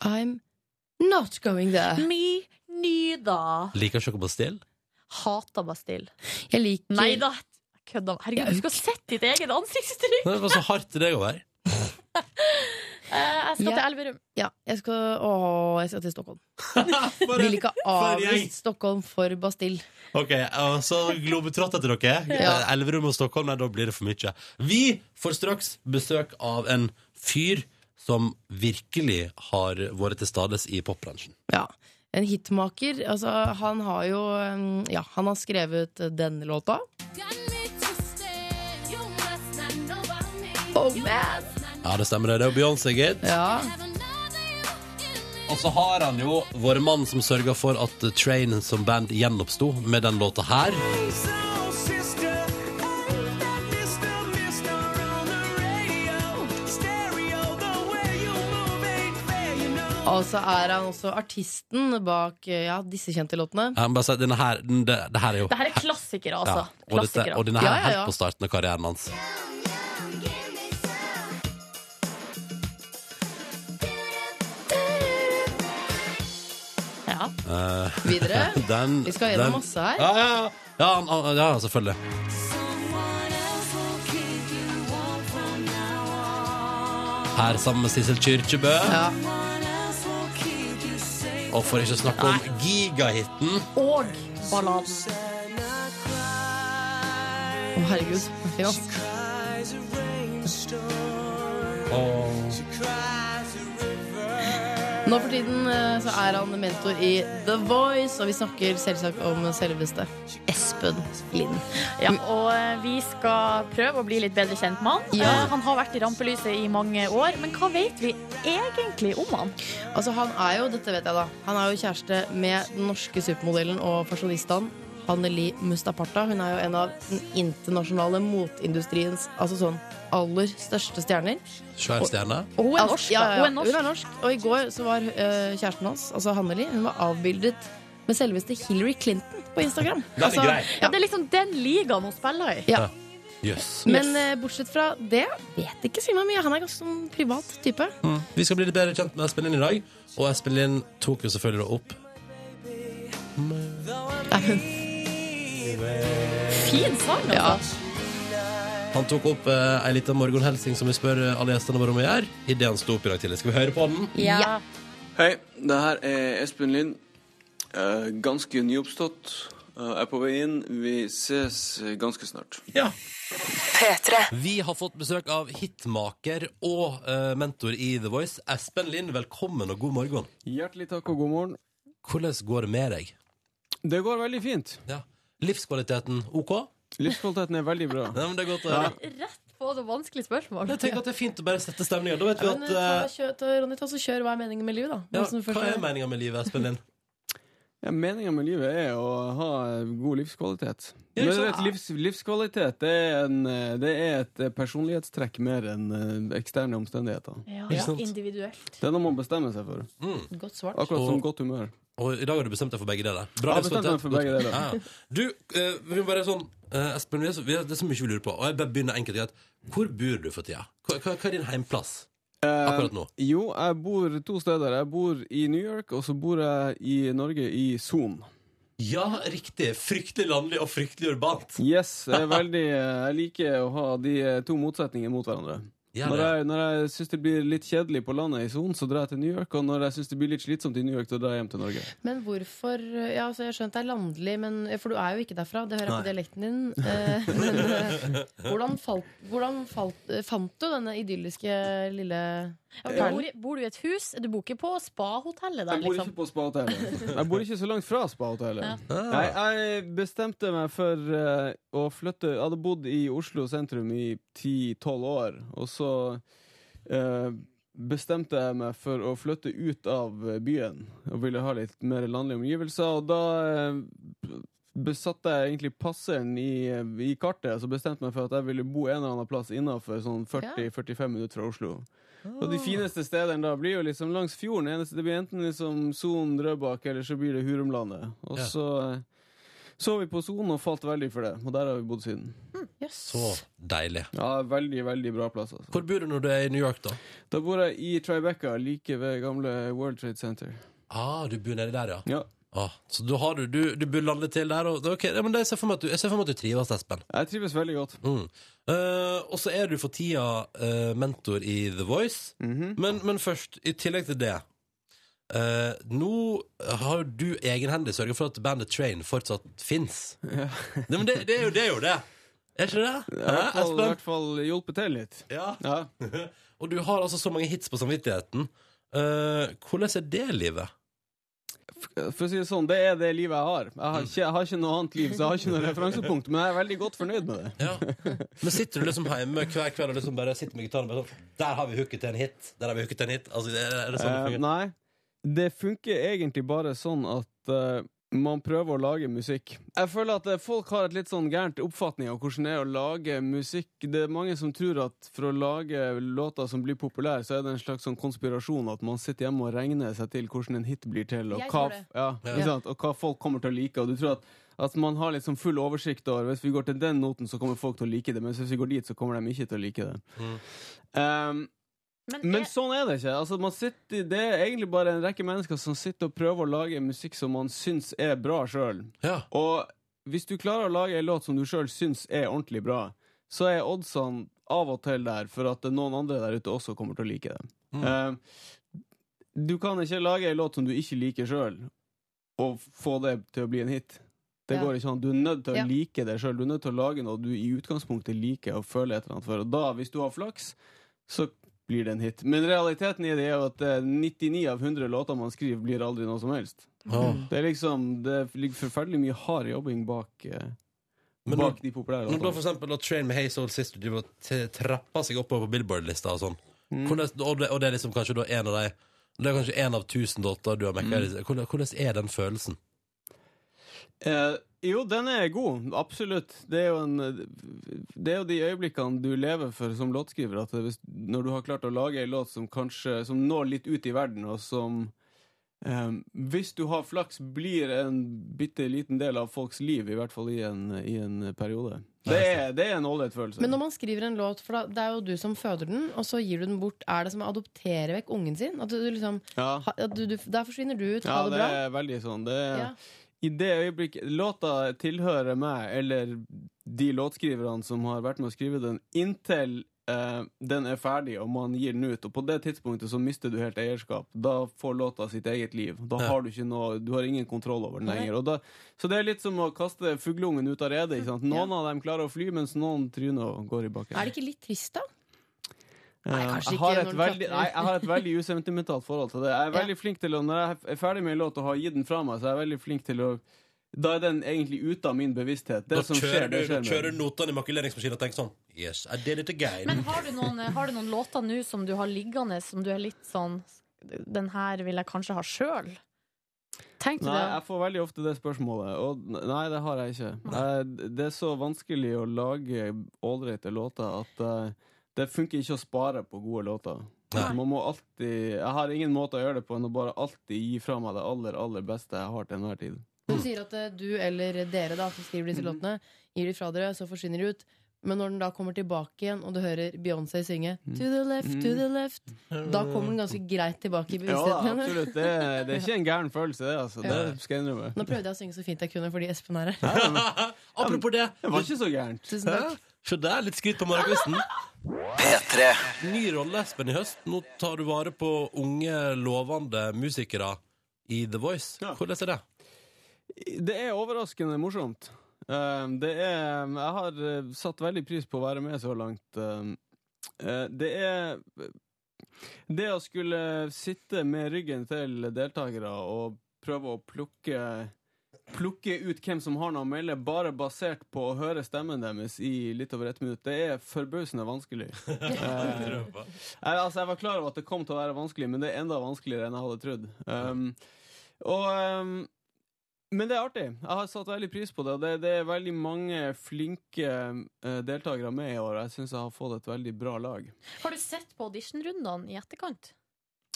[SPEAKER 3] I'm not going there.
[SPEAKER 4] Mi nyda.
[SPEAKER 2] Liker ikke dere Bastille?
[SPEAKER 4] Hata Bastille.
[SPEAKER 3] Jeg liker
[SPEAKER 4] Nei da. jeg Kødda. Herregud, du skulle ha sett ditt eget ansiktsuttrykk!
[SPEAKER 2] Det var så hardt til deg å være.
[SPEAKER 4] Eh, Jeg skal
[SPEAKER 3] Ja.
[SPEAKER 4] til Elverum.
[SPEAKER 3] Ja, jeg skal, å, jeg skal til Stockholm. Vil ikke ha
[SPEAKER 2] for en gjeng.
[SPEAKER 3] avvist Stockholm for Bastille.
[SPEAKER 2] Ok, og Så globetrotter til dere. Eh,
[SPEAKER 3] Ja.
[SPEAKER 2] Elverum og Stockholm, nei, da blir det for mye. Vi får straks besøk av en fyr som virkelig har vært til stades i popbransjen.
[SPEAKER 3] Ja. En hitmaker. Altså, han har jo mm, Ja, han har skrevet denne låta. Oh man!
[SPEAKER 2] Ja, det stemmer, det. Det er jo Beyoncé, gitt.
[SPEAKER 3] Ja.
[SPEAKER 2] Og så har han jo vår mann som sørga for at Train som band gjenoppsto med den låta her.
[SPEAKER 3] Og så er han også artisten bak eh, ja, disse kjente låtene.
[SPEAKER 2] Jeg må bare si, denne her, den, det, det her er jo
[SPEAKER 4] Dette er klassikere, altså.
[SPEAKER 2] Ja, og, dette,
[SPEAKER 4] klassikere.
[SPEAKER 2] og denne her
[SPEAKER 3] Ja, ja,
[SPEAKER 2] er
[SPEAKER 3] ja.
[SPEAKER 2] helt på starten av karrieren hans.
[SPEAKER 4] Ja.
[SPEAKER 3] Videre.
[SPEAKER 2] Den,
[SPEAKER 3] Vi skal
[SPEAKER 2] den-
[SPEAKER 3] gjennom masse her.
[SPEAKER 2] Ja, ja, ja. ja, han- han- ja selvfølgelig. Her sammen med Sissel Kyrkjebø.
[SPEAKER 3] Ja.
[SPEAKER 2] Og for ikke å snakke om gigahiten.
[SPEAKER 4] Og balladen.
[SPEAKER 3] Å, herregud. Fin, ass. Nå for tiden eh, så er han mentor i The Voice, og vi snakker selvsagt om selveste Espen Lind.
[SPEAKER 4] Ja, og eh, vi skal prøve å bli litt bedre kjent med han.
[SPEAKER 3] Ja.
[SPEAKER 4] Eh, Han har vært i rampelyset i mange år, men hva vet vi egentlig om han?
[SPEAKER 3] Altså Han er jo dette vet jeg da Han er jo kjæreste med den norske supermodellen og fasjonistene Hanneli Mustaparta. Hun er jo en av den internasjonale motindustriens Altså sånn aller største stjerner.
[SPEAKER 2] Svær stjerne.
[SPEAKER 4] Og hun er
[SPEAKER 3] Altså,
[SPEAKER 4] norsk, da.
[SPEAKER 3] ja, ja, ja.
[SPEAKER 4] Hun er norsk.
[SPEAKER 3] Hun er norsk. Og i går så var eh, kjæresten hans, altså Hanneli, hun var avbildet med selveste Hillary Clinton på Instagram.
[SPEAKER 2] Den
[SPEAKER 3] Altså,
[SPEAKER 2] er grei.
[SPEAKER 4] Ja, det er liksom den ligaen hun spiller i.
[SPEAKER 3] Ja.
[SPEAKER 2] Jøss.
[SPEAKER 3] Men eh, bortsett fra det vet ikke Simon mye. Han er ganske sånn privat type.
[SPEAKER 2] Mm. Vi skal bli litt bedre kjent med Espen Lind i dag. Og Espen Lind tok jo selvfølgelig da opp
[SPEAKER 4] Fin sang, altså.
[SPEAKER 2] Han tok opp eh, ei lita morgenhilsing som vi spør eh, alle gjestene våre om å gjøre. Idet han sto opp i dag tidlig. Skal vi høre på den?
[SPEAKER 4] Ja.
[SPEAKER 11] Hei, det her er Espen Lind. Eh, ganske nyoppstått. Eh, er på vei inn. Vi ses eh, ganske snart.
[SPEAKER 2] Ja.
[SPEAKER 8] P3.
[SPEAKER 2] Vi har fått besøk av hitmaker og eh, mentor i The Voice, Espen Lind. Velkommen og god morgen.
[SPEAKER 11] Hjertelig takk og god morgen.
[SPEAKER 2] Hvordan går det med deg?
[SPEAKER 11] Det går veldig fint.
[SPEAKER 2] Ja. Livskvaliteten OK?
[SPEAKER 11] Livskvaliteten er veldig bra.
[SPEAKER 2] Ja, men det er godt å høre.
[SPEAKER 4] Rett på det vanskelige spørsmålet.
[SPEAKER 2] Jeg tenker at det er fint å bare sette stemninga. Da vet vi
[SPEAKER 3] Men, eh, ta,
[SPEAKER 2] at eh,
[SPEAKER 3] kjør, ta, Ronny, ta så kjør hva er meningen med livet, da.
[SPEAKER 2] ja,
[SPEAKER 3] Nå som du først
[SPEAKER 2] Hva
[SPEAKER 3] er-
[SPEAKER 2] er meninga med livet, Espen Lind?
[SPEAKER 11] Ja, Meninga med livet er å ha god livskvalitet.
[SPEAKER 2] Ja, ikke
[SPEAKER 11] Men du
[SPEAKER 2] sant?
[SPEAKER 11] vet, livs, livskvalitet det er, en, eh, det er et eh, personlighetstrekk mer enn eh, eksterne omstendigheter.
[SPEAKER 4] Ja,
[SPEAKER 2] Ikke sant?
[SPEAKER 4] individuelt.
[SPEAKER 11] Det er noe man bestemmer seg for.
[SPEAKER 3] Mm. Godt svart.
[SPEAKER 11] Akkurat som
[SPEAKER 2] Og-
[SPEAKER 11] godt humør.
[SPEAKER 2] Og i dag har du bestemt deg for begge deler.
[SPEAKER 11] Jeg har bestemt meg for begge deler.
[SPEAKER 2] Ja, ja. Du, eh, vi må bare sånn eh, Espen, vi er, så- vi er, det er så mye vi lurer på. Og jeg bare begynner enkelt og greit. Hvor bor du for tida? Hva, hva, hva er din heimplass
[SPEAKER 11] Eh,
[SPEAKER 2] akkurat nå?
[SPEAKER 11] Jo, jeg bor to steder. Jeg bor i New York, og så bor jeg i Norge, i Son.
[SPEAKER 2] Ja, riktig. Fryktelig landlig og fryktelig urbant.
[SPEAKER 11] Yes, jeg, er veldig, jeg liker å ha de eh, to motsetningene mot hverandre.
[SPEAKER 2] Ja,
[SPEAKER 11] Når
[SPEAKER 2] det.
[SPEAKER 11] jeg, når jeg syns det blir litt kjedelig på landet i Son, så drar jeg til New York. Og når jeg syns det blir litt slitsomt i New York, så drar jeg hjem til Norge.
[SPEAKER 3] Men hvorfor ja, altså Jeg skjønte det er landlig, men, for du er jo ikke derfra. Det hører jeg på dialekten din. Eh, men eh, hvordan, falt, hvordan falt, eh, fant du denne idylliske lille
[SPEAKER 4] Ja, du bor, i- bor du i et hus? Du bor ikke på spahotellet der,
[SPEAKER 11] Jeg bor
[SPEAKER 4] liksom?
[SPEAKER 11] ikke på spahotellet. Jeg bor ikke så langt fra spahotellet.
[SPEAKER 2] Ah,
[SPEAKER 11] Nei, jeg bestemte meg for eh, å flytte Jeg hadde bodd i Oslo sentrum i 10-12 år, og så eh, bestemte jeg meg for å flytte ut av eh, byen og ville ha litt mer landlige omgivelser. Og da eh, besatte jeg egentlig passeren i, i kartet, så bestemte jeg meg for at jeg ville bo en eller annen plass innafor sånn 40-45 minutter fra Oslo. Og de fineste stedene da blir jo liksom langs fjorden. Eneste, det blir enten liksom Son, Drøbak, eller så blir det Hurumlandet. Og
[SPEAKER 2] Ja.
[SPEAKER 11] så eh, så vi på Son og falt veldig for det. Og der har vi bodd siden.
[SPEAKER 2] Så deilig.
[SPEAKER 11] Ja, Veldig, veldig bra plass, altså.
[SPEAKER 2] Hvor bor du når du er i New York, da?
[SPEAKER 11] Da bor jeg i Tribeca, like ved gamle World Trade Center.
[SPEAKER 2] Ah, du bor nedi der, ja.
[SPEAKER 11] Ja.
[SPEAKER 2] Ah, så du, har, du, du, du bor landet til der, og det er ok. Ja, men det, jeg, ser for meg at du, jeg ser for meg at du trives, Espen.
[SPEAKER 11] Jeg trives veldig godt.
[SPEAKER 2] Mm. Eh, og så er du for tida eh, mentor i The Voice. men, men først, i tillegg til det eh, Nå har du egenhendig sørga for at bandet Train fortsatt fins. Nei, men det, det er jo det! Er jo det. Er ikke det?
[SPEAKER 11] Jeg har i hvert
[SPEAKER 2] Hæ,
[SPEAKER 11] fall, i
[SPEAKER 2] Espen?
[SPEAKER 11] hvert fall hjulpet til litt.
[SPEAKER 2] Ja.
[SPEAKER 11] Ja.
[SPEAKER 2] Og du har altså så mange hits på samvittigheten. Eh, hvordan er det livet?
[SPEAKER 11] For å si det sånn, det er det livet jeg har. Jeg har ikke, jeg har ikke noe annet liv, så jeg har ikke noe referansepunkt, men jeg er veldig godt fornøyd med det.
[SPEAKER 2] Ja. Men sitter du liksom hjemme hver kveld og liksom bare sitter med gitaren og bare sånn Der har vi hooket til en hit! Der har vi hooket til en hit! Altså, er, er det sånn det
[SPEAKER 11] Eh,
[SPEAKER 2] fungerer?
[SPEAKER 11] nei, det funker egentlig bare sånn at eh, man prøver å lage musikk. Jeg føler at eh, folk har et litt sånn gærent oppfatning av hvordan det er å lage musikk. Det er mange som tror at for å lage låter som blir populære, så er det en slags sånn konspirasjon at man sitter hjemme og regner seg til hvordan en hit blir til, og,
[SPEAKER 3] Jeg
[SPEAKER 11] hva,
[SPEAKER 3] tror det.
[SPEAKER 11] ja,
[SPEAKER 2] Ja.
[SPEAKER 11] ikke sant? og hva folk kommer til å like. Og du tror at at man har liksom full oversikt over Hvis vi går til den noten, så kommer folk til å like det. Mens hvis vi går dit, så kommer de ikke til å like det.
[SPEAKER 2] Mm.
[SPEAKER 11] Um, men sånn er det ikke. Altså, man sitter, det er egentlig bare en rekke mennesker som sitter og prøver å lage musikk som man syns er bra sjøl.
[SPEAKER 2] Ja.
[SPEAKER 11] Og hvis du klarer å lage ei låt som du sjøl syns er ordentlig bra, så er oddsene av og til der for at noen andre der ute også kommer til å like det. Eh, du kan ikke lage ei låt som du ikke liker sjøl, og få det til å bli en hit. Det
[SPEAKER 3] Ja.
[SPEAKER 11] går ikke an. Du er nødt til å
[SPEAKER 3] Ja.
[SPEAKER 11] like det sjøl. Du er nødt til å lage noe du i utgangspunktet liker og føler et eller annet for. Og da, hvis du har flaks, så blir det en hit. Men realiteten i det er jo at eh, 99 av 100 låter man skriver, blir aldri noe som helst.
[SPEAKER 2] Åh.
[SPEAKER 11] Det er liksom Det ligger forferdelig mye hard jobbing bak, eh,
[SPEAKER 2] Men
[SPEAKER 11] bak
[SPEAKER 2] når-
[SPEAKER 11] de populære
[SPEAKER 2] Når da for
[SPEAKER 11] låtene.
[SPEAKER 2] eksempel da Train med Hey Soul Sister driver og t- trapper seg oppover på Billboard-lista og sånn,
[SPEAKER 11] Mm.
[SPEAKER 2] hvordan, og, det, og det er liksom kanskje da en av de det er kanskje en av tusen låter du har mekka.
[SPEAKER 11] Mm.
[SPEAKER 2] Hvordan, hvordan er den følelsen?
[SPEAKER 11] Eh, jo, den er god. Absolutt. Det er jo, en, det er jo de øyeblikkene du lever for som låtskriver. At hvis, når du har klart å lage ei låt som kanskje Som når litt ut i verden, og som eh, hvis du har flaks, blir en bitte liten del av folks liv, i hvert fall i en, i en periode. Det er, det er en ålreit følelse.
[SPEAKER 3] Men når man skriver en låt, for da, det er jo du som føder den, og så gir du den bort. Er det som å adoptere vekk ungen sin? At du, du liksom,
[SPEAKER 11] ja.
[SPEAKER 3] ha, at du, du, der forsvinner du ut.
[SPEAKER 11] Ja,
[SPEAKER 3] Ha det
[SPEAKER 11] det
[SPEAKER 3] bra.
[SPEAKER 11] er veldig sånn. Det er,
[SPEAKER 3] Ja.
[SPEAKER 11] I det øyeblikket låta tilhører meg, eller de låtskriverne som har vært med å skrive den, inntil eh, den er ferdig og man gir den ut. Og på det tidspunktet så mister du helt eierskap. Da får låta sitt eget liv. Da
[SPEAKER 2] Ja.
[SPEAKER 11] har du ikke noe Du har ingen kontroll over den lenger. Og da, så det er litt som å kaste fugleungen ut av redet. ikke sant? Noen av dem klarer å fly, mens noen tryner og går i bakken.
[SPEAKER 3] Er det ikke litt trist, da?
[SPEAKER 11] Eh,
[SPEAKER 3] kanskje
[SPEAKER 11] jeg har
[SPEAKER 3] ikke
[SPEAKER 11] et
[SPEAKER 3] når du
[SPEAKER 11] veldig,
[SPEAKER 3] klatrer.
[SPEAKER 11] nei, jeg har et veldig usentimentalt forhold til det. Jeg er veldig flink til å, Når jeg er ferdig med en låt og har gitt den fra meg, så er jeg veldig flink til å Da er den egentlig ute av min bevissthet. Det
[SPEAKER 2] Da
[SPEAKER 11] som skjer,
[SPEAKER 2] kjører,
[SPEAKER 11] det
[SPEAKER 2] du- da
[SPEAKER 11] skjer. med
[SPEAKER 2] kjører
[SPEAKER 11] den.
[SPEAKER 2] du notene i makuleringsmaskinen og tenker sånn Yes, I did it again.
[SPEAKER 4] Men har du noen, eh, har du noen låter nå som du har liggende, som du er litt sånn Den her vil jeg kanskje ha sjøl? Tenkte
[SPEAKER 11] Nei,
[SPEAKER 4] du
[SPEAKER 11] jeg får veldig ofte det spørsmålet, og n- nei, det har jeg ikke. Jeg, det er så vanskelig å lage ålreite låter at eh, det funker ikke å spare på gode låter. Man må alltid Jeg har ingen måte å gjøre det på enn å bare alltid gi fra meg det aller, aller beste jeg har til enhver tid.
[SPEAKER 3] Du sier at eh, du eller dere da som skriver
[SPEAKER 11] Mm.
[SPEAKER 3] disse låtene, gir de fra dere, så forsvinner de ut. Men når den da kommer tilbake igjen, og du hører Beyoncé synge
[SPEAKER 11] Mm.
[SPEAKER 3] To the left, to the left, da kommer den ganske greit tilbake i
[SPEAKER 11] Ja, da,
[SPEAKER 3] bevisstheten.
[SPEAKER 11] absolutt. Det, det er ikke en gæren følelse, det, altså. Det skal jeg innrømme.
[SPEAKER 3] Nå prøvde jeg å synge så fint jeg kunne fordi Espen er her.
[SPEAKER 12] Apropos det.
[SPEAKER 11] Det var ikke så gærent.
[SPEAKER 3] Tusen takk.
[SPEAKER 12] Hæ? Se der, litt skryt på morgenkvisten.
[SPEAKER 1] P3.
[SPEAKER 2] Ny rolle, Espen, i høst. Nå tar du vare på unge, lovende musikere i The Voice. Hvordan er det?
[SPEAKER 11] Det er overraskende morsomt. Um, Det er Jeg har eh, satt veldig pris på å være med så langt. Um, eh, Det er Det å skulle sitte med ryggen til deltakere og prøve å plukke Plukke ut hvem som har noe å melde, bare basert på å høre stemmen deres i litt over ett minutt, det er forbausende vanskelig. Eh, jeg, altså, jeg var klar over at det kom til å være vanskelig, men det er enda vanskeligere enn jeg hadde trodd. Um, og, um, men det er artig. Jeg har satt veldig pris på det. og Det, det er veldig mange flinke eh, deltakere med i år. Jeg syns jeg har fått et veldig bra lag.
[SPEAKER 4] Har du sett på auditionrundene i etterkant?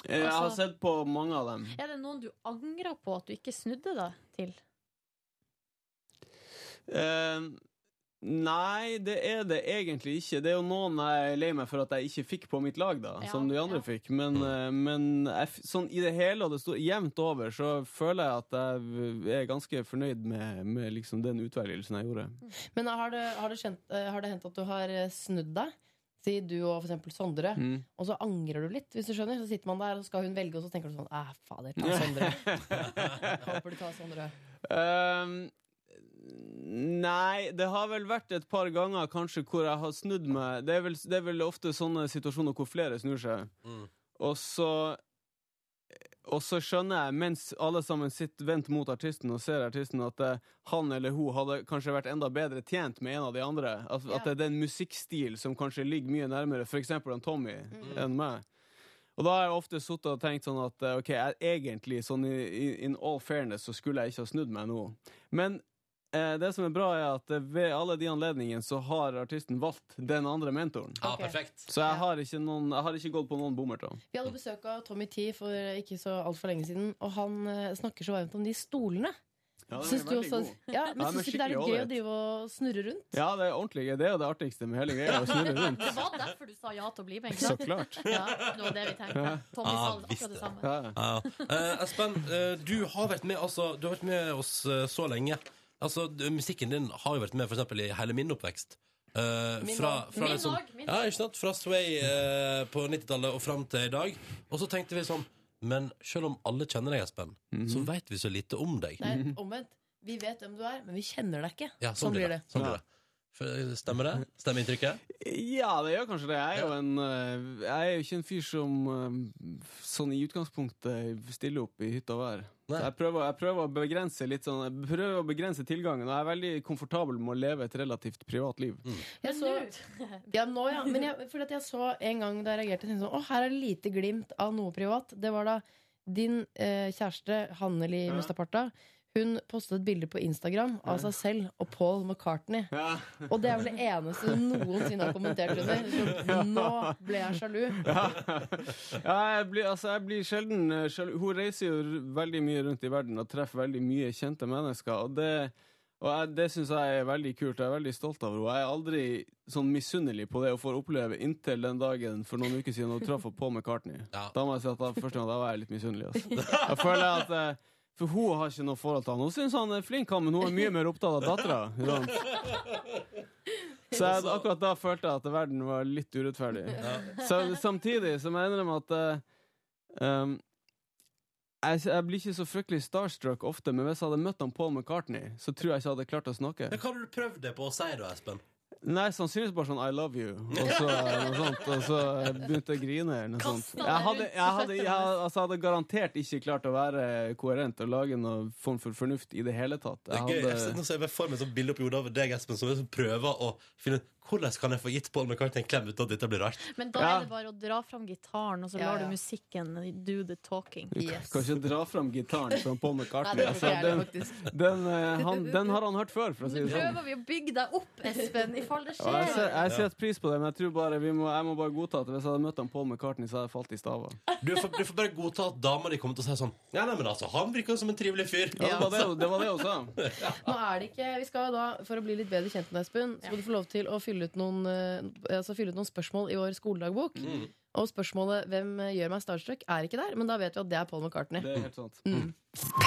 [SPEAKER 11] Eh, jeg har
[SPEAKER 4] Altså-
[SPEAKER 11] sett på mange av dem.
[SPEAKER 4] Er det noen du angrer på at du ikke snudde deg til?
[SPEAKER 11] Eh, nei, det er det egentlig ikke. Det er jo noen jeg er lei meg for at jeg ikke fikk på mitt lag, da. som de andre fikk. Men, eh, men jeg, f- sånn i det hele og det store, jevnt over, så føler jeg at jeg er ganske fornøyd med, med liksom den utvelgelsen jeg gjorde.
[SPEAKER 3] Men har det, har det, kjent, eh, har det hendt at du har eh, snudd deg? Si du og for eksempel Sondre,
[SPEAKER 11] Mm.
[SPEAKER 3] og så angrer du litt. hvis du skjønner Så sitter man der, og så skal hun velge, og så tenker du sånn Æh, fader, ta Sondre. Håper du tar Sondre.
[SPEAKER 11] Ehm, nei, det har vel vært et par ganger kanskje hvor jeg har snudd meg. Det er vel, det er vel ofte sånne situasjoner hvor flere snur seg. Og så og så skjønner jeg, mens alle sammen sitter vendt mot artisten og ser artisten, at eh, han eller hun hadde kanskje vært enda bedre tjent med en av de andre. At, at det er den musikkstil som kanskje ligger mye nærmere f.eks. enn Tommy enn meg. Og da har jeg ofte sittet og tenkt sånn at eh, ok, jeg, egentlig, sånn i, i, in all fairness, så skulle jeg ikke ha snudd meg nå. Men eh, det som er bra, er at eh, ved alle de anledningene så har artisten valgt den andre mentoren.
[SPEAKER 2] Ja, perfekt.
[SPEAKER 11] Så jeg har ikke, noen, jeg har ikke gått på noen bommert. da.
[SPEAKER 3] Vi hadde besøk av Tommy T for ikke så altfor lenge siden, og han eh, snakker så varmt om de stolene.
[SPEAKER 11] Ja, den er
[SPEAKER 3] syns du
[SPEAKER 11] veldig
[SPEAKER 3] også
[SPEAKER 11] god.
[SPEAKER 3] ja,
[SPEAKER 11] Ja,
[SPEAKER 3] men
[SPEAKER 11] den
[SPEAKER 3] syns du ikke det
[SPEAKER 11] er
[SPEAKER 3] er litt
[SPEAKER 11] skikkelig
[SPEAKER 3] gøy å drive og snurre rundt?
[SPEAKER 11] Ja, det er ordentlig gøy. Det er jo det artigste med hele greia. Å snurre rundt.
[SPEAKER 4] Det var derfor du sa ja til å bli med. ikke
[SPEAKER 11] Så
[SPEAKER 4] sant?
[SPEAKER 11] klart.
[SPEAKER 4] Ja, det var det vi tenkte.
[SPEAKER 11] Ja.
[SPEAKER 4] Tommy sa
[SPEAKER 2] Ah, visst
[SPEAKER 4] akkurat det samme.
[SPEAKER 11] Ja.
[SPEAKER 2] Eh, Espen, eh, du har vært med, altså, du har vært med oss eh, så lenge. Altså, du, musikken din har jo vært med for eksempel, i hele min oppvekst. Eh,
[SPEAKER 12] Min
[SPEAKER 2] fra,
[SPEAKER 12] òg.
[SPEAKER 2] fra
[SPEAKER 12] Min
[SPEAKER 2] liksom,
[SPEAKER 12] òg, min
[SPEAKER 2] ja,
[SPEAKER 12] òg.
[SPEAKER 2] ikke sant? Fra Sway eh, på 90-tallet og fram til i dag. Og så tenkte vi sånn Men selv om alle kjenner deg, Espen,
[SPEAKER 11] Mhm.
[SPEAKER 2] så veit vi så lite om deg.
[SPEAKER 3] Nei, omvendt. Vi vet hvem du er, men vi kjenner deg ikke.
[SPEAKER 2] Ja, sånn, blir det. Sånn blir det. For- eh, Stemmer det? Stemmer inntrykket?
[SPEAKER 11] ja, det gjør kanskje det. Jeg er jo en eh, Jeg er jo ikke en fyr som eh, sånn i utgangspunktet stiller opp i hytta og vær. Så Jeg prøver, jeg prøver å begrense litt sånn Jeg prøver å begrense tilgangen, og jeg er veldig komfortabel med å leve et relativt privat liv.
[SPEAKER 3] Jeg så, ja, nå, ja. Men jeg, fordi at jeg så en gang da jeg reagerte, tenkte jeg sånn Å, her er det lite glimt av noe privat. Det var da din eh, kjæreste, Hanneli Mustaparta, hun postet et bilde på Instagram av seg selv og Paul McCartney. Og det er vel det eneste du noensinne har kommentert under. Så Nå ble jeg sjalu.
[SPEAKER 11] Ja, jeg blir, altså, jeg blir sjelden eh, sjalu. Hun reiser jo r- veldig mye rundt i verden og treffer veldig mye kjente mennesker. Og det, og jeg, det syns jeg er veldig kult. Jeg er veldig stolt av henne. Jeg er aldri sånn misunnelig på det å få oppleve inntil den dagen for noen uker siden hun traff på McCartney. Da må jeg si at da, første gang da var jeg litt misunnelig. Altså. Jeg føler at eh, For hun har ikke noe forhold til han. Hun syns han er flink, han, men hun er mye mer opptatt av dattera. Så jeg, akkurat da følte jeg at verden var litt urettferdig. Så, samtidig som jeg innrømmer at eh, um, jeg, jeg blir ikke så fryktelig starstruck ofte, men hvis jeg hadde møtt han Paul McCartney, så tror jeg ikke jeg hadde klart å snakke.
[SPEAKER 2] Men hva har du prøvd det på å si, da, Espen?
[SPEAKER 11] Nei, sannsynligvis bare sånn 'I love you', og så, eh, noe sånt, og så eh, begynte jeg å grine. Eller noe sånt.
[SPEAKER 12] Kastet deg
[SPEAKER 11] Jeg hadde,
[SPEAKER 12] rundt
[SPEAKER 11] jeg,
[SPEAKER 12] på
[SPEAKER 11] hadde, jeg,
[SPEAKER 12] føttene.
[SPEAKER 11] altså, jeg hadde garantert ikke klart å være koherent og lage noen form for fornuft i det hele tatt.
[SPEAKER 2] Det er gøy.
[SPEAKER 11] Jeg
[SPEAKER 2] Jeg ser-
[SPEAKER 11] hadde,
[SPEAKER 2] Nå ser jeg bare for meg et sånt bilde oppi hodet av deg, Espen, som liksom prøver å finne ut Hvordan kan jeg få gitt Paul McCartney en klem uten at dette blir rart?
[SPEAKER 4] Men da er det bare å dra fram gitaren, og så lar du musikken do the talking.
[SPEAKER 11] Du kan ikke dra fram gitaren som Paul McCartney.
[SPEAKER 4] Nei, det
[SPEAKER 11] altså,
[SPEAKER 4] er
[SPEAKER 11] den,
[SPEAKER 4] det faktisk.
[SPEAKER 11] den, eh, han, den har han hørt før, for å si
[SPEAKER 4] Nå
[SPEAKER 11] det sånn.
[SPEAKER 4] prøver vi å bygge deg opp, Espen, i fall det
[SPEAKER 11] Ja, jeg, ser, jeg
[SPEAKER 4] skjer.
[SPEAKER 11] setter pris på det, men jeg tror bare vi må, jeg må bare godta at hvis jeg hadde møtt han Paul McCartney, så hadde jeg falt i stava.
[SPEAKER 2] Du får, du får bare godta at dama di kommer til å si sånn Nei, nei, men altså, han virker jo som en trivelig fyr.
[SPEAKER 11] Ja, det var det- det var det hun
[SPEAKER 2] sa.
[SPEAKER 3] Nå er det ikke, vi skal jo da, For å bli litt bedre kjent med deg, Espen, så må du få lov til å fylle ut noen, eh, altså fylle ut noen spørsmål i vår skoledagbok.
[SPEAKER 2] Mm.
[SPEAKER 3] Og spørsmålet 'Hvem gjør meg starstruck?' er ikke der, men da vet vi at det er Paul McCartney.
[SPEAKER 11] Det er helt sant.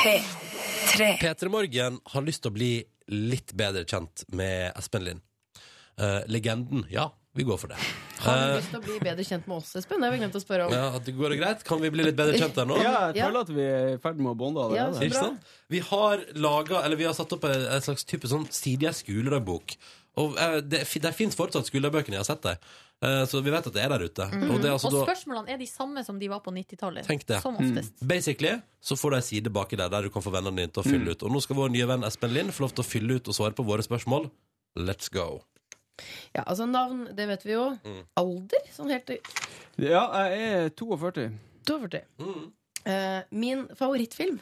[SPEAKER 3] P3.
[SPEAKER 2] P3 Morgen har lyst til å bli litt bedre kjent med Espen Lind. Eh, legenden. Ja, vi går for det.
[SPEAKER 3] Har du
[SPEAKER 2] Eh,
[SPEAKER 3] lyst til å bli bedre kjent med oss, Espen? Det har vi glemt å spørre om.
[SPEAKER 2] ja, at det går det greit? Kan vi bli litt bedre kjent her nå?
[SPEAKER 11] Ja, jeg føler at vi er i ferd med å bonde
[SPEAKER 3] Ja, så
[SPEAKER 11] allerede.
[SPEAKER 3] bra.
[SPEAKER 2] Ikke sant? Vi har laget, eller vi har satt opp en, en slags type sånn stilige skoledagbok. Og eh, det, fi- der finnes fortsatt skoledagboken, jeg har sett det. Eh, så vi vet at det er der ute. Og, det er altså
[SPEAKER 4] og
[SPEAKER 2] da,
[SPEAKER 4] spørsmålene er de samme som de var på 90-tallet.
[SPEAKER 2] tenk det.
[SPEAKER 11] Mm.
[SPEAKER 4] Som oftest.
[SPEAKER 2] Basically så får du ei side baki der der du kan få vennene dine til å fylle ut. Og nå skal vår nye venn Espen Lind få lov til å fylle ut og svare på våre spørsmål. Let's go.
[SPEAKER 3] Ja, altså Navn, det vet vi jo. Alder? Sånn helt
[SPEAKER 11] Ja, jeg er 42.
[SPEAKER 3] 42. Eh, min favorittfilm.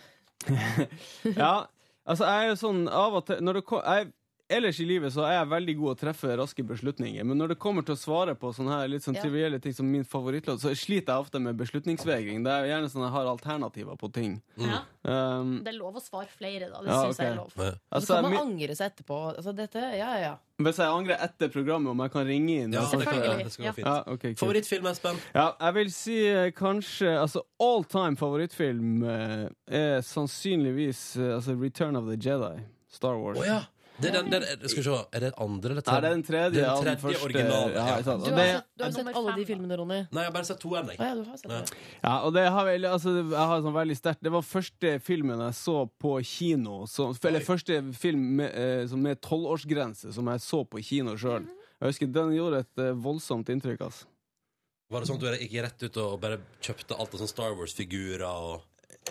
[SPEAKER 11] Ja, altså jeg er jo sånn av og til når det, ko- jeg, Ellers i livet så er jeg veldig god å treffe raske beslutninger, men når det kommer til å svare på sånne her litt sånn
[SPEAKER 3] Ja.
[SPEAKER 11] trivielle ting som min favorittlåt, så sliter jeg ofte med beslutningsvegring. Det er jo gjerne sånn at jeg har alternativer på ting.
[SPEAKER 4] Ja.
[SPEAKER 11] Um,
[SPEAKER 4] Det er lov å svare flere, da. Det
[SPEAKER 11] Ja,
[SPEAKER 4] syns jeg er
[SPEAKER 11] ok.
[SPEAKER 4] lov.
[SPEAKER 2] Eh,
[SPEAKER 11] Ja.
[SPEAKER 3] Og
[SPEAKER 11] Altså,
[SPEAKER 3] så kan man
[SPEAKER 11] mi-
[SPEAKER 3] angre seg etterpå. Altså dette, ja, ja, ja.
[SPEAKER 11] Hvis jeg angrer etter programmet, om jeg kan ringe inn?
[SPEAKER 2] Ja,
[SPEAKER 11] og snakke om
[SPEAKER 2] selvfølgelig. Det skal gå fint.
[SPEAKER 11] Ja, ok, kult.
[SPEAKER 2] Favorittfilm, Espen?
[SPEAKER 11] Ja, jeg vil si eh, kanskje altså All time favorittfilm eh, er sannsynligvis eh, altså Return of the Jedi. Star Wars.
[SPEAKER 2] Å ja. Det er den, den, skal vi se, er det andre eller
[SPEAKER 11] Nei, det er den tredje
[SPEAKER 2] Det er
[SPEAKER 11] av den
[SPEAKER 2] Den tredje
[SPEAKER 11] første.
[SPEAKER 2] originale.
[SPEAKER 11] Ja, ikke sant.
[SPEAKER 3] Du har, sett, du har sett alle de filmene, Ronny?
[SPEAKER 2] Nei, jeg har bare sett to ennå.
[SPEAKER 3] Å ja, du har sett det.
[SPEAKER 11] Ja, og det har vel, altså, jeg har sånn veldig sterkt Det var første filmen jeg så på kino. Så, eller første film med, eh, som med tolvårsgrense som jeg så på kino
[SPEAKER 3] Mhm.
[SPEAKER 11] sjøl. Jeg husker Den gjorde et eh, voldsomt inntrykk. Altså.
[SPEAKER 2] Var det sånn at du gikk rett ut og bare kjøpte alt av sånne Star Wars-figurer og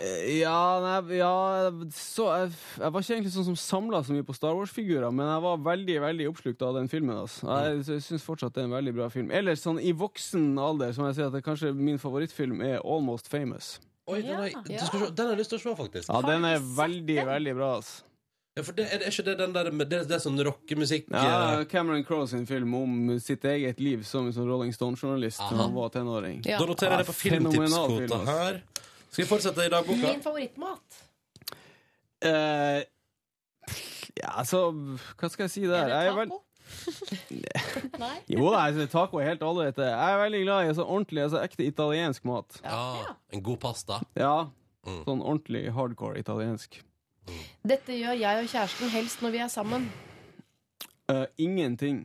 [SPEAKER 11] Eh, Ja, nei, ja så jeg, jeg var ikke egentlig sånn som samla så mye på Star Wars-figurer, men jeg var veldig veldig oppslukt av den filmen. Altså. Jeg, jeg syns fortsatt det er en veldig bra film. Ellers sånn i voksen alder som jeg sier at det, kanskje min favorittfilm er Almost Famous.
[SPEAKER 2] Oi, den har, du skal se, den har jeg lyst til å se, faktisk.
[SPEAKER 11] Ja, den er veldig, veldig bra. Altså.
[SPEAKER 2] Ja, for det, er, det- er ikke det den der med- det, det er sånn rockemusikk
[SPEAKER 11] Ja,
[SPEAKER 2] eh,
[SPEAKER 11] Cameron Crowe sin film om sitt eget liv som en sånn Rolling Stone-journalist da
[SPEAKER 2] Aha.
[SPEAKER 11] han var tenåring.
[SPEAKER 2] Da noterer jeg det på
[SPEAKER 11] fenomenal film,
[SPEAKER 2] filmtipskvota
[SPEAKER 11] altså.
[SPEAKER 2] her. Skal vi fortsette i dagboka?
[SPEAKER 3] Min favorittmat.
[SPEAKER 11] Eh, ja, altså Hva skal jeg si der? Jeg Er vel...
[SPEAKER 4] Nei?
[SPEAKER 11] Jo da, jeg synes taco er helt ålreit. Jeg er veldig glad i så ordentlig, altså ekte italiensk mat.
[SPEAKER 2] Ja, en god pasta.
[SPEAKER 11] Ja, Sånn ordentlig hardcore italiensk.
[SPEAKER 3] Dette gjør jeg og kjæresten helst når vi er sammen.
[SPEAKER 11] Eh, ingenting.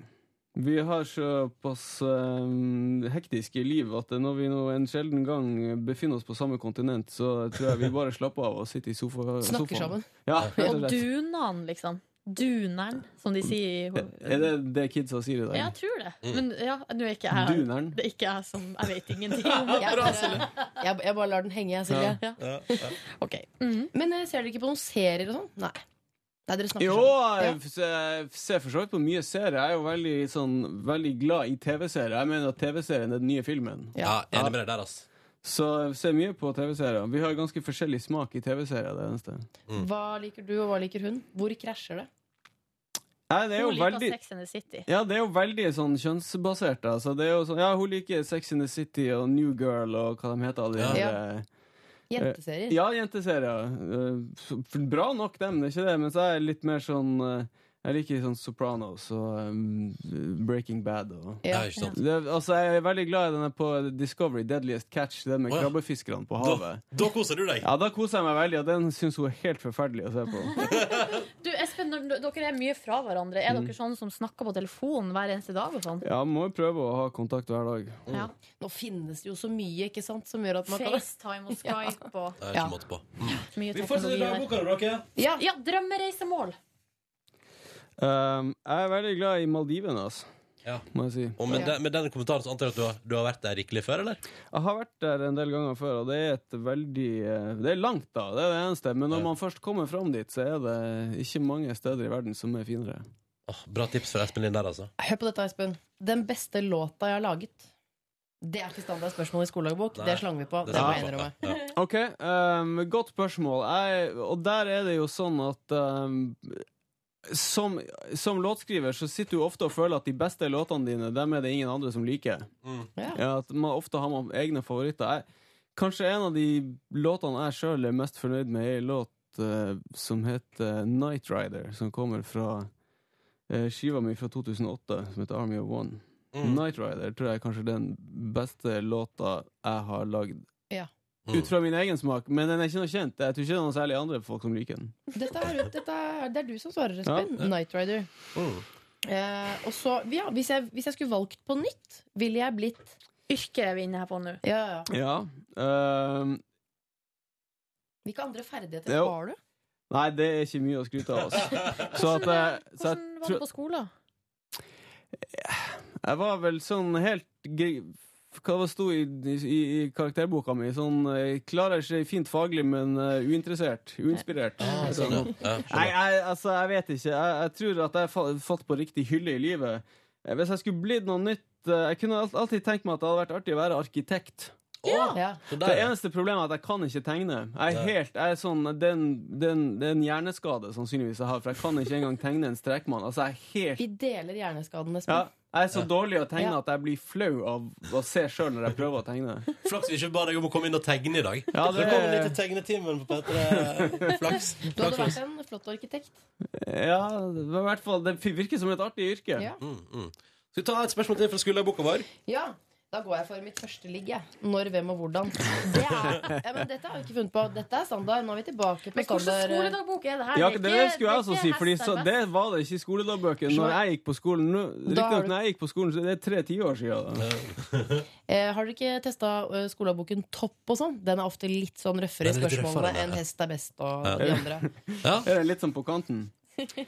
[SPEAKER 11] Vi har såpass eh, hektiske liv at eh, når vi nå en sjelden gang befinner oss på samme kontinent, så tror jeg vi bare slapper av og sitter i sofa,
[SPEAKER 4] Snakker
[SPEAKER 11] sofaen.
[SPEAKER 4] sammen.
[SPEAKER 11] Ja, rett
[SPEAKER 4] Og
[SPEAKER 11] og slett.
[SPEAKER 4] dunan, liksom. Duneren, som de sier i ho-
[SPEAKER 11] Er det det kidsa sier i dag?
[SPEAKER 4] Ja, jeg tror det.
[SPEAKER 11] Mm.
[SPEAKER 4] Men ja, nå er ikke jeg
[SPEAKER 11] Duneren.
[SPEAKER 4] Det er ikke jeg som Jeg vet ingenting om det.
[SPEAKER 3] Jeg bare, jeg, jeg bare lar den henge, jeg, Silje.
[SPEAKER 4] Ja.
[SPEAKER 3] Men eh, ser dere ikke på noen serier og sånn? Nei. Nei, dere snakker
[SPEAKER 11] Jo,
[SPEAKER 3] sammen. Ja.
[SPEAKER 11] jeg f- jeg ser for så vidt på mye serier. Jeg er jo veldig, sånn, veldig glad i TV-serier. Jeg mener at TV-serien er den nye filmen.
[SPEAKER 2] Ja, enig med deg der, ass.
[SPEAKER 11] Så jeg ser mye på TV-serier. Vi har ganske forskjellig smak i TV-serier. Det eneste.
[SPEAKER 3] Hva liker du, og hva liker hun? Hvor krasjer det?
[SPEAKER 11] Nei, det er jo
[SPEAKER 4] Hun liker
[SPEAKER 11] veldig
[SPEAKER 4] Sex and the City.
[SPEAKER 11] ja, det er jo veldig sånn kjønnsbasert. Altså. Det er jo sånn, ja, hun liker Sex in the City og New Girl og hva de heter. Alle de
[SPEAKER 3] Ja.
[SPEAKER 11] andre-
[SPEAKER 3] Jenteserier.
[SPEAKER 11] Eh, Ja, jenteserier. Eh, f- f- Bra nok, dem, det er ikke det, men så er jeg litt mer sånn eh, Jeg liker sånn Sopranos og eh, Breaking Bad og
[SPEAKER 2] Ja. Ja, ikke sant.
[SPEAKER 11] Det, altså, jeg er veldig glad i denne på Discovery, Deadliest Catch, den med
[SPEAKER 2] Å, ja.
[SPEAKER 11] krabbefiskerne på
[SPEAKER 2] Da,
[SPEAKER 11] havet.
[SPEAKER 2] da koser du deg.
[SPEAKER 11] Ja, da koser jeg meg veldig, og den syns hun er helt forferdelig å se på.
[SPEAKER 4] Du, Espen, når når dere er mye fra hverandre, er
[SPEAKER 11] Mm.
[SPEAKER 4] dere sånn som snakker på telefonen hver eneste dag? og sånn?
[SPEAKER 11] Ja, må jo prøve å ha kontakt hver dag.
[SPEAKER 4] Ja.
[SPEAKER 3] Nå finnes det jo så mye ikke sant, som gjør at man
[SPEAKER 4] FaceTime og Skype og
[SPEAKER 2] Det er
[SPEAKER 3] Ja.
[SPEAKER 2] ikke måte på.
[SPEAKER 4] mye
[SPEAKER 2] Vi fortsetter i
[SPEAKER 4] teknologi
[SPEAKER 2] dagboka,
[SPEAKER 4] der.
[SPEAKER 2] da, dere.
[SPEAKER 3] Ja,
[SPEAKER 4] ja drømmereisemål.
[SPEAKER 11] Um, jeg er veldig glad i Maldivene, altså.
[SPEAKER 2] Ja.
[SPEAKER 11] Må jeg si.
[SPEAKER 2] Og med, den, med den kommentaren så antar jeg at du har, du har vært der rikelig før, eller?
[SPEAKER 11] Jeg har vært der en del ganger før, og det er et veldig eh, Det er langt, da. Det er det eneste. Men når man først kommer fram dit, så er det ikke mange steder i verden som er finere.
[SPEAKER 2] Bra tips fra Espen Lind der, altså.
[SPEAKER 3] Hør på dette, Espen. Den beste låta jeg har laget. Det er ikke standard spørsmål i skoledagbok.
[SPEAKER 11] Nei,
[SPEAKER 3] Det slang vi på.
[SPEAKER 11] det
[SPEAKER 3] Det må jeg
[SPEAKER 11] slang vi
[SPEAKER 3] innrømme.
[SPEAKER 11] på, Ok, ehm, godt spørsmål. Jeg, og der er det jo sånn at ehm, som, som låtskriver så sitter du ofte og føler at de beste låtene dine, dem er det ingen andre som liker.
[SPEAKER 3] Ja.
[SPEAKER 11] at man, ofte har man egne favoritter. Jeg, kanskje en av de låtene jeg sjøl er mest fornøyd med, er en låt eh, som heter Night Rider, som kommer fra eh, skiva mi fra 2008, som heter Army of One. Night Rider tror jeg er kanskje den beste låta jeg har lagd
[SPEAKER 3] Ja.
[SPEAKER 12] Mm.
[SPEAKER 11] ut fra min egen smak, men den er ikke noe kjent. Jeg tror ikke det er noen særlig andre folk som liker den.
[SPEAKER 3] Dette er, dette er, det er du som svarer, Espen.
[SPEAKER 11] Ja.
[SPEAKER 3] Night Rider.
[SPEAKER 11] Mm.
[SPEAKER 3] Eh, og så, ja, hvis jeg, hvis jeg skulle valgt på nytt, ville jeg blitt
[SPEAKER 4] Yrke er vi inne her på nå.
[SPEAKER 3] Ja, ja.
[SPEAKER 11] Ja. ehm,
[SPEAKER 3] Hvilke andre ferdigheter
[SPEAKER 11] Jo.
[SPEAKER 3] har du?
[SPEAKER 11] nei, det er ikke mye å skryte av oss. Så at, eh, så jeg,
[SPEAKER 4] Var du
[SPEAKER 11] tror,
[SPEAKER 4] på skolen?
[SPEAKER 11] jeg var vel sånn helt gri- Hva det sto i, i, i karakterboka mi? Sånn eh, klarer seg fint faglig, men eh, uinteressert. Uinspirert.
[SPEAKER 12] sånn, ja. Ja, skjønner.
[SPEAKER 11] Nei, jeg, altså, jeg vet ikke. Jeg, jeg tror at jeg fa- falt på riktig hylle i livet. Eh, Hvis jeg skulle blitt noe nytt eh, Jeg kunne alt- alltid tenkt meg at det hadde vært artig å være arkitekt.
[SPEAKER 3] Ja.
[SPEAKER 11] Det eneste problemet er at jeg kan ikke tegne. Jeg er helt, jeg er sånn, det, er en, det, er en, det er en hjerneskade sannsynligvis jeg har, for jeg kan ikke engang tegne en strekmann. Altså, jeg er
[SPEAKER 3] Vi
[SPEAKER 11] helt
[SPEAKER 3] deler hjerneskaden, Espen.
[SPEAKER 11] ja, jeg er så dårlig å tegne
[SPEAKER 3] Ja.
[SPEAKER 11] at jeg blir flau av å se sjøl når jeg prøver å tegne.
[SPEAKER 12] Flaks vi ikke ba deg om å komme inn og tegne i dag.
[SPEAKER 11] Ja, det-
[SPEAKER 12] Velkommen inn til tegnetimen på P3. Flaks.
[SPEAKER 3] Du hadde
[SPEAKER 12] Flaks.
[SPEAKER 3] vært en flott arkitekt.
[SPEAKER 11] Ja, det, var i hvert fall, det virker som et artig yrke.
[SPEAKER 3] Ja.
[SPEAKER 12] Mm, mm. Skal vi ta et spørsmål til fra skulderboka vår?
[SPEAKER 3] Ja, da går jeg for mitt første ligg, jeg. Når, hvem og hvordan. Det er, ja, men dette har vi ikke funnet på. Dette er standard. Nå er vi tilbake på
[SPEAKER 4] Men hvordan
[SPEAKER 3] standard. eh,
[SPEAKER 4] skoledagbok er det her?
[SPEAKER 11] Ja,
[SPEAKER 4] er
[SPEAKER 11] det
[SPEAKER 4] ikke-
[SPEAKER 11] skulle jeg også
[SPEAKER 4] det er
[SPEAKER 11] si,
[SPEAKER 4] ikke
[SPEAKER 11] Fordi
[SPEAKER 4] hest,
[SPEAKER 11] så,
[SPEAKER 4] det er
[SPEAKER 11] det var det ikke i skoledagbøkene
[SPEAKER 3] Nei.
[SPEAKER 11] når jeg gikk på skolen. Nå-
[SPEAKER 3] Da har
[SPEAKER 11] Riktignok
[SPEAKER 3] du-
[SPEAKER 11] når jeg gikk på skolen, så det er tre tiår siden. Da.
[SPEAKER 3] Eh, har dere ikke testa skoledaboken Topp og sånn? Den er ofte litt sånn røffere i
[SPEAKER 11] Den er litt røffere,
[SPEAKER 3] spørsmålene
[SPEAKER 11] den,
[SPEAKER 3] enn
[SPEAKER 11] ja.
[SPEAKER 3] Hest er best og
[SPEAKER 11] Ja.
[SPEAKER 3] de andre.
[SPEAKER 11] Er det litt sånn på kanten? Nei, jeg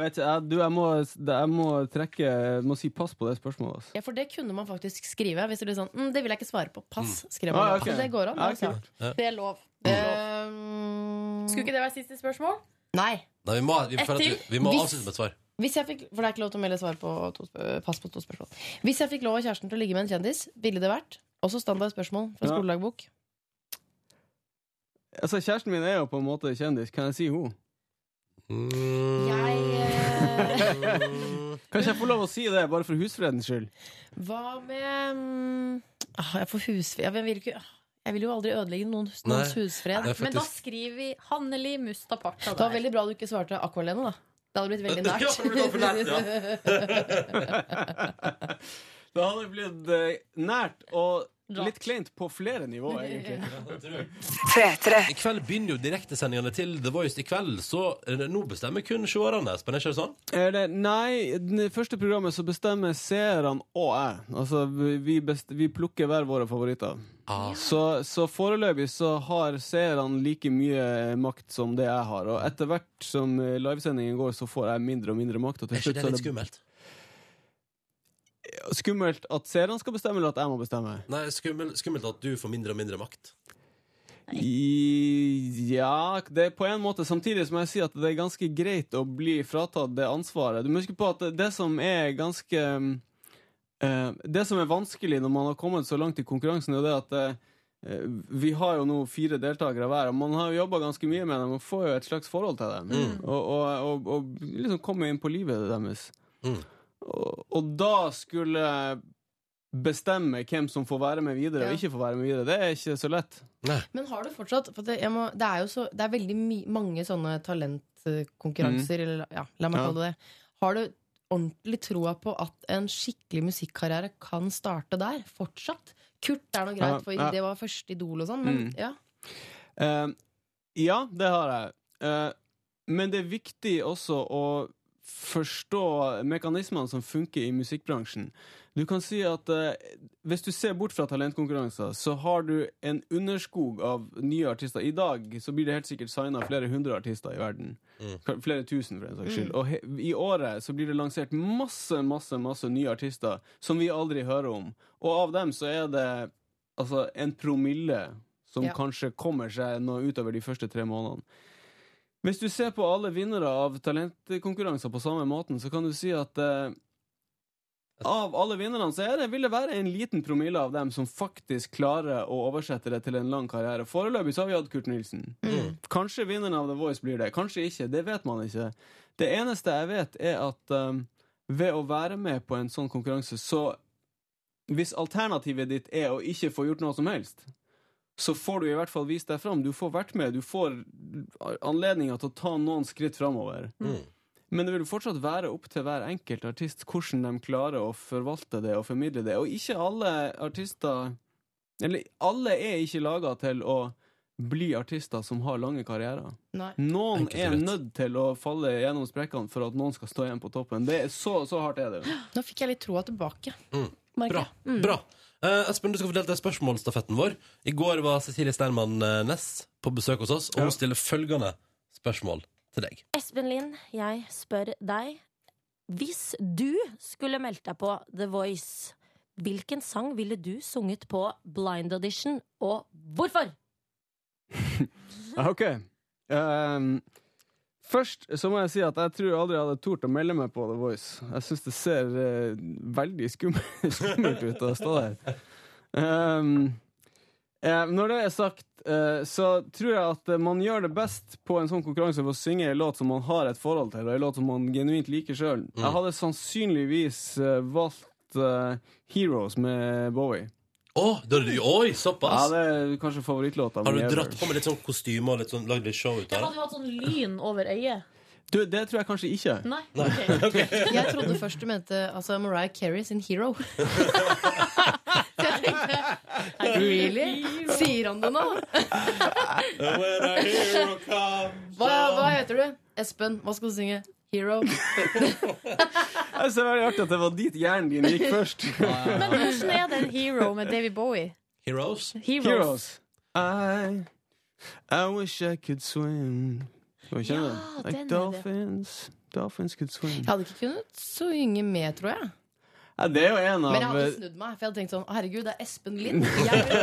[SPEAKER 11] vet ikke. Jeg- Du, jeg må, jeg må trekke Jeg må si pass på det spørsmålet. Altså.
[SPEAKER 3] Ja, For det kunne man faktisk skrive. Hvis det ble sånn mm, 'Det vil jeg ikke svare på. Pass', skrev
[SPEAKER 11] Ah,
[SPEAKER 3] man. da. Så
[SPEAKER 11] ok.
[SPEAKER 3] det går an.
[SPEAKER 11] Ja,
[SPEAKER 3] altså. Ehm,
[SPEAKER 11] kult. Ja.
[SPEAKER 4] Det er lov. Det er lov. Skulle ikke det være siste spørsmål?
[SPEAKER 3] Nei.
[SPEAKER 12] Nei, vi må, vi,
[SPEAKER 3] Ett
[SPEAKER 12] føler at
[SPEAKER 3] til.
[SPEAKER 12] vi, vi må
[SPEAKER 3] Hvis-
[SPEAKER 12] avslutte med et svar.
[SPEAKER 3] Hvis jeg fikk, for det er ikke lov til å melde svar på to, sp- pass på to spørsmål. Hvis jeg fikk lov av kjæresten til å ligge med en kjendis, ville det vært også standard spørsmål fra
[SPEAKER 11] Ja.
[SPEAKER 3] skoledagbok.
[SPEAKER 11] Altså, Kjæresten min er jo på en måte kjendis. Kan jeg si hun?
[SPEAKER 4] eh,
[SPEAKER 11] Kanskje jeg får lov å si det, bare for husfredens skyld?
[SPEAKER 3] Hva med mm, ah, Jeg får husfred jeg vil, ikke, ah, jeg vil jo aldri ødelegge noen, hus- noens
[SPEAKER 11] Nei,
[SPEAKER 3] husfred.
[SPEAKER 11] det er Men da faktisk-
[SPEAKER 4] skriver vi Hanneli Mustapakta
[SPEAKER 3] Det var veldig bra du ikke svarte Aqualene, da. Det hadde blitt veldig nært.
[SPEAKER 11] Ja, det hadde blitt altfor Det hadde blitt eh, nært og litt kleint på flere nivåer, egentlig.
[SPEAKER 12] I kveld begynner jo direktesendingene til The Voice. I kveld, så eh, nå bestemmer kun seerne, Espen. Er ikke det sånn?
[SPEAKER 11] Er det, nei, det første programmet så bestemmer seerne og jeg. Altså, vi- vi, best, vi plukker hver våre favoritter.
[SPEAKER 3] Ah.
[SPEAKER 11] Så, så foreløpig så har seerne like mye eh, makt som det jeg har. Og etter hvert som eh, livesendingen går, så får jeg mindre og mindre makt. Og
[SPEAKER 12] Er
[SPEAKER 11] til
[SPEAKER 12] ikke sånn-
[SPEAKER 11] slutt
[SPEAKER 12] det
[SPEAKER 11] så
[SPEAKER 12] litt skummelt?
[SPEAKER 11] Skummelt at seerne skal bestemme, eller at jeg må bestemme?
[SPEAKER 12] Nei, skummel, skummelt at du får mindre og mindre makt.
[SPEAKER 11] I, ja, det er på en måte. Samtidig som jeg sier at det er ganske greit å bli fratatt det ansvaret. Du må huske på at det som er ganske eh, Det som er vanskelig når man har kommet så langt i konkurransen, er jo det at eh, vi har jo nå fire deltakere hver, og man har jo jobba ganske mye med dem og får jo et slags forhold til dem. Og, og, og, og liksom kommer inn på livet deres. Og, og da skulle bestemme hvem som får være med videre og ikke får være med videre, det er ikke så lett.
[SPEAKER 3] Men har du fortsatt for det, jeg må, det er jo så, det er veldig my, mange sånne talentkonkurranser,
[SPEAKER 11] Mm.
[SPEAKER 3] eller ja, la meg
[SPEAKER 11] Ja.
[SPEAKER 3] kalle det det. Har du ordentlig troa på at en skikkelig musikkarriere kan starte der? Fortsatt? Kurt er noe
[SPEAKER 11] Ja,
[SPEAKER 3] greit, for
[SPEAKER 11] ja.
[SPEAKER 3] det var første Idol og sånn, men
[SPEAKER 11] Mm.
[SPEAKER 3] ja.
[SPEAKER 11] Eh, ja, det har jeg. Eh, men det er viktig også å forstå mekanismene som funker i musikkbransjen. Du kan si at eh, hvis du ser bort fra talentkonkurranser, så har du en underskog av nye artister. I dag så blir det helt sikkert signa flere hundre artister i verden. Ka- Flere tusen, for en saks skyld.
[SPEAKER 12] Mm.
[SPEAKER 11] Og he i året så blir det lansert masse, masse, masse nye artister som vi aldri hører om. Og av dem så er det altså en promille som
[SPEAKER 12] Ja.
[SPEAKER 11] kanskje kommer seg nå utover de første tre månedene. Hvis du ser på alle vinnere av talentkonkurranser på samme måten, så kan du si at eh, av alle vinnerne så er det, vil det være en liten promille av dem som faktisk klarer å oversette det til en lang karriere. Foreløpig så har vi hatt Kurt Nilsen. Kanskje vinneren av The Voice blir det. Kanskje ikke. Det vet man ikke. Det eneste jeg vet, er at eh, ved å være med på en sånn konkurranse, så Hvis alternativet ditt er å ikke få gjort noe som helst, så får du i hvert fall vist deg fram. Du får vært med. Du får anledninga til å ta noen skritt framover.
[SPEAKER 3] Mm.
[SPEAKER 11] Men det vil fortsatt være opp til hver enkelt artist hvordan de klarer å forvalte det og formidle det. Og ikke alle artister Eller alle er ikke laga til å bli artister som har lange karrierer.
[SPEAKER 3] Nei.
[SPEAKER 11] Noen
[SPEAKER 3] Enkelt og
[SPEAKER 11] er
[SPEAKER 3] greit.
[SPEAKER 11] nødt til å falle gjennom sprekkene for at noen skal stå igjen på toppen. Det er så, så hardt er det.
[SPEAKER 3] Nå fikk jeg litt troa tilbake.
[SPEAKER 2] Mm.
[SPEAKER 3] merker
[SPEAKER 2] Bra.
[SPEAKER 3] jeg. Mm.
[SPEAKER 2] Bra. Eh, Espen, du skal få delta i spørsmålsstafetten vår. I går var Cecilie Steinmann eh, Næss på besøk hos oss, og hun stiller følgende spørsmål til deg.
[SPEAKER 13] Espen Lind, jeg spør deg. Hvis du skulle meldt deg på The Voice, hvilken sang ville du sunget på Blind Audition, og hvorfor?
[SPEAKER 11] Ja, Ah, Ok. Ehm, først så må jeg si at jeg tror jeg aldri hadde tort å melde meg på The Voice. Jeg syns det ser eh, veldig skummelt, skummelt ut å stå der. Ehm, eh, når det er sagt, eh, så tror jeg at eh, man gjør det best på en sånn konkurranse ved å synge en låt som man har et forhold til, og en låt som man genuint liker sjøl.
[SPEAKER 2] Mm.
[SPEAKER 11] Jeg hadde sannsynligvis eh, valgt eh, Heroes med Bowie.
[SPEAKER 2] Oh, oi, såpass?
[SPEAKER 11] Ja, det er kanskje favorittlåta
[SPEAKER 2] Har
[SPEAKER 11] mi
[SPEAKER 2] du
[SPEAKER 11] ever.
[SPEAKER 2] dratt på med litt sånn kostyme og litt sånn, lagd litt show ut
[SPEAKER 4] Jeg
[SPEAKER 2] av
[SPEAKER 4] hadde
[SPEAKER 2] det?
[SPEAKER 4] jo hatt sånn lyn over øyet.
[SPEAKER 11] Du, det tror jeg kanskje ikke.
[SPEAKER 4] Nei.
[SPEAKER 3] Jeg trodde først du mente altså, Mariah Carey sin Hero. really? Sier han det nå? Hva, hva heter du? Espen. Hva skal du synge? Hero.
[SPEAKER 11] Jeg synes det er veldig artig at det var dit hjernen din gikk først.
[SPEAKER 4] Men hvordan er det en hero med Davy Bowie?
[SPEAKER 2] Heroes?
[SPEAKER 4] Heroes.
[SPEAKER 11] I, I wish I could swim. Skal vi kjenne
[SPEAKER 3] Ja, den
[SPEAKER 11] den?
[SPEAKER 3] er
[SPEAKER 11] Like
[SPEAKER 3] det.
[SPEAKER 11] dolphins. Dolphins could swim.
[SPEAKER 3] Jeg hadde ikke kunnet synge med, tror jeg.
[SPEAKER 11] Ja, det er jo en
[SPEAKER 3] Men jeg
[SPEAKER 11] av
[SPEAKER 3] hadde snudd meg, for jeg hadde tenkt sånn Herregud, det er Espen Lind. Jeg vil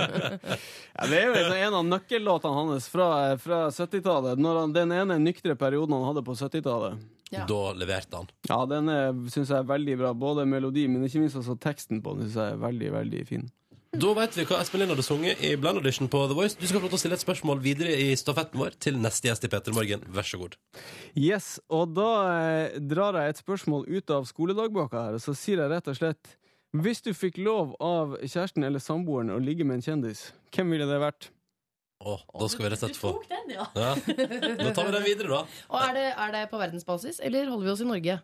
[SPEAKER 3] ha
[SPEAKER 11] ja, Det er jo liksom en av nøkkellåtene hans fra, fra 70-tallet. Når han- Den ene nyktre perioden han hadde på 70-tallet.
[SPEAKER 3] Ja.
[SPEAKER 2] Da leverte han.
[SPEAKER 11] Ja, den syns jeg er veldig bra. Både melodi, men ikke minst også teksten på den synes jeg er veldig, veldig fin.
[SPEAKER 2] Da vet vi hva Espen Lind hadde sunget i Blind Audition på The Voice. Du skal få lov til å stille et spørsmål videre i stafetten vår til neste gjest i Peter Morgen. Vær så god.
[SPEAKER 11] Yes, og da eh, drar jeg et spørsmål ut av skoledagboka her, og så sier jeg rett og slett Hvis du fikk lov av kjæresten eller samboeren å ligge med en kjendis, hvem ville det vært?
[SPEAKER 2] Å, da skal vi rett og slett få
[SPEAKER 3] den, ja.
[SPEAKER 2] Ja. Da tar vi den videre, da.
[SPEAKER 3] Og er det, er det på verdensbasis, eller holder vi oss i Norge?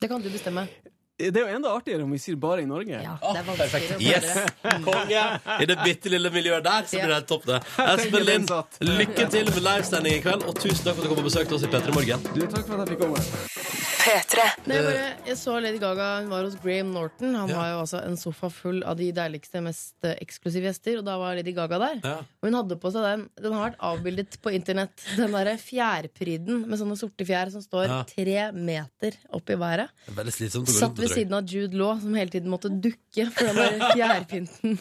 [SPEAKER 3] Det kan du bestemme.
[SPEAKER 11] Eh, Det er jo enda artigere om vi sier bare i Norge.
[SPEAKER 3] det er vanskeligere å
[SPEAKER 2] Yes!
[SPEAKER 3] forandre.
[SPEAKER 2] Konge! I det bitte lille miljøet der, så blir det helt topp, det. Espen Lind, lykke til med livesending i kveld, og tusen takk for at du kom og besøkte oss i P3 Morgen.
[SPEAKER 11] Du, takk for at jeg fikk komme.
[SPEAKER 3] Nei,
[SPEAKER 2] Eh,
[SPEAKER 3] jeg, bare, jeg så Lady Gaga hun var hos Graham Norton. Han har jo altså en sofa full av de deiligste, mest eh, eksklusive gjester, og da var Lady Gaga der.
[SPEAKER 2] Ja.
[SPEAKER 3] Og hun hadde på seg den. Den har vært avbildet på internett. Den derre fjærpryden med sånne sorte fjær som står
[SPEAKER 2] Ja.
[SPEAKER 3] tre meter opp i været.
[SPEAKER 2] Det er Veldig slitsomt å gå
[SPEAKER 3] Satt
[SPEAKER 2] rundt
[SPEAKER 3] ved
[SPEAKER 2] og trykke.
[SPEAKER 3] siden av Jude Law, som hele tiden måtte dukke for den der fjærpynten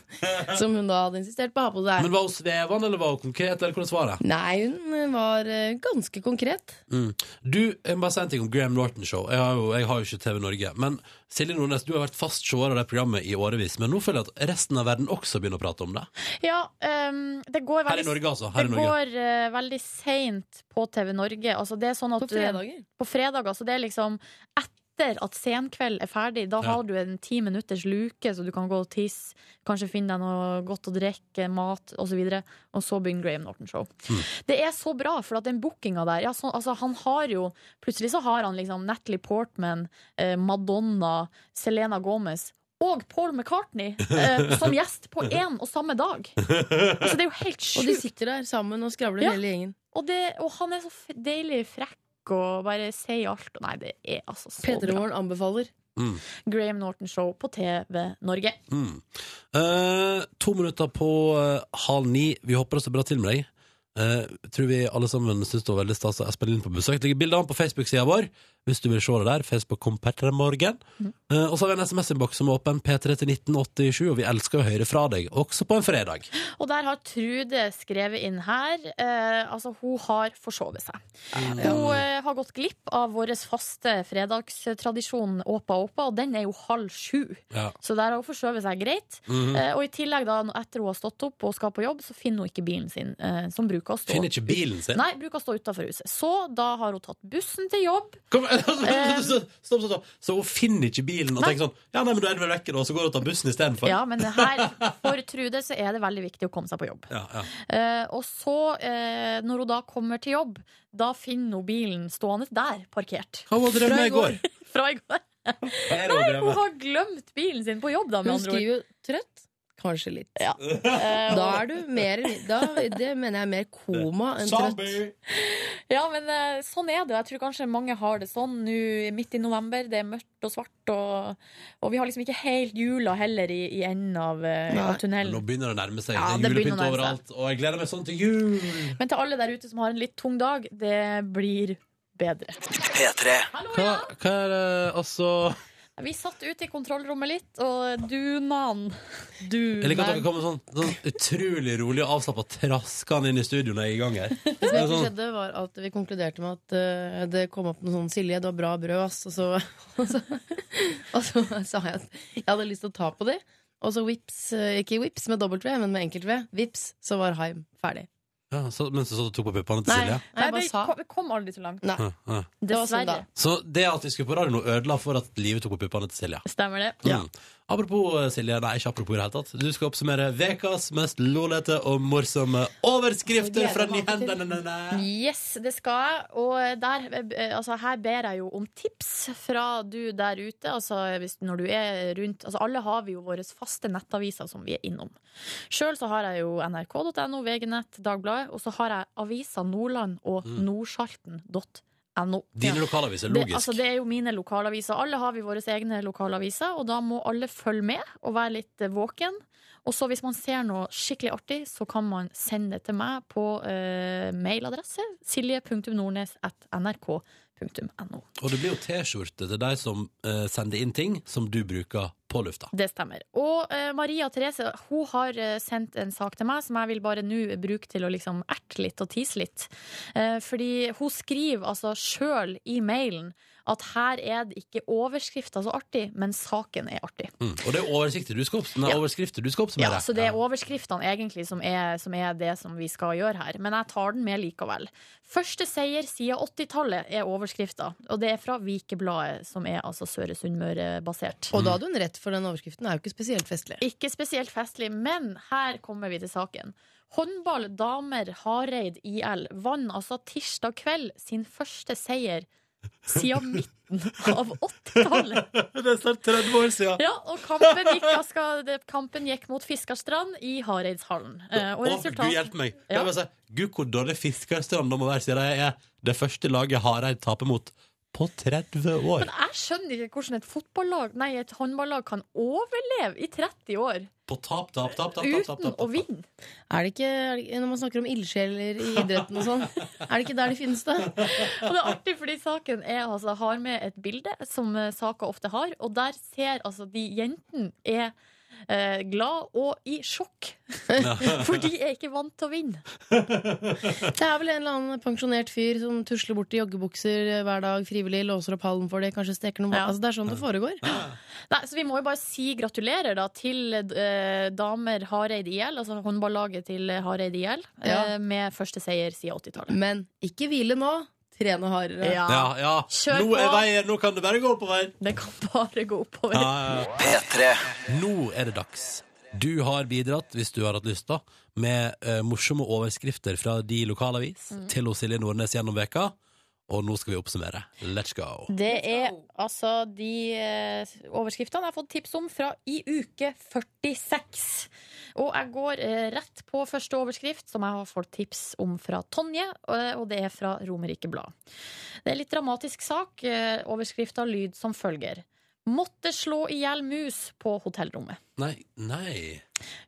[SPEAKER 3] som hun da hadde insistert på å ha på seg.
[SPEAKER 2] Men var hun svevende, eller var hun konkret, eller hvordan var det?
[SPEAKER 3] Nei, hun var eh, ganske konkret.
[SPEAKER 2] Mm. Du, jeg må bare si en ting om Graham Norton-show. Jeg, har jo- jeg har jo ikke TV Norge. Men Silje Nordnes, du har vært fast seer av det programmet i årevis. Men nå føler jeg at resten av verden også begynner å prate om det.
[SPEAKER 4] Ja, ehm, det går
[SPEAKER 2] Her
[SPEAKER 4] veldig
[SPEAKER 2] i Norge, altså. Her i
[SPEAKER 4] det
[SPEAKER 2] Norge.
[SPEAKER 4] går eh, veldig seint på TV Norge. Altså, det er sånn
[SPEAKER 3] På
[SPEAKER 4] at
[SPEAKER 3] fredager?
[SPEAKER 4] Du, på fredager, så det er liksom etter at Senkveld er ferdig. Da
[SPEAKER 3] Ja.
[SPEAKER 4] har du en ti minutters luke, så du kan gå og tisse, kanskje finne deg noe godt å drikke, mat osv. Og, så videre. og så begynner Graham Norton-show. Det er så bra, for at den bookinga der ja, så, altså, Han har jo Plutselig så har han liksom Natalie Portman, eh, Madonna, Selena Gomez og Paul McCartney eh, som gjest på én og samme dag. Altså, det er jo helt sjukt.
[SPEAKER 3] Og de sitter der sammen og skravler hele gjengen.
[SPEAKER 4] Og, det, og han er så f- deilig frekk og bare sier alt. Og Nei, det er altså så
[SPEAKER 3] Petter
[SPEAKER 4] bra.
[SPEAKER 3] Morgen anbefaler
[SPEAKER 2] Mm.
[SPEAKER 4] Graham Norton Show på TV Norge.
[SPEAKER 2] Mm. Eh, to minutter på eh, halv ni. Vi håper det står bra til med deg. Eh, tror vi alle sammen syns det var veldig stas å ha Espen Lind på besøk. Legg bilde av han på Facebook-sida vår. hvis du vil se det der. Facebook.com Petremorgen.
[SPEAKER 4] Mm.
[SPEAKER 2] Eh, og så har vi en SMS-innboks som er åpen P3 til 1987, og vi elsker å høre fra deg, også på en fredag.
[SPEAKER 4] Og der har Trude skrevet inn her eh, Altså, hun har forsovet seg. Hun eh, har gått glipp av vår faste fredagstradisjon Åpa Åpa, og den er jo halv sju.
[SPEAKER 2] Ja.
[SPEAKER 4] Så der har hun forskjøvet seg greit.
[SPEAKER 2] Mhm.
[SPEAKER 4] Eh, og i tillegg, da, etter hun har stått opp og skal på jobb, så finner hun ikke bilen sin, eh, som bruker å stå
[SPEAKER 2] Finner ikke bilen sin?
[SPEAKER 4] Nei, bruker å stå utafor huset. Så da har hun tatt bussen til jobb.
[SPEAKER 2] Kom, stopp, stopp, stopp. Så hun finner ikke bilen og
[SPEAKER 4] Eh. Nei.
[SPEAKER 2] tenker sånn Ja, nei, men da er det vel vekke, da, og så går hun og tar bussen istedenfor.
[SPEAKER 4] Ja, men her, for Trude så er det veldig viktig å komme seg på jobb.
[SPEAKER 2] Ja, ja.
[SPEAKER 4] Eh, og så, eh, når hun da kommer til jobb, da finner hun bilen stående der, parkert.
[SPEAKER 2] Hva var
[SPEAKER 4] Fra
[SPEAKER 2] drømmen i går?
[SPEAKER 4] Fra i går.
[SPEAKER 2] Her
[SPEAKER 4] Nei,
[SPEAKER 2] drevet.
[SPEAKER 4] hun har glemt bilen sin på jobb, da, med
[SPEAKER 14] Hun
[SPEAKER 4] andre ord.
[SPEAKER 14] skriver jo trøtt. Kanskje litt.
[SPEAKER 4] Eh,
[SPEAKER 14] Da
[SPEAKER 4] og-
[SPEAKER 14] er du mer da, Det mener jeg er mer koma enn trøtt.
[SPEAKER 4] Ja, men eh, sånn er det. og Jeg tror kanskje mange har det sånn nå midt i november. Det er mørkt og svart, og, og vi har liksom ikke helt jula heller i, i enden av, eh, av
[SPEAKER 2] Nå
[SPEAKER 4] tunnelen.
[SPEAKER 2] begynner det å nærme seg.
[SPEAKER 4] Ja,
[SPEAKER 2] det er
[SPEAKER 4] det begynner
[SPEAKER 2] julepynt
[SPEAKER 4] å nærme seg.
[SPEAKER 2] overalt, og jeg gleder meg sånn til jul.
[SPEAKER 4] Men til alle der ute som har en litt tung dag, det blir bedre.
[SPEAKER 1] P3.
[SPEAKER 2] Hva, hva er det altså
[SPEAKER 4] Vi satt ute i kontrollrommet litt, og dunan Du
[SPEAKER 2] Jeg liker at dere kommer sånn, sånn utrolig rolig og avslappa traskende inn i studio når jeg er i gang her.
[SPEAKER 3] Det som
[SPEAKER 2] Det er
[SPEAKER 3] egentlig
[SPEAKER 2] sånn,
[SPEAKER 3] skjedde, var at vi konkluderte med at eh, det kom opp noe sånn 'Silje, du har bra brød', ass. Og så, og så, og så sa jeg at jeg hadde lyst til å ta på de. Og så vips, eh, ikke vips med dobbelt V, men med enkelt V, vips, så var Haim ferdig.
[SPEAKER 2] ja, så, mens du satt og tok på puppene til Silje.
[SPEAKER 4] Nei,
[SPEAKER 3] jeg bare
[SPEAKER 4] det
[SPEAKER 3] sa. sånn
[SPEAKER 4] kom, kom aldri så langt.
[SPEAKER 2] Ja, ja.
[SPEAKER 4] Dessverre.
[SPEAKER 2] Så det at vi skulle på radio nå, ødela for at Live tok på puppene til Silje.
[SPEAKER 4] Stemmer det.
[SPEAKER 2] Mm. Apropos eh, Silje, nei, ikke apropos i det hele tatt. Du skal oppsummere ukas mest lolete og morsomme overskrifter fra nyhendene.
[SPEAKER 4] Yes, det skal jeg. Og der, eh, altså, her ber jeg jo om tips fra du der ute. Altså, hvis, når du er rundt, altså, alle har vi jo våre faste nettaviser som vi er innom. Sjøl så har jeg jo nrk.no, VG-nett, Dagbladet. Og så har jeg avisa Nordland og
[SPEAKER 2] Mm.
[SPEAKER 4] nordsalten.no.
[SPEAKER 2] Dine lokalaviser,
[SPEAKER 4] Det,
[SPEAKER 2] logisk.
[SPEAKER 4] altså, det er jo mine lokalaviser. Alle har vi våre egne lokalaviser, og da må alle følge med og være litt eh, våken. Og så hvis man ser noe skikkelig artig, så kan man sende det til meg på eh, mailadresse silje.nordnes.nrk.no.
[SPEAKER 2] Og det blir jo T-skjorte til deg som eh, sender inn ting som du bruker på lufta.
[SPEAKER 4] Det stemmer. Og eh, Maria Therese hun har eh, sendt en sak til meg som jeg vil bare nå bruke til å liksom erte litt og tease litt. Eh, fordi hun skriver altså sjøl i mailen at her er det ikke overskrifta så artig, men saken er artig.
[SPEAKER 2] Mm. Og det er oversikter du skal opp- nei, overskrifter du skal
[SPEAKER 4] Ja,
[SPEAKER 2] oppsummere.
[SPEAKER 4] så det er overskriftene egentlig som er, som er det som vi skal gjøre her. Men jeg tar den med likevel. Første seier siden 80-tallet er overskrifta, og det er fra Vikebladet, som er altså Søre Sunnmøre-basert.
[SPEAKER 3] Og da hadde hun rett, for den overskriften er jo ikke spesielt festlig.
[SPEAKER 4] Ikke spesielt festlig, men her kommer vi til saken. Håndball damer Hareid IL vant altså tirsdag kveld sin første seier siden midten av 80-tallet.
[SPEAKER 2] Det er snart 30 år siden.
[SPEAKER 4] Ja, og kampen gikk, da skal, det- kampen gikk mot Fiskarstrand i Hareidshallen. Eh, Og
[SPEAKER 2] Å, Gud
[SPEAKER 4] resultat
[SPEAKER 2] hjelpe meg!
[SPEAKER 4] Ja.
[SPEAKER 2] Jeg bare si, Gud, hvor dårlig Fiskarstrand da må være, siden de er det første laget Hareid taper mot på 30 år.
[SPEAKER 4] Men jeg skjønner ikke hvordan et fotballag, nei, et håndballag kan overleve i 30 år
[SPEAKER 2] På tap, tap, tap, tap, tap, tap,
[SPEAKER 4] uten
[SPEAKER 2] tap.
[SPEAKER 4] å vinne.
[SPEAKER 3] Er det ikke, er det, Når man snakker om ildsjeler i idretten og sånn, er det ikke der de finnes, da?
[SPEAKER 4] Og det er artig, fordi saken er, altså, har med et bilde, som eh, saker ofte har, og der ser altså de jentene er eh, glad og i sjokk. For de er ikke vant til å vinne.
[SPEAKER 3] Det er vel en eller annen pensjonert fyr som tusler bort i joggebukser eh, hver dag frivillig, låser opp hallen for det, kanskje steker noe mat. Altså, det er sånn det foregår.
[SPEAKER 4] Nei, så vi må jo bare si gratulerer da til eh, damer Hareid IL, altså håndballaget til eh, Hareid IL, eh,
[SPEAKER 3] Ja.
[SPEAKER 4] med første seier siden 80-tallet.
[SPEAKER 3] Men ikke hvile nå. Trene hardere.
[SPEAKER 4] Ja.
[SPEAKER 2] Ja, ja.
[SPEAKER 4] Kjør
[SPEAKER 2] Nå er
[SPEAKER 4] på.
[SPEAKER 2] veien, nå kan det bare gå oppover.
[SPEAKER 4] Det kan bare gå oppover.
[SPEAKER 2] P3. Nå er det dags. Du har bidratt, hvis du har hatt lyst, da med eh, morsomme overskrifter fra de lokalavis
[SPEAKER 4] Mm.
[SPEAKER 2] til hos Silje Nordnes gjennom veka. Og nå skal vi oppsummere. Let's go.
[SPEAKER 4] Det er altså de eh, overskriftene jeg har fått tips om fra i uke 46. Og jeg går eh, rett på første overskrift, som jeg har fått tips om fra Tonje. eh, Og det er eh, fra Romerike Blad. Det er litt dramatisk sak. Overskrifta lyd som følger. måtte slå i hjel mus på hotellrommet.
[SPEAKER 12] Nei. Nei.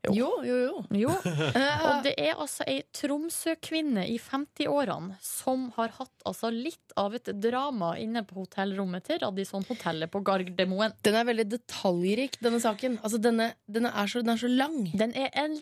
[SPEAKER 4] Jo,
[SPEAKER 3] jo, jo. Eh,
[SPEAKER 4] Og det er altså ei Tromsø-kvinne i 50-årene som har hatt altså litt av et drama inne på hotellrommet til Radisson-hotellet på Gardermoen.
[SPEAKER 3] Den er veldig detaljrik, denne saken. Altså, denne, denne er så, den er så lang.
[SPEAKER 4] Den er en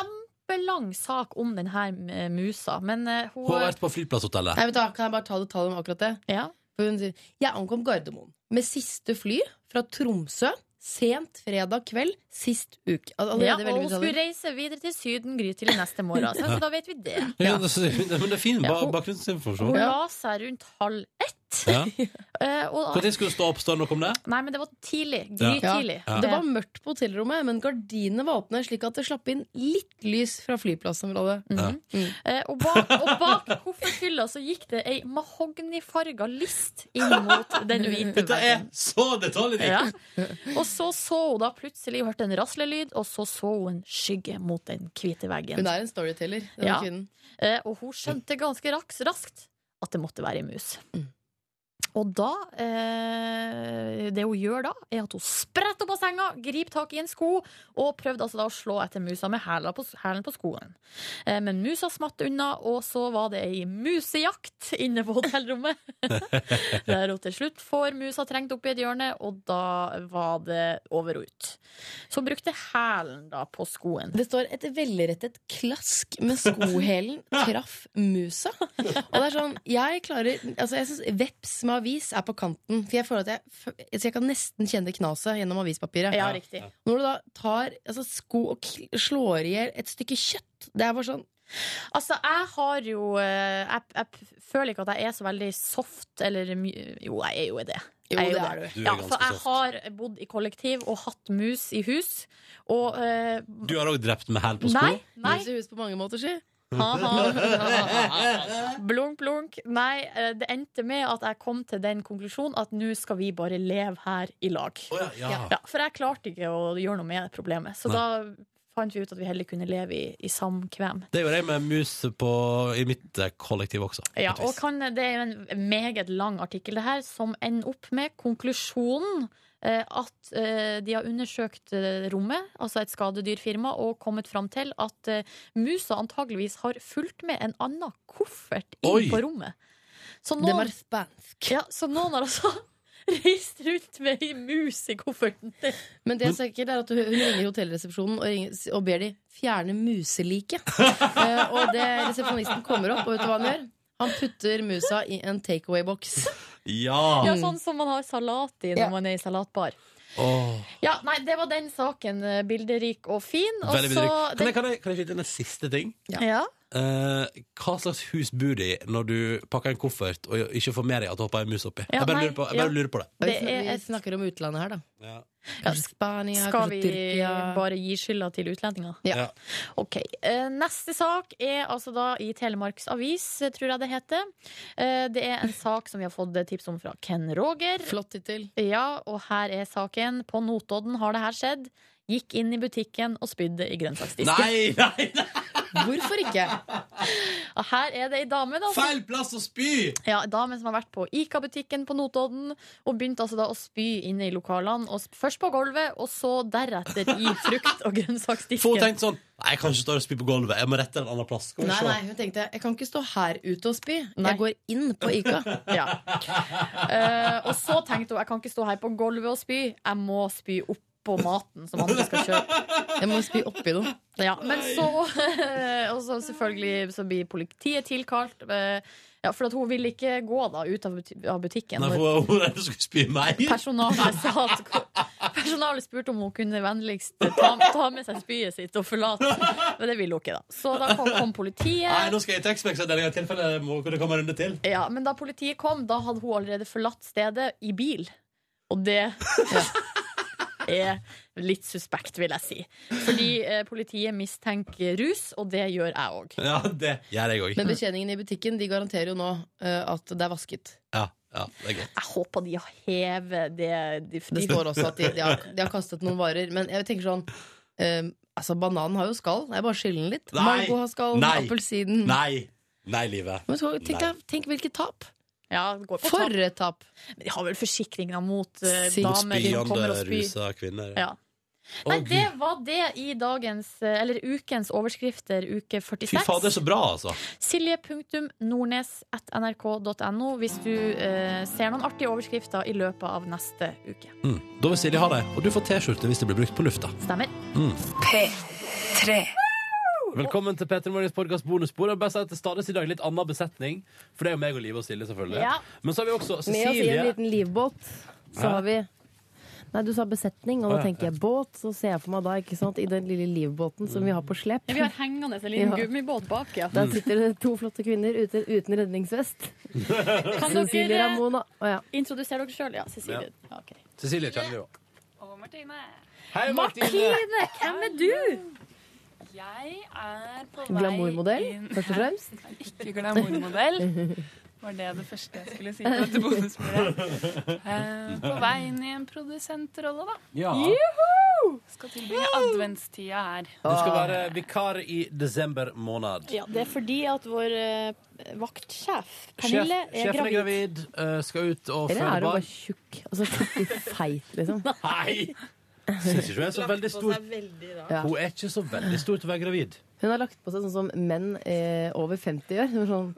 [SPEAKER 4] kjempelang sak om den her eh, musa, men eh, hun
[SPEAKER 12] Hun har vært på flyplasshotellet.
[SPEAKER 3] Nei, vet du, hva, kan jeg bare ta detaljer om akkurat det? For hun sier Jeg ankom Gardermoen med siste fly fra Tromsø sent fredag kveld sist uke. Al
[SPEAKER 4] ja,
[SPEAKER 3] allerede
[SPEAKER 4] og
[SPEAKER 3] veldig
[SPEAKER 4] hun
[SPEAKER 3] mye
[SPEAKER 4] skulle
[SPEAKER 3] detaljer.
[SPEAKER 4] reise videre til Syden grytidlig neste morgen. Så, så da vet vi det.
[SPEAKER 12] Ja, det, men det er fin
[SPEAKER 4] Ja,
[SPEAKER 12] ba-
[SPEAKER 4] hun- Hun
[SPEAKER 12] bakgrunnsinformasjon.
[SPEAKER 4] la seg rundt halv ett.
[SPEAKER 12] Ja.
[SPEAKER 4] Eh, og-
[SPEAKER 12] Når skulle hun stå opp? Står det noe om det?
[SPEAKER 4] Nei, men det var tidlig.
[SPEAKER 12] Ja.
[SPEAKER 4] Grytidlig.
[SPEAKER 12] Ja.
[SPEAKER 3] Det var mørkt på hotellrommet, men gardinene var åpne, slik at det slapp inn litt lys fra flyplassområdet.
[SPEAKER 4] Eh, og bak, og bak kofferthylla så gikk det ei mahognifarga list inn mot den hvite
[SPEAKER 12] Dette er
[SPEAKER 4] veggen.
[SPEAKER 12] så detaljrikt!
[SPEAKER 4] Ja. Og så så hun da plutselig hørte en raslelyd, og så så hun en skygge mot den hvite veggen.
[SPEAKER 3] Hun er en storyteller, denne
[SPEAKER 4] Ja.
[SPEAKER 3] kvinnen.
[SPEAKER 4] Eh, og hun skjønte ganske raks, raskt at det måtte være ei mus. Og da eh, Det hun gjør da, er at hun spretter opp av senga, griper tak i en sko og prøvde altså da å slå etter musa med hæla på, hælen på skoen. Eh, men musa smatt unna, og så var det ei musejakt inne på hotellrommet. Der hun til slutt får musa trengt opp i et hjørne, og da var det over og ut. Så hun brukte hælen da på skoen.
[SPEAKER 3] Det står et velrettet klask med skohælen traff musa. Og det er sånn, jeg klarer Altså, jeg syns veps med avis er på kanten. For jeg føler at jeg, f- så jeg kan nesten kjenne knaset gjennom avispapiret.
[SPEAKER 4] Ja, riktig.
[SPEAKER 3] Når du da tar altså, sko og kl- slår i hjel et stykke kjøtt Det er bare sånn
[SPEAKER 4] Altså, jeg har jo eh, jeg, jeg føler ikke at jeg er så veldig soft eller my Jo, jeg er jo det.
[SPEAKER 3] Jo,
[SPEAKER 4] Jeg er
[SPEAKER 3] det er du. Du er
[SPEAKER 4] Ja,
[SPEAKER 12] ganske
[SPEAKER 4] for jeg
[SPEAKER 12] soft.
[SPEAKER 4] har bodd i kollektiv og hatt mus i hus. Og eh,
[SPEAKER 12] Du har òg drept med hæl på sko?
[SPEAKER 4] Nei. nei.
[SPEAKER 3] Mus i hus på mange måter, si.
[SPEAKER 4] Ha-ha. blunk, blunk. Nei, eh, det endte med at jeg kom til den konklusjonen at nå skal vi bare leve her i lag.
[SPEAKER 12] ja, ja.
[SPEAKER 4] for jeg klarte ikke å gjøre noe med problemet. Så
[SPEAKER 12] Nei.
[SPEAKER 4] da fant vi ut at vi heller kunne leve i, i samkvem.
[SPEAKER 12] Det gjør jeg med mus på, i mitt eh, kollektiv også.
[SPEAKER 4] Ja, og kan, Det er jo en meget lang artikkel det her, som ender opp med konklusjonen eh, at eh, de har undersøkt eh, rommet, altså et skadedyrfirma, og kommet fram til at eh, musa antageligvis har fulgt med en annen koffert inn
[SPEAKER 3] Oi!
[SPEAKER 4] på rommet. Så
[SPEAKER 3] Den var spansk.
[SPEAKER 4] Ja, så noen har altså reist rundt med ei mus i kofferten.
[SPEAKER 3] Men det er sikkert er at hun hun ringer hotellresepsjonen og, ringer, og ber de fjerne museliket. Eh, og det resepsjonisten kommer opp, og vet du hva han gjør? Han putter musa i en takeaway-boks.
[SPEAKER 12] Ja!
[SPEAKER 4] Ja, sånn som man har salat i når man er i salatbar.
[SPEAKER 12] Åh.
[SPEAKER 4] Ja, nei, det var den saken. eh, Bilderik og fin. Og
[SPEAKER 12] Veldig
[SPEAKER 4] så
[SPEAKER 12] bedre. Kan
[SPEAKER 4] den-
[SPEAKER 12] jeg, kan jeg, kan jeg skyte inn en siste ting?
[SPEAKER 4] Ja.
[SPEAKER 12] Eh, hva slags hus bor du i når du pakker en koffert og ikke får med deg at det hopper en mus oppi? jeg bare,
[SPEAKER 3] nei,
[SPEAKER 12] lurer på, jeg bare
[SPEAKER 3] ja.
[SPEAKER 12] lurer på det.
[SPEAKER 3] Vi sn- vi snakker om utlandet her, da.
[SPEAKER 12] Ja.
[SPEAKER 3] Kanskje Spania,
[SPEAKER 4] Skal
[SPEAKER 3] kanskje
[SPEAKER 4] vi
[SPEAKER 3] Tyrkia.
[SPEAKER 4] bare gi skylda til utlendinger?
[SPEAKER 12] Ja.
[SPEAKER 4] Ok, eh, Neste sak er altså da i Telemarks Avis, eh, tror jeg det heter. Eh, Det er en sak som vi har fått eh, tips om fra Ken Roger.
[SPEAKER 3] Flott tittel.
[SPEAKER 4] Ja, og her er saken. På Notodden har det her skjedd. Gikk inn i butikken og spydde i grønnsaksdisken.
[SPEAKER 12] Nei, nei, nei!
[SPEAKER 3] Hvorfor ikke?
[SPEAKER 4] Og her er det ei dame da, som
[SPEAKER 12] Feil plass å spy!
[SPEAKER 4] Ja, en dame som har vært på Ica-butikken på Notodden og begynte altså da å spy inne i lokalene. Og sp- først på gulvet, og så deretter i frukt- og
[SPEAKER 12] Få
[SPEAKER 4] grønnsaksdisken.
[SPEAKER 12] tenkt sånn Nei, jeg kan ikke stå og spy på gulvet. Jeg må rette en annen plass. Skal vi
[SPEAKER 3] Nei,
[SPEAKER 12] se.
[SPEAKER 3] nei, hun tenkte jeg kan ikke stå her ute og spy. Jeg går inn på Ica.
[SPEAKER 4] Ja. Eh, og så tenkte hun jeg kan ikke stå her på gulvet og spy, jeg må spy oppå maten som andre skal kjøpe.
[SPEAKER 3] Jeg må spy oppi noe.
[SPEAKER 4] Ja, men så Og så selvfølgelig så blir politiet tilkalt. eh, ja, for at hun ville ikke gå da ut av buti- av butikken.
[SPEAKER 12] Nei,
[SPEAKER 4] når-
[SPEAKER 12] for hun redde skulle spy meg.
[SPEAKER 4] Personalet sa at Personalet spurte om hun kunne vennligst ta, ta med seg spyet sitt og forlate. Men det ville hun ikke, da. Så da kom, kom
[SPEAKER 12] Nei,
[SPEAKER 4] politiet.
[SPEAKER 12] nå skal jeg til X-Max i tilfelle må kunne komme en runde til.
[SPEAKER 4] Ja, men da politiet kom, da hadde hun allerede forlatt stedet i bil. Og det er litt suspekt, vil jeg si. Fordi eh, politiet mistenker rus, og det gjør jeg òg.
[SPEAKER 12] Ja, det gjør jeg òg.
[SPEAKER 3] Men betjeningen i butikken de garanterer jo nå eh, at det er vasket.
[SPEAKER 12] Ja, ja, det er greit.
[SPEAKER 4] Jeg håper de har hevet det de,
[SPEAKER 3] Det står også at de, de, har, de har kastet noen varer. Men jeg tenker sånn eh, Altså, Bananen har jo skall. Det er bare å skille den litt.
[SPEAKER 12] Nei.
[SPEAKER 3] Mango har skall.
[SPEAKER 12] Nei.
[SPEAKER 3] Appelsinen.
[SPEAKER 12] Nei. Nei, livet.
[SPEAKER 3] Men så, tenk,
[SPEAKER 12] Nei.
[SPEAKER 3] deg- tenk hvilket tap!
[SPEAKER 4] Ja, det går på
[SPEAKER 15] For
[SPEAKER 4] tap.
[SPEAKER 15] et tap!
[SPEAKER 4] Men de har vel forsikringer mot eh,
[SPEAKER 15] Sikkert.
[SPEAKER 16] Mot
[SPEAKER 4] damer som kommer
[SPEAKER 16] spyende,
[SPEAKER 4] og spyr.
[SPEAKER 16] rusa kvinner.
[SPEAKER 4] Ja. Nei, det var det i dagens, eh, eller ukens overskrifter, uke 46.
[SPEAKER 16] Fy fader, så bra, altså!
[SPEAKER 4] Silje.nordnes.nrk.no hvis du eh, ser noen artige overskrifter i løpet av neste uke.
[SPEAKER 16] Mm. Da vil Silje ha det, og du får T-skjorte hvis det blir brukt på lufta.
[SPEAKER 4] Stemmer?
[SPEAKER 16] Mm.
[SPEAKER 17] P3.
[SPEAKER 2] Velkommen til Petter Morgens podkast bonusspor. Og bare si at det stades i dag litt annen besetning, for det er jo meg og Liv og Silje, selvfølgelig.
[SPEAKER 3] Ja.
[SPEAKER 2] Men så har vi også
[SPEAKER 3] Med oss i en
[SPEAKER 2] Cecilie.
[SPEAKER 3] liten livbåt,
[SPEAKER 2] Hæ?
[SPEAKER 3] så har vi Nei, du sa besetning,
[SPEAKER 2] Å,
[SPEAKER 3] og da
[SPEAKER 2] ja.
[SPEAKER 3] tenker jeg båt. Så ser jeg for meg da, ikke sant, i den lille livbåten som vi har på slep.
[SPEAKER 4] Ja, vi har hengende en liten
[SPEAKER 3] Ja.
[SPEAKER 4] gummibåt bak, ja.
[SPEAKER 3] Der sitter det to flotte kvinner uten, uten redningsvest.
[SPEAKER 4] Kan
[SPEAKER 3] Cecilie
[SPEAKER 4] dere
[SPEAKER 3] Ramona. Å, ja.
[SPEAKER 4] introdusere dere sjøl? Ja, Cecilie.
[SPEAKER 2] Ja.
[SPEAKER 4] Ja, ok.
[SPEAKER 2] Cecilie kjenner vi jo.
[SPEAKER 7] Og Martine.
[SPEAKER 2] Hei,
[SPEAKER 4] Martine, hvem er du?
[SPEAKER 7] Jeg er på vei
[SPEAKER 3] Glamourmodell,
[SPEAKER 7] inn-
[SPEAKER 3] først og fremst.
[SPEAKER 7] Nei, Ikke glamourmodell. Var det det første jeg skulle si på dette bonusbordet? Eh, på vei inn i en produsentrolle, da.
[SPEAKER 2] Ja.
[SPEAKER 7] Juhu! Skal tilbringe adventstida her.
[SPEAKER 2] Du skal være vikar i desember måned.
[SPEAKER 4] Ja, det er fordi at vår eh, vaktsjef,
[SPEAKER 2] Sjef,
[SPEAKER 4] Pernille, er
[SPEAKER 2] sjefen er
[SPEAKER 4] gravid.
[SPEAKER 2] gravid, eh, skal ut og
[SPEAKER 3] Eller
[SPEAKER 2] føde
[SPEAKER 3] er hun bare
[SPEAKER 2] barn.
[SPEAKER 3] tjukk? Altså skikkelig feit, liksom.
[SPEAKER 2] Nei! Syns ikke hun er så veldig stor.
[SPEAKER 3] Ja.
[SPEAKER 2] Hun er ikke så veldig stor til å være gravid.
[SPEAKER 3] Hun har lagt på seg sånn som menn eh, over 50 gjør. Hun er Sånn,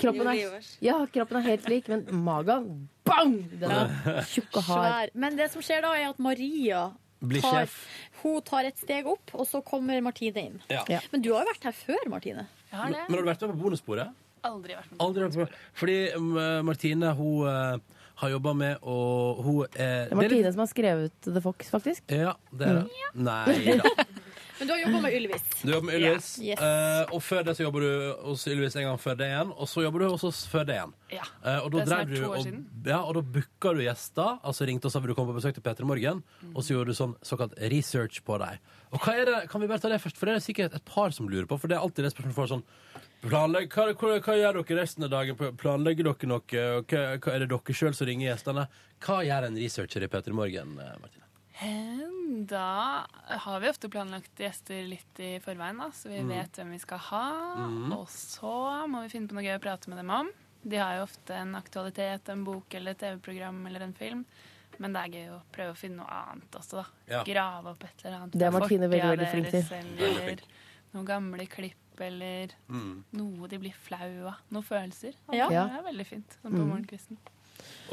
[SPEAKER 3] kroppen, er, ja, kroppen er helt lik, men magen bang! Den er tjukk og hard.
[SPEAKER 4] Svær. Men det som skjer da, er at Maria
[SPEAKER 3] Blir
[SPEAKER 4] tar,
[SPEAKER 3] sjef.
[SPEAKER 4] hun tar et steg opp, og så kommer Martine inn.
[SPEAKER 2] Ja. Ja.
[SPEAKER 4] Men du har jo vært her før, Martine.
[SPEAKER 2] Men men har du vært med på bonussporet?
[SPEAKER 7] Aldri vært
[SPEAKER 2] Aldri vært med. Fordi mm, Martine, hun eh, har jobba med å Hun er
[SPEAKER 3] Det er Martine som har skrevet The Fox, faktisk.
[SPEAKER 2] Ja, det er det. Nei da.
[SPEAKER 4] Men du har jobba med Ylvis.
[SPEAKER 2] Du jobber med Ylvis,
[SPEAKER 4] Ja. Yes.
[SPEAKER 2] eh, og før det så jobber du hos Ylvis en gang før det igjen, og så jobber du hos oss før det igjen.
[SPEAKER 7] Ja.
[SPEAKER 2] Eh, og da
[SPEAKER 7] Det er
[SPEAKER 2] drev du
[SPEAKER 7] snart to år
[SPEAKER 2] og,
[SPEAKER 7] siden.
[SPEAKER 2] ja, og da booka du gjester, altså ringte oss og sa vil du komme på besøk til Peter i morgen, og så gjorde du sånn såkalt research på deg. Og hva er det, Kan vi bare ta det først, for det er sikkert et par som lurer på, for det er alltid det spørsmålet får sånn planlegg, hva, hva, hva gjør dere resten av dagen? Planlegger dere noe? Og Hva, hva, er det dere sjøl som ringer gjestene? Hva gjør en researcher i Peter i morgen, eh, Martine?
[SPEAKER 7] Eh, Da har vi ofte planlagt gjester litt i forveien, da, så vi
[SPEAKER 2] Mm.
[SPEAKER 7] vet hvem vi skal ha.
[SPEAKER 2] Mm.
[SPEAKER 7] Og så må vi finne på noe gøy å prate med dem om. De har jo ofte en aktualitet, en bok eller et TV-program eller en film. Men det er gøy å prøve å finne noe annet også, da.
[SPEAKER 2] Ja.
[SPEAKER 7] Grave opp et eller annet.
[SPEAKER 3] Det er
[SPEAKER 7] fra
[SPEAKER 3] Martine
[SPEAKER 7] fortida
[SPEAKER 3] veldig, veldig flink
[SPEAKER 7] deres,
[SPEAKER 3] til.
[SPEAKER 2] Veldig
[SPEAKER 7] Eller
[SPEAKER 2] flink.
[SPEAKER 7] noen gamle klipp eller
[SPEAKER 2] Mm.
[SPEAKER 7] noe de blir flau av. Noen følelser.
[SPEAKER 4] Ja.
[SPEAKER 7] Det er veldig fint. Sånn på
[SPEAKER 2] Mm.
[SPEAKER 7] morgenkvisten.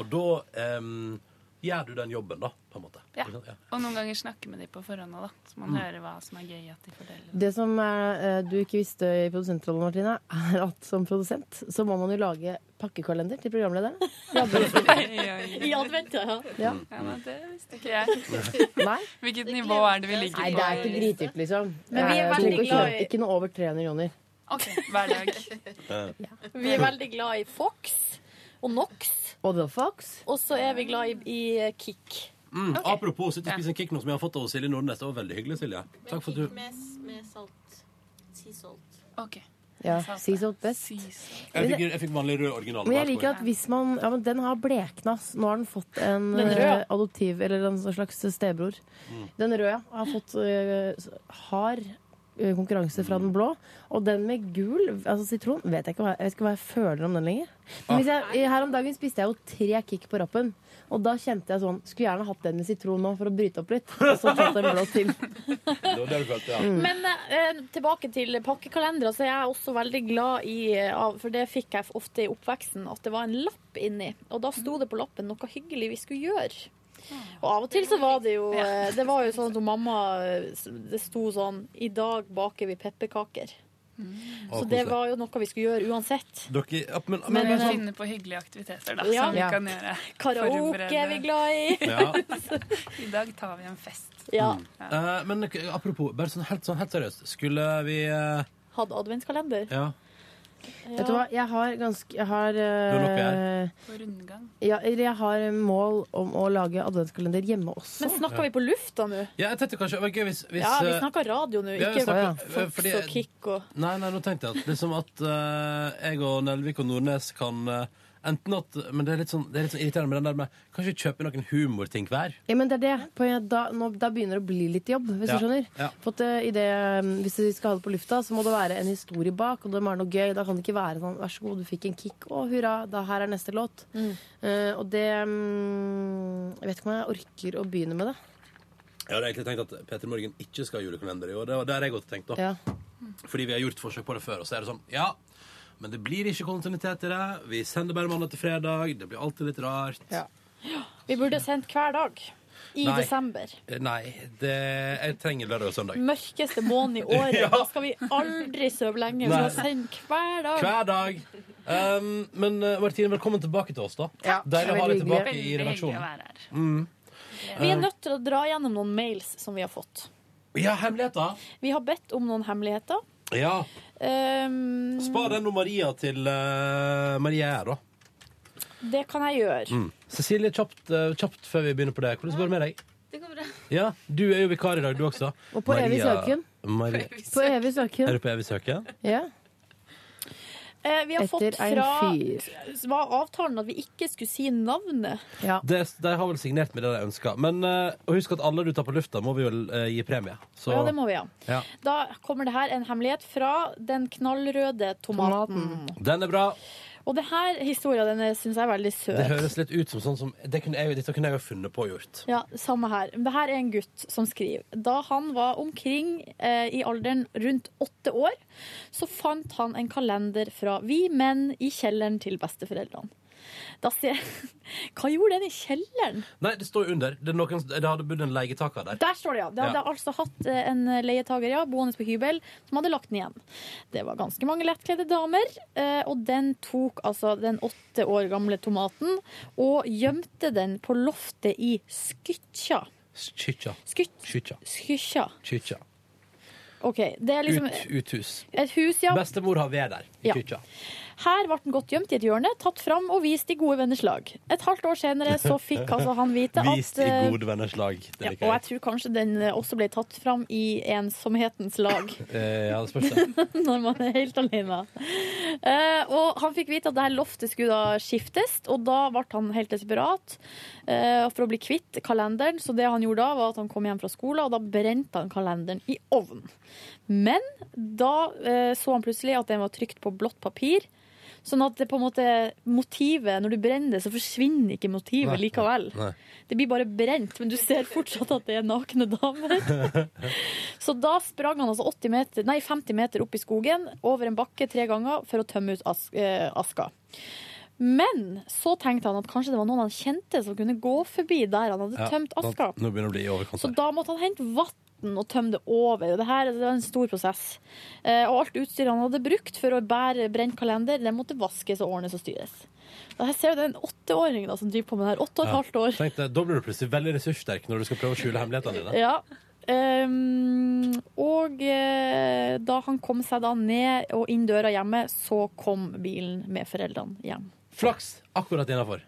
[SPEAKER 2] Og da em, gjør du den jobben, da, på en måte.
[SPEAKER 7] Ja.
[SPEAKER 2] Ikke sant? Ja.
[SPEAKER 7] Og noen ganger snakke med de på forhånd òg, da. Så man
[SPEAKER 2] Mm.
[SPEAKER 7] hører hva som er gøy at de forteller.
[SPEAKER 3] Det som eh, du ikke visste i produsentrollen, Martine, er at som produsent så må man jo lage pakkekalender til programlederne.
[SPEAKER 4] I advent, ja.
[SPEAKER 3] Ja.
[SPEAKER 7] Ja, men det visste ikke jeg.
[SPEAKER 3] Nei.
[SPEAKER 7] Hvilket nivå er det vi ligger på?
[SPEAKER 3] Nei, det er ikke dritdyrt, liksom.
[SPEAKER 7] Men vi er
[SPEAKER 3] Eh,
[SPEAKER 7] veldig
[SPEAKER 3] ikke-
[SPEAKER 7] glad i-
[SPEAKER 3] Ikke noe over 300 kroner.
[SPEAKER 7] Ok, hver dag.
[SPEAKER 4] Vi er veldig glad i Fox og Nox.
[SPEAKER 3] Og The Fox.
[SPEAKER 4] Og så er vi glad i, i Kick.
[SPEAKER 2] Mm, Apropos sitte og spise en kick nå som jeg har fått av Silje Nordnes. Det var veldig hyggelig, Silje. Takk for at du
[SPEAKER 18] Med, salt. Si salt.
[SPEAKER 7] Ok.
[SPEAKER 3] Ja, Seas Out Best.
[SPEAKER 2] Jeg fikk, jeg fikk vanlig rød original.
[SPEAKER 3] Men jeg liker at hvis man Ja, men den har blekna. ass. Nå har den fått en
[SPEAKER 2] Den røde.
[SPEAKER 3] eh, adoptiv Eller en slags stebror.
[SPEAKER 2] Mm.
[SPEAKER 3] Den røde har fått eh, s- hard eh, konkurranse fra den blå. Og den med gul, altså sitron, vet jeg ikke hva jeg, vet ikke hva jeg føler om den lenger. Men hvis
[SPEAKER 2] Ah.
[SPEAKER 3] jeg, her om dagen spiste jeg jo tre kick på rappen. Og da kjente jeg sånn Skulle gjerne hatt den med sitron nå for å bryte opp litt. Og så falt den blå til.
[SPEAKER 2] Det var det du kalte, ja.
[SPEAKER 4] Men eh, tilbake til pakkekalendere, så er jeg også veldig glad i eh, av- For det fikk jeg ofte i oppveksten, at det var en lapp inni. Og da sto det på lappen noe hyggelig vi skulle gjøre. Og av og til så var det jo eh, Det var jo sånn at hun mamma eh, s- Det sto sånn I dag baker vi pepperkaker. Så
[SPEAKER 2] Å,
[SPEAKER 4] det
[SPEAKER 2] koselig.
[SPEAKER 4] var jo noe vi skulle gjøre uansett.
[SPEAKER 2] Dere, ja, men,
[SPEAKER 7] Men
[SPEAKER 2] men,
[SPEAKER 7] vi
[SPEAKER 2] men,
[SPEAKER 7] finner på hyggelige aktiviteter, da,
[SPEAKER 4] sånn- Ja.
[SPEAKER 7] som vi
[SPEAKER 4] Ja.
[SPEAKER 7] kan gjøre.
[SPEAKER 4] Karaoke er vi glad i.
[SPEAKER 2] Ja.
[SPEAKER 7] I dag tar vi en fest.
[SPEAKER 4] Ja.
[SPEAKER 2] Eh, men k- apropos, bare sånn helt, sånn helt seriøst. Skulle vi eh,
[SPEAKER 4] Hadde adventskalender.
[SPEAKER 2] Ja.
[SPEAKER 3] Vet du hva, jeg har ganske Jeg har
[SPEAKER 2] Du har nok
[SPEAKER 3] eh,
[SPEAKER 7] På rundgang.
[SPEAKER 3] ja, eller jeg har mål om å lage adventskalender hjemme også.
[SPEAKER 4] Men snakker vi på lufta nå?
[SPEAKER 2] ja, jeg tenkte kanskje det var gøy hvis, hvis
[SPEAKER 4] Ja, vi
[SPEAKER 2] eh,
[SPEAKER 4] snakker radio nå,
[SPEAKER 2] ja, vi
[SPEAKER 4] ikke
[SPEAKER 2] snakker- eh,
[SPEAKER 4] Fox
[SPEAKER 2] fordi-
[SPEAKER 4] og Kick og
[SPEAKER 2] Nei, nei, nå tenkte jeg at liksom at eh, jeg og Nelvik og Nordnes kan eh, Enten at, men det er, litt sånn, det er litt sånn irriterende med den der med Kanskje kjøpe noen humorting hver?
[SPEAKER 3] Ja, men det er det. Poenget er at Da, nå, da begynner det å bli litt jobb, hvis
[SPEAKER 2] Ja,
[SPEAKER 3] du skjønner.
[SPEAKER 2] ja.
[SPEAKER 3] For at, eh, i det, eh, hvis vi skal ha det på lufta, så må det være en historie bak, og det må være noe gøy. Da kan det ikke være sånn 'vær så god, du fikk en kick', å hurra, da her er neste låt.
[SPEAKER 4] Mm.
[SPEAKER 3] Eh, og det mm, Jeg vet ikke om jeg orker å begynne med det.
[SPEAKER 2] Jeg hadde egentlig tenkt at Peter Morgen ikke skal ha julekalender i år. Det var der jeg godt tenkte da.
[SPEAKER 3] Ja.
[SPEAKER 2] Fordi vi har gjort forsøk på det før, og så er det sånn Ja, men det blir ikke kontinuitet i det. Vi sender bare mandag til fredag. Det blir alltid litt rart.
[SPEAKER 4] Vi burde sendt hver dag i
[SPEAKER 2] Nei.
[SPEAKER 4] desember.
[SPEAKER 2] Eh, Nei, det, jeg trenger lørdag og søndag.
[SPEAKER 4] Mørkeste måneden i året.
[SPEAKER 2] Ja.
[SPEAKER 4] Da skal vi aldri sove lenge. Vi
[SPEAKER 2] Nei.
[SPEAKER 4] skal sende hver dag.
[SPEAKER 2] Hver dag. Um, men eh, Martine, velkommen tilbake til oss, da.
[SPEAKER 4] Ja,
[SPEAKER 2] Deilig å ha deg
[SPEAKER 4] veldig hyggelig.
[SPEAKER 2] tilbake i
[SPEAKER 4] Veldig hyggelig å
[SPEAKER 2] redaksjonen.
[SPEAKER 4] være
[SPEAKER 2] Mm.
[SPEAKER 4] Vi er
[SPEAKER 2] Eh,
[SPEAKER 4] nødt til å dra gjennom noen mails som vi har fått.
[SPEAKER 2] Ja, hemmeligheter.
[SPEAKER 4] Vi har bedt om noen hemmeligheter.
[SPEAKER 2] Ja.
[SPEAKER 4] Um,
[SPEAKER 2] Spar den og Maria til eh, Maria er, da.
[SPEAKER 4] Det kan jeg gjøre.
[SPEAKER 2] Mm. Cecilie, kjapt, eh, kjapt før vi begynner på det. Hvordan går det med deg?
[SPEAKER 19] Det går bra.
[SPEAKER 2] Ja, Du er jo vikar i dag, du også.
[SPEAKER 3] Og på evig
[SPEAKER 2] Maria-
[SPEAKER 3] søken.
[SPEAKER 2] Maria.
[SPEAKER 3] På evig søken.
[SPEAKER 2] Er du på evig søken?
[SPEAKER 3] Ja.
[SPEAKER 4] Eh, vi har
[SPEAKER 3] Etter
[SPEAKER 4] fått
[SPEAKER 3] en
[SPEAKER 4] fra var avtalen at vi ikke skulle si navnet.
[SPEAKER 2] Det, de har vel signert med det de ønsker. Men eh, og husk at alle du tar på lufta, må vi vel eh, gi premie. Så-
[SPEAKER 4] Ja, det må vi ha.
[SPEAKER 2] Ja.
[SPEAKER 4] Da kommer det her en hemmelighet fra den knallrøde tomaten.
[SPEAKER 2] Den er bra.
[SPEAKER 4] Og det her historien den syns jeg er veldig søt.
[SPEAKER 2] Det høres litt ut som sånn som det kunne jeg, Dette kunne jeg jo funnet på å gjort.
[SPEAKER 4] Ja, samme her. Det her er en gutt som skriver. Da han var omkring eh, i alderen rundt åtte år, så fant han en kalender fra Vi menn i kjelleren til besteforeldrene. Da sier jeg Hva gjorde den i kjelleren?
[SPEAKER 2] Nei, det står jo under. Det, er noen, det hadde bodd en leietaker der.
[SPEAKER 4] Der står det, ja. Det hadde
[SPEAKER 2] Ja.
[SPEAKER 4] altså hatt eh, en leietager ja, boende på hybel som hadde lagt den igjen. Det var ganske mange lettkledde damer, eh, og den tok altså den åtte år gamle tomaten og gjemte den på loftet i Skytja.
[SPEAKER 2] Skytja.
[SPEAKER 4] Skyt-
[SPEAKER 2] Skytja.
[SPEAKER 4] Skytja.
[SPEAKER 2] Skytja.
[SPEAKER 4] OK. Det er liksom
[SPEAKER 2] Ut, uthus.
[SPEAKER 4] et hus, ja.
[SPEAKER 2] Bestemor har ved der. I
[SPEAKER 4] Ja.
[SPEAKER 2] Kyrkja.
[SPEAKER 4] Her ble den godt gjemt i et hjørne, tatt fram og vist i gode venners lag. Et halvt år senere så fikk altså han vite at
[SPEAKER 2] Vist i
[SPEAKER 4] eh,
[SPEAKER 2] gode venners lag. Det
[SPEAKER 4] ja,
[SPEAKER 2] liker
[SPEAKER 4] og jeg tror kanskje den eh, også ble tatt fram i ensomhetens lag.
[SPEAKER 2] Eh, ja, det spørs det.
[SPEAKER 4] Når man er helt alene. Eh, og han fikk vite at det her loftet skulle da skiftes, og da ble han helt desperat eh, for å bli kvitt kalenderen. Så det han gjorde da, var at han kom hjem fra skolen, og da brente han kalenderen i ovnen. Men da eh, så han plutselig at den var trykt på blått papir. Sånn at det på en måte motivet, når du brenner det, så forsvinner ikke motivet
[SPEAKER 2] Nei.
[SPEAKER 4] likevel.
[SPEAKER 2] Nei.
[SPEAKER 4] Det blir bare brent, men du ser fortsatt at det er nakne damer. Så da sprang han altså 80 meter, nei, 50 meter opp i skogen, over en bakke tre ganger, for å tømme ut as eh, aska. Men så tenkte han at kanskje det var noen han kjente som kunne gå forbi der han hadde
[SPEAKER 2] Ja,
[SPEAKER 4] tømt
[SPEAKER 2] nå-
[SPEAKER 4] aska.
[SPEAKER 2] Nå begynner det å bli i overkant.
[SPEAKER 4] Så da måtte han hente vann og tømme det over. Og det her det var en stor prosess. Eh, og alt utstyret han hadde brukt for å bære brent kalender, det måtte vaskes og ordnes og styres. Og her ser du den åtteåringen da, som driver på med det her. Åtte og et halvt år.
[SPEAKER 2] Tenk deg, da blir du plutselig veldig ressurssterk når du skal prøve å skjule hemmelighetene dine.
[SPEAKER 4] Ja. Ehm, og eh, da han kom seg da ned og inn døra hjemme, så kom bilen med foreldrene hjem.
[SPEAKER 2] Flaks akkurat innafor.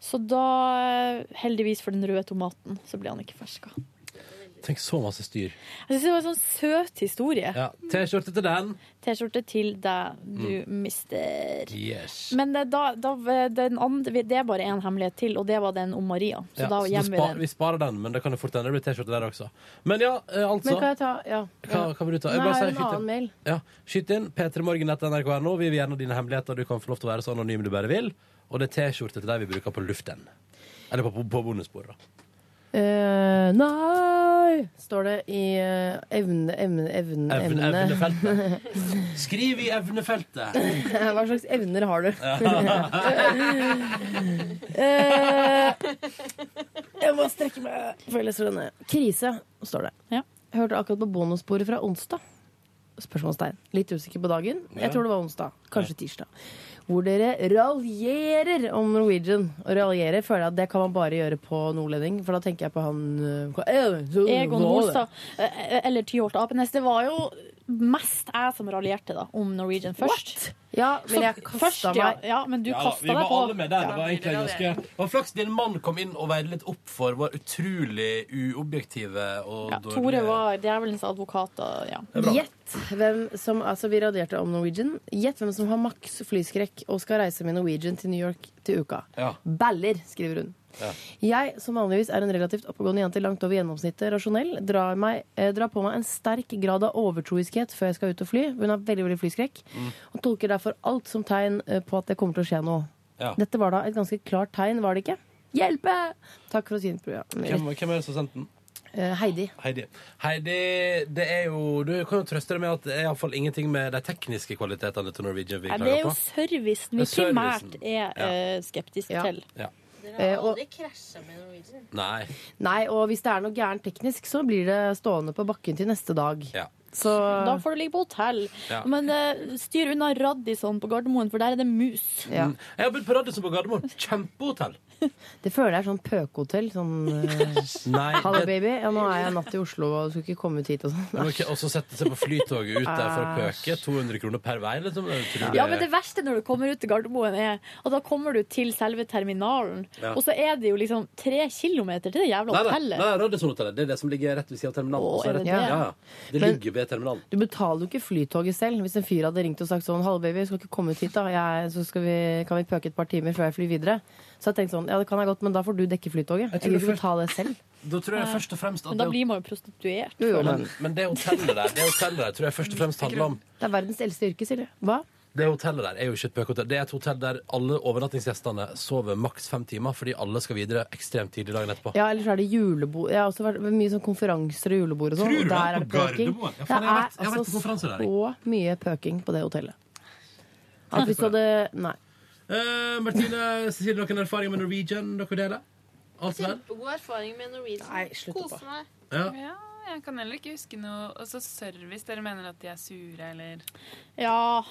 [SPEAKER 4] Så da, eh, heldigvis for den røde tomaten, så ble han ikke ferska.
[SPEAKER 2] Tenk så masse styr.
[SPEAKER 4] Jeg synes det var en sånn søt historie.
[SPEAKER 2] Ja, T-skjorte til den.
[SPEAKER 4] T-skjorte til deg, du mister.
[SPEAKER 2] Yes.
[SPEAKER 4] Men eh, da, da eh, den andre, det er bare én hemmelighet til, og det var den om Maria. Så
[SPEAKER 2] Ja,
[SPEAKER 4] da
[SPEAKER 2] da
[SPEAKER 4] gjemmer vi
[SPEAKER 2] spar,
[SPEAKER 4] den.
[SPEAKER 2] vi sparer den, men det kan jo fort hende det blir T-skjorte der også. Men ja, eh, altså.
[SPEAKER 3] Men kan jeg ta Ja.
[SPEAKER 2] Hva, hva vil du ta?
[SPEAKER 3] Nei, jeg
[SPEAKER 2] bare
[SPEAKER 3] har
[SPEAKER 2] sier
[SPEAKER 3] en
[SPEAKER 2] skyt inn.
[SPEAKER 3] annen mail.
[SPEAKER 2] Ja, Skyt inn p3morgen.nrk.no. Vi vil gjerne ha dine hemmeligheter. Du kan få lov til å være så anonym du bare vil. Og det er T-skjorte til deg vi bruker på luften. Eller på, på, på bonusbordet. da.
[SPEAKER 3] Eh, nei, står det i eh, evne, evne, evne,
[SPEAKER 2] Evne-
[SPEAKER 3] evne.
[SPEAKER 2] Skriv i evnefeltet!
[SPEAKER 3] Eh, Hva slags evner har du? Eh, jeg må strekke meg før jeg leser denne. Krise, står det. Jeg hørte akkurat på bonussporet fra onsdag. Spørsmålstegn. Litt usikker på dagen.
[SPEAKER 20] Ja.
[SPEAKER 3] Jeg tror det var onsdag. Kanskje tirsdag. Hvor dere raljerer om Norwegian. Og raljere føler jeg at det kan man bare gjøre på nordlending, for da tenker jeg på han eh, hva-
[SPEAKER 4] Egon Holstad, eh, eller Tyholt eh, Apenes. Det var jo mest jeg som raljerte da, om Norwegian først.
[SPEAKER 3] Ja, men
[SPEAKER 4] Så
[SPEAKER 3] jeg kastet
[SPEAKER 4] først, ja,
[SPEAKER 3] meg.
[SPEAKER 4] ja, men du
[SPEAKER 2] Ja da,
[SPEAKER 4] kastet
[SPEAKER 2] vi
[SPEAKER 4] deg
[SPEAKER 2] var
[SPEAKER 4] på.
[SPEAKER 2] alle med der. Det var
[SPEAKER 4] Ja.
[SPEAKER 2] egentlig ganske det var Flaks din mann kom inn og veide litt opp for vår utrolig uobjektive og
[SPEAKER 4] Tore var djevelens advokat. og- Ja.
[SPEAKER 3] Gjett hvem som altså Vi raderte om Norwegian. Gjett hvem som har maks flyskrekk og skal reise med Norwegian til New York til uka.
[SPEAKER 2] Ja.
[SPEAKER 3] Baller, skriver hun.
[SPEAKER 2] Ja.
[SPEAKER 3] Jeg, som vanligvis er en relativt oppegående jente langt over gjennomsnittet rasjonell, drar, meg, eh, drar på meg en sterk grad av overtroiskhet før jeg skal ut og fly. Hun har veldig veldig flyskrekk.
[SPEAKER 2] Mm.
[SPEAKER 3] Og tolker derfor alt som tegn eh, på at det kommer til å skje noe.
[SPEAKER 2] Ja.
[SPEAKER 3] Dette var da et ganske klart tegn, var det ikke? Hjelpe! Takk for å si det.
[SPEAKER 2] Hvem, hvem er det som sendte den?
[SPEAKER 3] Eh, Heidi.
[SPEAKER 2] Heidi. Heidi, det er jo, du kan jo trøste deg med at det er iallfall ingenting med de tekniske kvalitetene til Norwegian vi
[SPEAKER 4] Nei, det er
[SPEAKER 2] klager
[SPEAKER 4] jo
[SPEAKER 2] på.
[SPEAKER 4] servicen vi
[SPEAKER 2] Det er
[SPEAKER 4] primært
[SPEAKER 2] servicen.
[SPEAKER 4] er
[SPEAKER 2] Ja.
[SPEAKER 4] eh, skeptisk til.
[SPEAKER 2] Ja.
[SPEAKER 3] Eh, og-
[SPEAKER 21] krasja med Norwegian.
[SPEAKER 2] Nei.
[SPEAKER 3] Nei, og hvis det er noe gærent teknisk, så blir det stående på bakken til neste dag. Så
[SPEAKER 4] Da får du ligge på hotell.
[SPEAKER 2] Ja.
[SPEAKER 4] Men eh, styr unna Radisson på Gardermoen, for der er det mus.
[SPEAKER 2] Mm. Jeg har bodd på Radisson på Gardermoen. Kjempehotell.
[SPEAKER 3] Det føler jeg er sånn pøkehotell. Sånn
[SPEAKER 2] Nei,
[SPEAKER 3] eh, Hallo,
[SPEAKER 2] det-
[SPEAKER 3] baby. Ja, nå er jeg natt i Oslo, og du skulle ikke komme ut hit og
[SPEAKER 2] Man må
[SPEAKER 3] sånn.
[SPEAKER 2] ikke også sette seg på flytoget ut der for å pøke. 200 kroner per vei, liksom. Det er utrolig.
[SPEAKER 4] Ah. Ja, men det verste når du kommer ut til Gardermoen, er at da kommer du til selve terminalen,
[SPEAKER 2] Ja.
[SPEAKER 4] og så er det jo liksom tre kilometer til det jævla
[SPEAKER 2] Nei, nei,
[SPEAKER 4] hotellet.
[SPEAKER 2] nei, Radisson-hotellet. Det er det som ligger rett ved siden av terminalen.
[SPEAKER 4] Å,
[SPEAKER 2] Og så
[SPEAKER 4] er det
[SPEAKER 2] rett-
[SPEAKER 4] det?
[SPEAKER 2] Ja, ja. det
[SPEAKER 3] Men-
[SPEAKER 2] ligger ved terminalen.
[SPEAKER 3] Du betaler jo ikke flytoget selv. Hvis en fyr hadde ringt og sagt sånn Hallo, baby, skal ikke komme ut hit, da. Jeg, så skal vi, kan vi pøke et par timer før jeg flyr videre. Så jeg tenkte sånn Ja, det kan jeg godt, men da får du dekke flytoget.
[SPEAKER 2] tror
[SPEAKER 3] Jeg kan
[SPEAKER 2] det
[SPEAKER 3] ikke betale det selv.
[SPEAKER 2] Da tror jeg først og fremst at
[SPEAKER 4] Ah. Men da
[SPEAKER 2] det-
[SPEAKER 4] blir man jo prostituert.
[SPEAKER 3] Jo, jo,
[SPEAKER 2] men, men det hotellet der Det hotellet der tror jeg først og fremst handler om
[SPEAKER 3] Det er verdens eldste yrke, sier du. Hva?
[SPEAKER 2] Det hotellet der er jo ikke et pøkehotell. Det er et hotell der alle overnattingsgjestene sover maks fem timer, fordi alle skal videre ekstremt tidlig dagen etterpå.
[SPEAKER 3] Ja, eller så er det julebord. Jeg har også vært ved mye sånn konferanser og julebord og sånn.
[SPEAKER 2] Tror du
[SPEAKER 3] og
[SPEAKER 2] det
[SPEAKER 3] der
[SPEAKER 2] er
[SPEAKER 3] er det
[SPEAKER 2] på
[SPEAKER 3] pøking.
[SPEAKER 2] Gardermoen? Ja,
[SPEAKER 3] Det
[SPEAKER 2] faen, jeg har vært- jeg
[SPEAKER 3] er
[SPEAKER 2] har vært på
[SPEAKER 3] altså
[SPEAKER 2] konferanser der,
[SPEAKER 3] så mye pøking på det hotellet. At hvis du hadde Nei.
[SPEAKER 2] Eh, Martine, Cecilie, noen erfaringer med Norwegian dere deler? Alt vel?
[SPEAKER 22] God erfaring med Norwegian. Kose meg.
[SPEAKER 2] Ja.
[SPEAKER 23] Ja, jeg kan heller ikke huske noe. Og så service. Dere mener at de er sure, eller
[SPEAKER 4] Ja.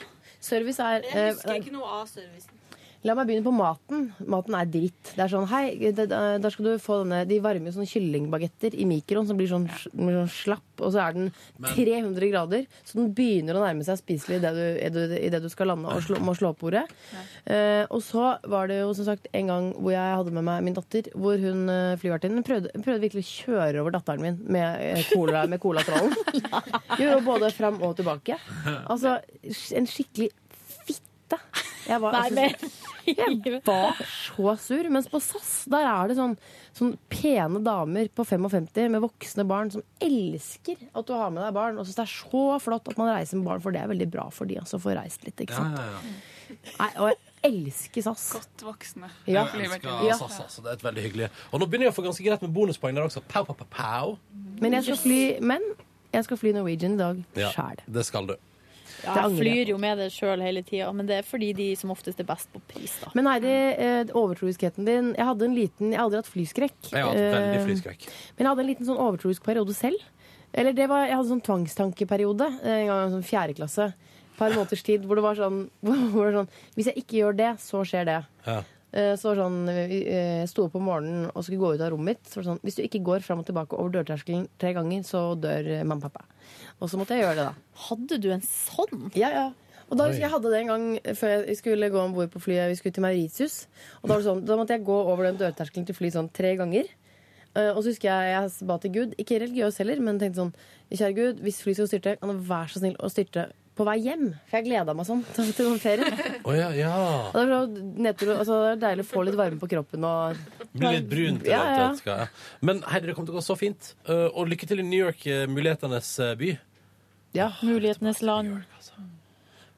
[SPEAKER 3] Service er
[SPEAKER 22] Men Jeg
[SPEAKER 3] eh,
[SPEAKER 22] husker ikke noe av servicen.
[SPEAKER 3] La meg begynne på maten. Maten er dritt. Det er sånn, hei, det, der skal du få denne De varmer jo sånne kyllingbagetter i mikroen som blir sånn, blir sånn slapp, og så er den
[SPEAKER 2] Men-
[SPEAKER 3] 300 grader, så den begynner å nærme seg spiselig idet du, i det- i det du skal lande og slå, må slå opp bordet. Eh, og så var det jo som sagt en gang hvor jeg hadde med meg min datter, hvor hun eh, flyvertinnen prøvde, prøvde virkelig å kjøre over datteren min med eh, cola med colatrollen. Jo, jo, både fram og tilbake. Altså en skikkelig jeg var,
[SPEAKER 4] Nei,
[SPEAKER 3] altså, jeg var så sur. Mens på SAS, der er det sånn, sånn pene damer på 55 med voksne barn som elsker at du har med deg barn, og syns det er så flott at man reiser med barn, for det er veldig bra for de altså, å få reist litt. Ikke sant? Nei, og jeg elsker SAS.
[SPEAKER 23] Godt voksne.
[SPEAKER 3] Ja.
[SPEAKER 2] Jeg elsker
[SPEAKER 3] Ja.
[SPEAKER 2] SAS, altså. Det er et veldig hyggelig. Og nå begynner jeg å få ganske greit med bonuspoeng der også. Pow, pow, pow, pow.
[SPEAKER 3] Men jeg skal fly, men jeg skal fly Norwegian i dag.
[SPEAKER 2] Ja, det skal du.
[SPEAKER 4] Ja,
[SPEAKER 3] Det
[SPEAKER 4] jeg
[SPEAKER 3] angrer jeg
[SPEAKER 4] flyr jo med det sjøl hele tida, men det er fordi de som oftest er best på pris, da.
[SPEAKER 3] Men Heidi, eh, overtroiskheten din Jeg hadde en liten, jeg har aldri hatt flyskrekk.
[SPEAKER 2] Jeg har hatt veldig
[SPEAKER 3] Eh,
[SPEAKER 2] flyskrekk.
[SPEAKER 3] Men jeg hadde en liten sånn overtroisk periode selv. Eller det var, jeg hadde sånn tvangstankeperiode eh, en gang i sånn fjerde klasse. Et par måneders tid hvor det var sånn, hvor det var sånn Hvis jeg ikke gjør det, så skjer det.
[SPEAKER 2] Ja.
[SPEAKER 3] Eh, Så var det sånn, eh, Jeg sto opp om morgenen og skulle gå ut av rommet mitt. Så var det sånn, Hvis du ikke går fram og tilbake over dørterskelen tre ganger, så dør eh, mamma og pappa. Og så måtte jeg gjøre det, da.
[SPEAKER 4] Hadde du en sånn?
[SPEAKER 3] Ja, ja. Og da,
[SPEAKER 4] Oi.
[SPEAKER 3] husker jeg jeg hadde det en gang eh, før jeg skulle gå om bord på flyet. Vi skulle til Mauritius. Og da, var det sånn, da måtte jeg gå over den dørterskelen til fly sånn tre ganger. Eh, og så husker jeg jeg ba til Gud, ikke religiøs heller, men tenkte sånn Kjære Gud, hvis fly skal styrte, kan du være så snill å styrte på vei hjem? For jeg gleda meg sånn til til den ferien.
[SPEAKER 2] Å ja, ja.
[SPEAKER 3] Og det var så nedtur, altså, det er deilig å få litt varme på kroppen og
[SPEAKER 2] Blir litt brun til
[SPEAKER 3] Ja,
[SPEAKER 2] alt,
[SPEAKER 3] ja.
[SPEAKER 2] vet du hva, ja. Men Heidi, det kommer til å gå så fint. Eh, Og lykke til i New York, eh, mulighetenes eh, by.
[SPEAKER 3] Ja.
[SPEAKER 4] Mulighetenes land.
[SPEAKER 2] altså.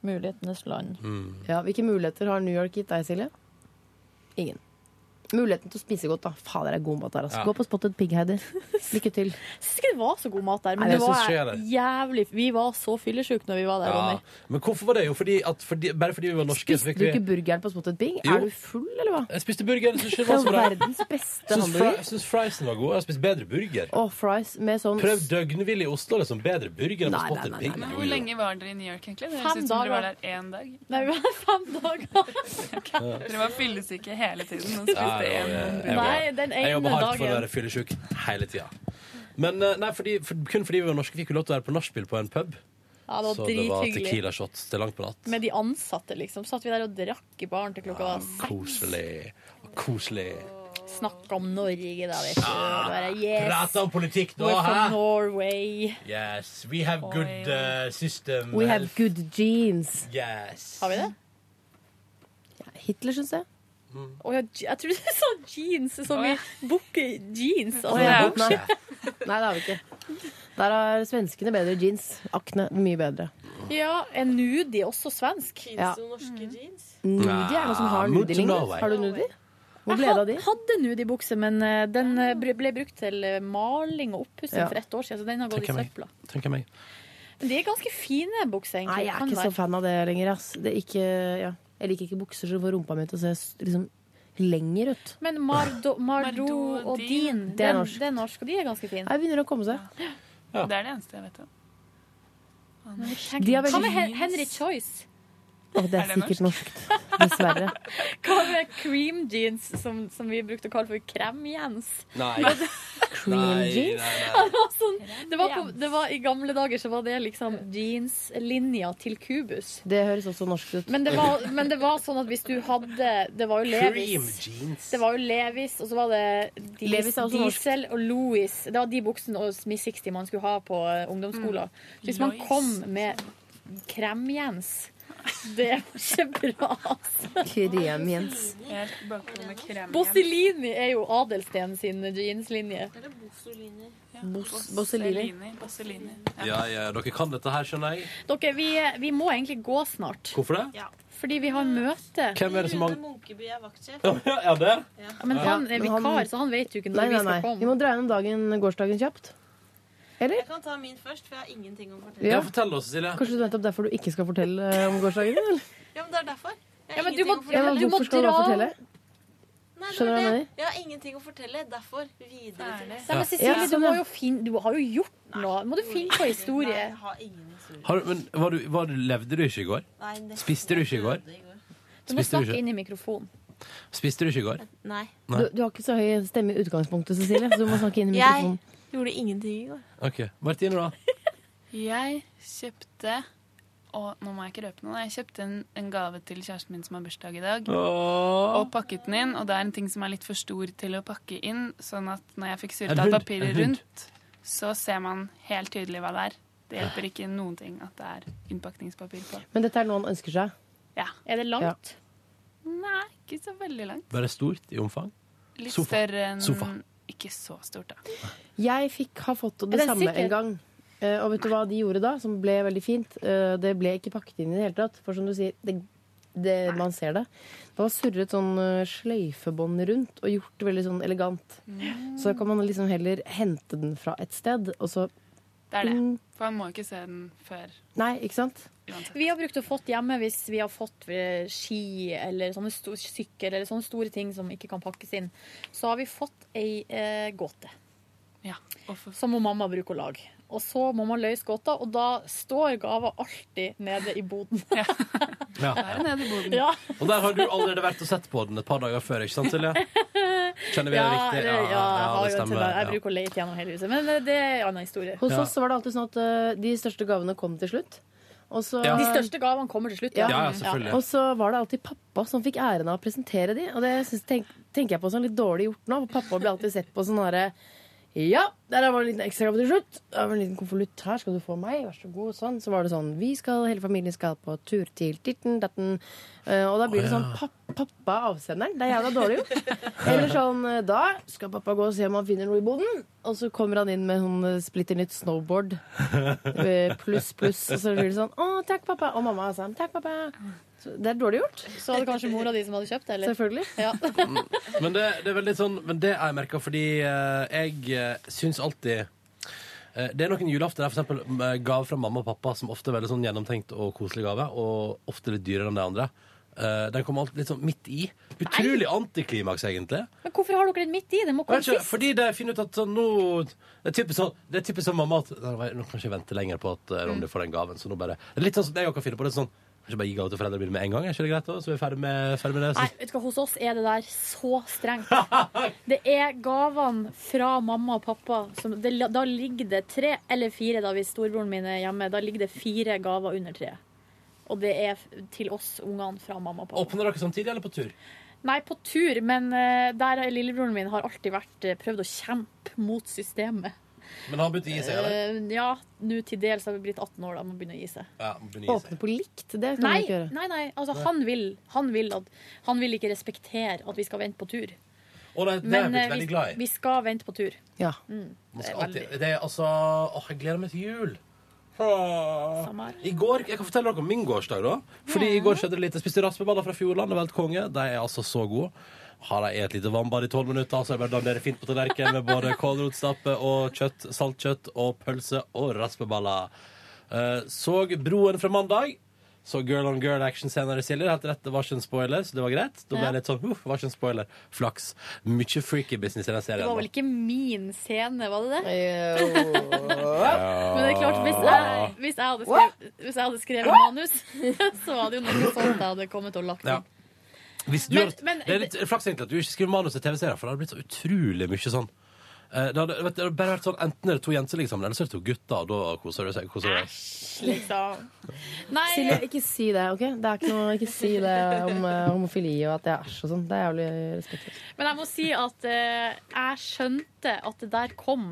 [SPEAKER 4] Mulighetenes land.
[SPEAKER 2] Mm.
[SPEAKER 3] Ja, Hvilke muligheter har New York gitt deg, Silje? Ingen. Muligheten til å spise godt, da. Fader, det er god mat der, altså.
[SPEAKER 4] Ja.
[SPEAKER 3] Gå på Spotted Pig, Heidi. Lykke til.
[SPEAKER 4] Jeg syns ikke det var så god mat der, men
[SPEAKER 2] Nei,
[SPEAKER 4] det
[SPEAKER 2] jeg synes ikke jeg
[SPEAKER 4] var
[SPEAKER 2] heller.
[SPEAKER 4] jævlig Vi var så fyllesyke når vi var der,
[SPEAKER 2] Ja.
[SPEAKER 4] Ronny.
[SPEAKER 2] Men hvorfor var det? Jo, fordi at, fordi, bare fordi vi var norske. så
[SPEAKER 3] Du
[SPEAKER 2] fikk vi-
[SPEAKER 3] ikke burgeren på Spotted Pig?
[SPEAKER 2] Jo.
[SPEAKER 3] Er du full, eller hva?
[SPEAKER 2] Jeg spiste burger. Jeg syns ikke
[SPEAKER 3] Det
[SPEAKER 2] det var
[SPEAKER 3] er
[SPEAKER 2] så
[SPEAKER 3] jo
[SPEAKER 2] bra.
[SPEAKER 3] verdens beste
[SPEAKER 2] Syns fri-
[SPEAKER 3] hamburger.
[SPEAKER 2] Jeg syns friesen var god. Jeg har spist bedre burger.
[SPEAKER 3] Og fries med sånn
[SPEAKER 2] Prøv døgnhvil i Oslo, liksom. Bedre burger enn på
[SPEAKER 3] Nei, nei,
[SPEAKER 2] Spotted
[SPEAKER 3] nei,
[SPEAKER 2] Pig.
[SPEAKER 3] nei,
[SPEAKER 23] Hvor lenge var dere i New York, egentlig? Det høres
[SPEAKER 4] Fem
[SPEAKER 23] ut som dere var
[SPEAKER 4] dager.
[SPEAKER 23] der én dag.
[SPEAKER 4] Nei, vi var fem dager.
[SPEAKER 23] Dere var fyllesyke hele tiden
[SPEAKER 2] Ja,
[SPEAKER 23] og spiste
[SPEAKER 2] jeg jobber-
[SPEAKER 23] én hamburger.
[SPEAKER 2] jeg
[SPEAKER 4] Nei,
[SPEAKER 2] jobber-
[SPEAKER 4] den
[SPEAKER 2] Jeg
[SPEAKER 4] ene
[SPEAKER 2] jobber hardt for å
[SPEAKER 4] dagen.
[SPEAKER 2] være fyllesyk hele tida. Men eh, nei, fordi, for, kun fordi vi var norske, fikk vi lov til å være på nachspiel på en pub.
[SPEAKER 4] Ja, det
[SPEAKER 2] Så
[SPEAKER 4] var
[SPEAKER 2] det var
[SPEAKER 4] drithyggelig.
[SPEAKER 2] tequila shots til langt på natt.
[SPEAKER 4] Med de ansatte, liksom. Satt vi der og drakk i baren til klokka seks.
[SPEAKER 2] Koselig. Koselig.
[SPEAKER 4] Snakka om Norge, da, vet du.
[SPEAKER 2] Ah,
[SPEAKER 4] Og bare, yes,
[SPEAKER 24] Prate om politikk nå,
[SPEAKER 4] we're from
[SPEAKER 24] hæ?
[SPEAKER 4] Norway.
[SPEAKER 24] Yes, we have good
[SPEAKER 2] eh,
[SPEAKER 24] uh, system.
[SPEAKER 3] We have
[SPEAKER 24] health.
[SPEAKER 3] good genes.
[SPEAKER 24] Yes.
[SPEAKER 4] Har vi det?
[SPEAKER 3] Hitler, syns jeg.
[SPEAKER 4] Å ja, je- jeg trodde du sa jeans, som i bukke jeans. Altså,
[SPEAKER 3] Å, ja.
[SPEAKER 4] bukse.
[SPEAKER 3] Nei, det har vi ikke. Der har svenskene bedre jeans. Akne mye bedre.
[SPEAKER 4] Ja, er nudie også svensk?
[SPEAKER 3] Ja.
[SPEAKER 11] norske
[SPEAKER 7] Mm.
[SPEAKER 11] jeans?
[SPEAKER 3] Nudie er noe som har
[SPEAKER 2] Ah,
[SPEAKER 3] nudie
[SPEAKER 2] Norway.
[SPEAKER 3] Har du nudie? Hvor
[SPEAKER 4] Jeg
[SPEAKER 3] ble det av de? Ah.
[SPEAKER 4] had- hadde nudibukse, men eh, den eh, ble ble brukt til eh, maling og oppussing
[SPEAKER 3] Ja.
[SPEAKER 4] for ett år siden, så den har gått
[SPEAKER 2] Tenker
[SPEAKER 4] i
[SPEAKER 2] meg.
[SPEAKER 4] søpla.
[SPEAKER 2] Tenker meg.
[SPEAKER 4] Men de er ganske fine
[SPEAKER 3] Nei,
[SPEAKER 4] bukser, egentlig.
[SPEAKER 3] jeg er
[SPEAKER 4] Kan
[SPEAKER 3] ikke så
[SPEAKER 4] være.
[SPEAKER 3] fan av det lenger. Ass. Det er ikke, ja. Jeg liker ikke bukser som får rumpa mi til å se s- liksom, lenger ut.
[SPEAKER 4] Men Mardo, Mardo og Din,
[SPEAKER 3] Det er
[SPEAKER 4] den-
[SPEAKER 3] norsk.
[SPEAKER 4] Det er norsk, og de er ganske fine.
[SPEAKER 3] Nei, begynner å komme seg.
[SPEAKER 23] Det er det eneste jeg vet om.
[SPEAKER 3] De har veldig-
[SPEAKER 4] Hva med Hen Henry Choice?
[SPEAKER 3] Å, det er,
[SPEAKER 4] Er det
[SPEAKER 3] sikkert norskt. Dessverre.
[SPEAKER 4] Hva med cream jeans, som, som vi brukte å kalle for krem-jens?
[SPEAKER 2] Nei.
[SPEAKER 3] Cream jeans?
[SPEAKER 4] Det var sånn, det, var på, det var I gamle dager så var det liksom jeanslinja til kubus.
[SPEAKER 3] Det høres også norsk ut.
[SPEAKER 4] Men det, var, men det var sånn at hvis du hadde Det var jo Levis. Det var jo Levis, og så var det Dis-
[SPEAKER 3] Levis er også norsk.
[SPEAKER 4] Diesel og Louis. Det var de buksene og Smith 60 man skulle ha på eh,
[SPEAKER 3] Mm.
[SPEAKER 4] ungdomsskolen. Så Hvis man
[SPEAKER 23] Lois.
[SPEAKER 4] kom med Krem-Jens Det var ikke bra, altså.
[SPEAKER 3] Krem-Jens.
[SPEAKER 23] Jeg er bakgrunn med krem igjen.
[SPEAKER 4] Bosselini er jo Adelsten sin jeanslinje.
[SPEAKER 23] Bos-
[SPEAKER 4] Bosselini.
[SPEAKER 23] Bosselini.
[SPEAKER 2] Ja, ja, dere kan dette her, skjønner jeg.
[SPEAKER 4] Dere, vi, vi må egentlig gå snart.
[SPEAKER 2] Hvorfor det?
[SPEAKER 4] Fordi vi har møte.
[SPEAKER 2] Hvem er det som har- Rune
[SPEAKER 4] Munkeby er vaktsjef.
[SPEAKER 2] ja, det?
[SPEAKER 4] Men han er
[SPEAKER 3] men han-
[SPEAKER 4] vikar, så han vet jo ikke når
[SPEAKER 3] Nei, nei,
[SPEAKER 4] vi
[SPEAKER 3] nei.
[SPEAKER 4] skal komme.
[SPEAKER 3] Vi må dra gjennom dagen, gårsdagen kjapt. Eller?
[SPEAKER 11] Jeg kan ta min først, for jeg har ingenting å fortelle.
[SPEAKER 3] Ja.
[SPEAKER 2] Ja, fortell oss, Silje.
[SPEAKER 3] Kanskje det er nettopp derfor du ikke skal fortelle eh, om gårsdagen? Eller?
[SPEAKER 11] Ja, men det er derfor. Jeg har
[SPEAKER 4] Ja, men du
[SPEAKER 11] ingenting
[SPEAKER 4] må-
[SPEAKER 3] Ja, men
[SPEAKER 11] å fortelle.
[SPEAKER 3] hvorfor skal du da fortelle?
[SPEAKER 11] Nei, det
[SPEAKER 3] Skjønner du hva jeg
[SPEAKER 11] var det.
[SPEAKER 3] mener?
[SPEAKER 11] Jeg har ingenting å fortelle. Derfor videre til
[SPEAKER 4] Nei, men Cecilie, du,
[SPEAKER 3] sånn,
[SPEAKER 4] må jo finne, du har jo gjort noe. Må du finne på historie?
[SPEAKER 11] Jeg har ingen historie.
[SPEAKER 2] Har, du- men var du, var du, levde du ikke i går?
[SPEAKER 11] Nei, nesten.
[SPEAKER 2] Spiste du ikke i går?
[SPEAKER 4] Du må
[SPEAKER 2] Spiste du
[SPEAKER 4] snakke
[SPEAKER 2] ikke,
[SPEAKER 4] inn i mikrofonen.
[SPEAKER 2] spiste du ikke i går?
[SPEAKER 11] Nei.
[SPEAKER 3] Du, du har ikke så høy stemme i utgangspunktet, Cecilie, så du må snakke inn i mikrofonen.
[SPEAKER 11] Jeg gjorde ingenting i går.
[SPEAKER 2] OK. Martine, da?
[SPEAKER 23] Jeg kjøpte og nå må jeg ikke røpe noe. Jeg kjøpte en, en gave til kjæresten min som har bursdag i dag.
[SPEAKER 2] Åh.
[SPEAKER 23] Og pakket den inn. Og det er en ting som er litt for stor til å pakke inn. Sånn at når jeg fikk
[SPEAKER 2] En
[SPEAKER 23] surta
[SPEAKER 2] hund, en
[SPEAKER 23] papiret
[SPEAKER 2] hund.
[SPEAKER 23] rundt, så ser man helt tydelig hva det er. Det hjelper ikke noen ting at det er innpakningspapir på.
[SPEAKER 3] Men dette er noe han ønsker seg.
[SPEAKER 23] Ja.
[SPEAKER 4] Er det
[SPEAKER 3] langt?
[SPEAKER 23] Nei, ikke så veldig langt.
[SPEAKER 2] Var det stort i omfang?
[SPEAKER 23] Litt
[SPEAKER 2] Sofa.
[SPEAKER 23] større enn
[SPEAKER 2] Sofa.
[SPEAKER 23] Ikke så stort, da.
[SPEAKER 3] Jeg fikk ha fått
[SPEAKER 23] Er
[SPEAKER 3] det
[SPEAKER 23] den
[SPEAKER 3] samme
[SPEAKER 23] sikker?
[SPEAKER 3] en gang. Eh, og vet du hva de gjorde da, som ble veldig fint? Eh, det ble ikke pakket inn i det hele tatt. For som du sier, det, det, man ser det. Det var surret sånn eh, sløyfebånd rundt og gjort det veldig sånn elegant. Så da kan man liksom heller hente den fra et sted, og så
[SPEAKER 23] Det er det.
[SPEAKER 3] Mm.
[SPEAKER 23] For man må ikke se den før
[SPEAKER 3] Nei, ikke sant?
[SPEAKER 4] Vi har brukt å fått hjemme hvis vi har fått eh, ski eller sånne sto- sykkel eller sånne store ting som ikke kan pakkes inn. Så har vi fått ei eh, gåte. Som må mamma bruke å lage. Og så må man løse gåta, og da står gava alltid nede i boden.
[SPEAKER 2] Ja.
[SPEAKER 4] Ja.
[SPEAKER 2] Og der har du allerede vært og sett på den et par dager før, ikke sant, Silje? Kjenner vi det riktig?
[SPEAKER 4] eller- ja, jeg har
[SPEAKER 2] det
[SPEAKER 4] jo en
[SPEAKER 2] stemmer.
[SPEAKER 4] tendens- Jeg
[SPEAKER 2] Ja.
[SPEAKER 4] bruker å lete gjennom hele huset, men eh, det er en annen historie.
[SPEAKER 3] Hos oss så var det alltid sånn at eh, de største gavene kom til slutt. Og så,
[SPEAKER 4] De største gavene kommer til slutt.
[SPEAKER 3] Ja. Og så var det alltid pappa som fikk æren av å presentere de. Og det synes, tenk, tenker jeg på som litt dårlig gjort nå. For pappa blir alltid sett på sånn herre Ja, der var det en liten ekstragave til slutt. Der var det en liten konvolutt her. Skal du få meg? Vær så god. Sånn. Så var det sånn Vi skal, hele familien skal på tur til titten, datten. Eh, og da blir det
[SPEAKER 2] Å, ja.
[SPEAKER 3] sånn pappa, pappa er avsenderen. Det er jævla dårlig gjort. Eller sånn eh, Da skal pappa gå og se om han finner noe i boden. Og så kommer han inn med sånn eh, splitter nytt snowboard. Eh, Pluss, pluss. Og så blir det sånn Å, takk, pappa. Og mamma sa takk, pappa. Så det er dårlig gjort.
[SPEAKER 4] Så var det kanskje mora di som hadde kjøpt det? Eller?
[SPEAKER 3] Selvfølgelig.
[SPEAKER 2] Men det, det er veldig sånn Men det har jeg merka, fordi eh, jeg eh, syns alltid eh, det er noen julaften der for eksempel med gave fra mamma og pappa som ofte er veldig sånn gjennomtenkt og koselig gave, og ofte litt dyrere enn de andre. Eh, den kommer alltid litt sånn midt i. Utrolig antiklimaks, egentlig.
[SPEAKER 4] Men hvorfor har dere den midt i? Den må
[SPEAKER 2] Jeg
[SPEAKER 4] komme
[SPEAKER 2] vet Ikke,
[SPEAKER 4] sist.
[SPEAKER 2] fordi det finner ut at sånn, nå Det er typisk sånn, det
[SPEAKER 4] Mm.
[SPEAKER 2] er typisk sånn mamma at Nei, Nå kan jeg ikke vente lenger på at eh, Ronny får den gaven. Så nå bare det er Litt sånn som jeg også kan finne på. Det er sånn Ikke bare gi gave til foreldrene mine med en gang? Er ikke det greit da? Så vi er ferdig med, ferdig med det?
[SPEAKER 4] Nei, vet du hva, hos oss er det der så strengt. Det er gavene fra mamma og pappa. Som, det, da ligger det tre eller fire, da hvis storebroren min er hjemme, da ligger det fire gaver under treet. Og det er f- til oss ungene fra mamma og pappa.
[SPEAKER 2] Åpner dere samtidig, eller på tur?
[SPEAKER 4] Nei, på tur, men eh, der er lillebroren min har alltid vært eh, prøvd å kjempe mot systemet.
[SPEAKER 2] Men han begynte å gi seg, eller?
[SPEAKER 4] Eh, ja, nå til dels har vi blitt 18 år, da må begynne å gi seg.
[SPEAKER 2] Ja, han begynner å gi seg.
[SPEAKER 4] på likt? Det
[SPEAKER 2] kan
[SPEAKER 4] nei,
[SPEAKER 2] vi ikke gjøre.
[SPEAKER 4] Nei, nei, altså
[SPEAKER 2] Nei.
[SPEAKER 4] Han, vil, han, vil at, han vil ikke respektere at vi skal vente på tur.
[SPEAKER 2] Å, nei, det er jeg
[SPEAKER 4] Men
[SPEAKER 2] blitt
[SPEAKER 4] eh,
[SPEAKER 2] veldig
[SPEAKER 4] vi,
[SPEAKER 2] glad i.
[SPEAKER 4] vi skal vente på tur.
[SPEAKER 25] Ja.
[SPEAKER 4] Mm.
[SPEAKER 2] Man
[SPEAKER 4] Det er
[SPEAKER 2] skal
[SPEAKER 4] veldig-
[SPEAKER 2] alltid, det er altså Åh, jeg gleder meg til jul. Åh. I går, Jeg kan fortelle dere om min gårsdag. da Fordi I går skjedde det litt. Jeg spiste raspeballer fra Fjordland. Det var helt konge. De er altså så gode. Har de et lite vannbad i tolv minutter, så er det bare å dandere fint på tallerkenen med både kålrotstappe og kjøtt, saltkjøtt og pølse og raspeballer. Eh, så Broen fra mandag. Så Girl on Girl Action senere, Silje. Helt rett, det var ikke en spoiler, så det var greit. Da ble jeg
[SPEAKER 4] Ja.
[SPEAKER 2] litt sånn, uff, det var ikke en spoiler. Flaks. Mye freaky business i den serien.
[SPEAKER 4] Det var
[SPEAKER 2] da.
[SPEAKER 4] vel ikke min scene, var det det?
[SPEAKER 3] eh.
[SPEAKER 2] Ja.
[SPEAKER 4] Men det er klart, hvis jeg, hvis jeg, hadde, skrevet, hvis jeg hadde skrevet manus, så var det jo noe sånt jeg hadde kommet og lagt inn.
[SPEAKER 2] Ja. Hvis du
[SPEAKER 4] Men-
[SPEAKER 2] hadde,
[SPEAKER 4] men-
[SPEAKER 2] det er litt flaks egentlig at du ikke skriver manus til TV-serier, for det hadde blitt så utrolig mye sånn. Eh, Det hadde, vet, du, det hadde bare vært sånn, Enten er det to jenter som ligger sammen, eller så er det to gutter. Og da koser du seg. Koser du deg.
[SPEAKER 4] Liksom. Nei,
[SPEAKER 3] Silje, ikke si det. ok? Det er ikke noe, ikke si det om eh, homofili og at jeg er æsj og sånn. Det er jævlig respektløst.
[SPEAKER 4] Men jeg må si at eh, jeg skjønte at det der kom.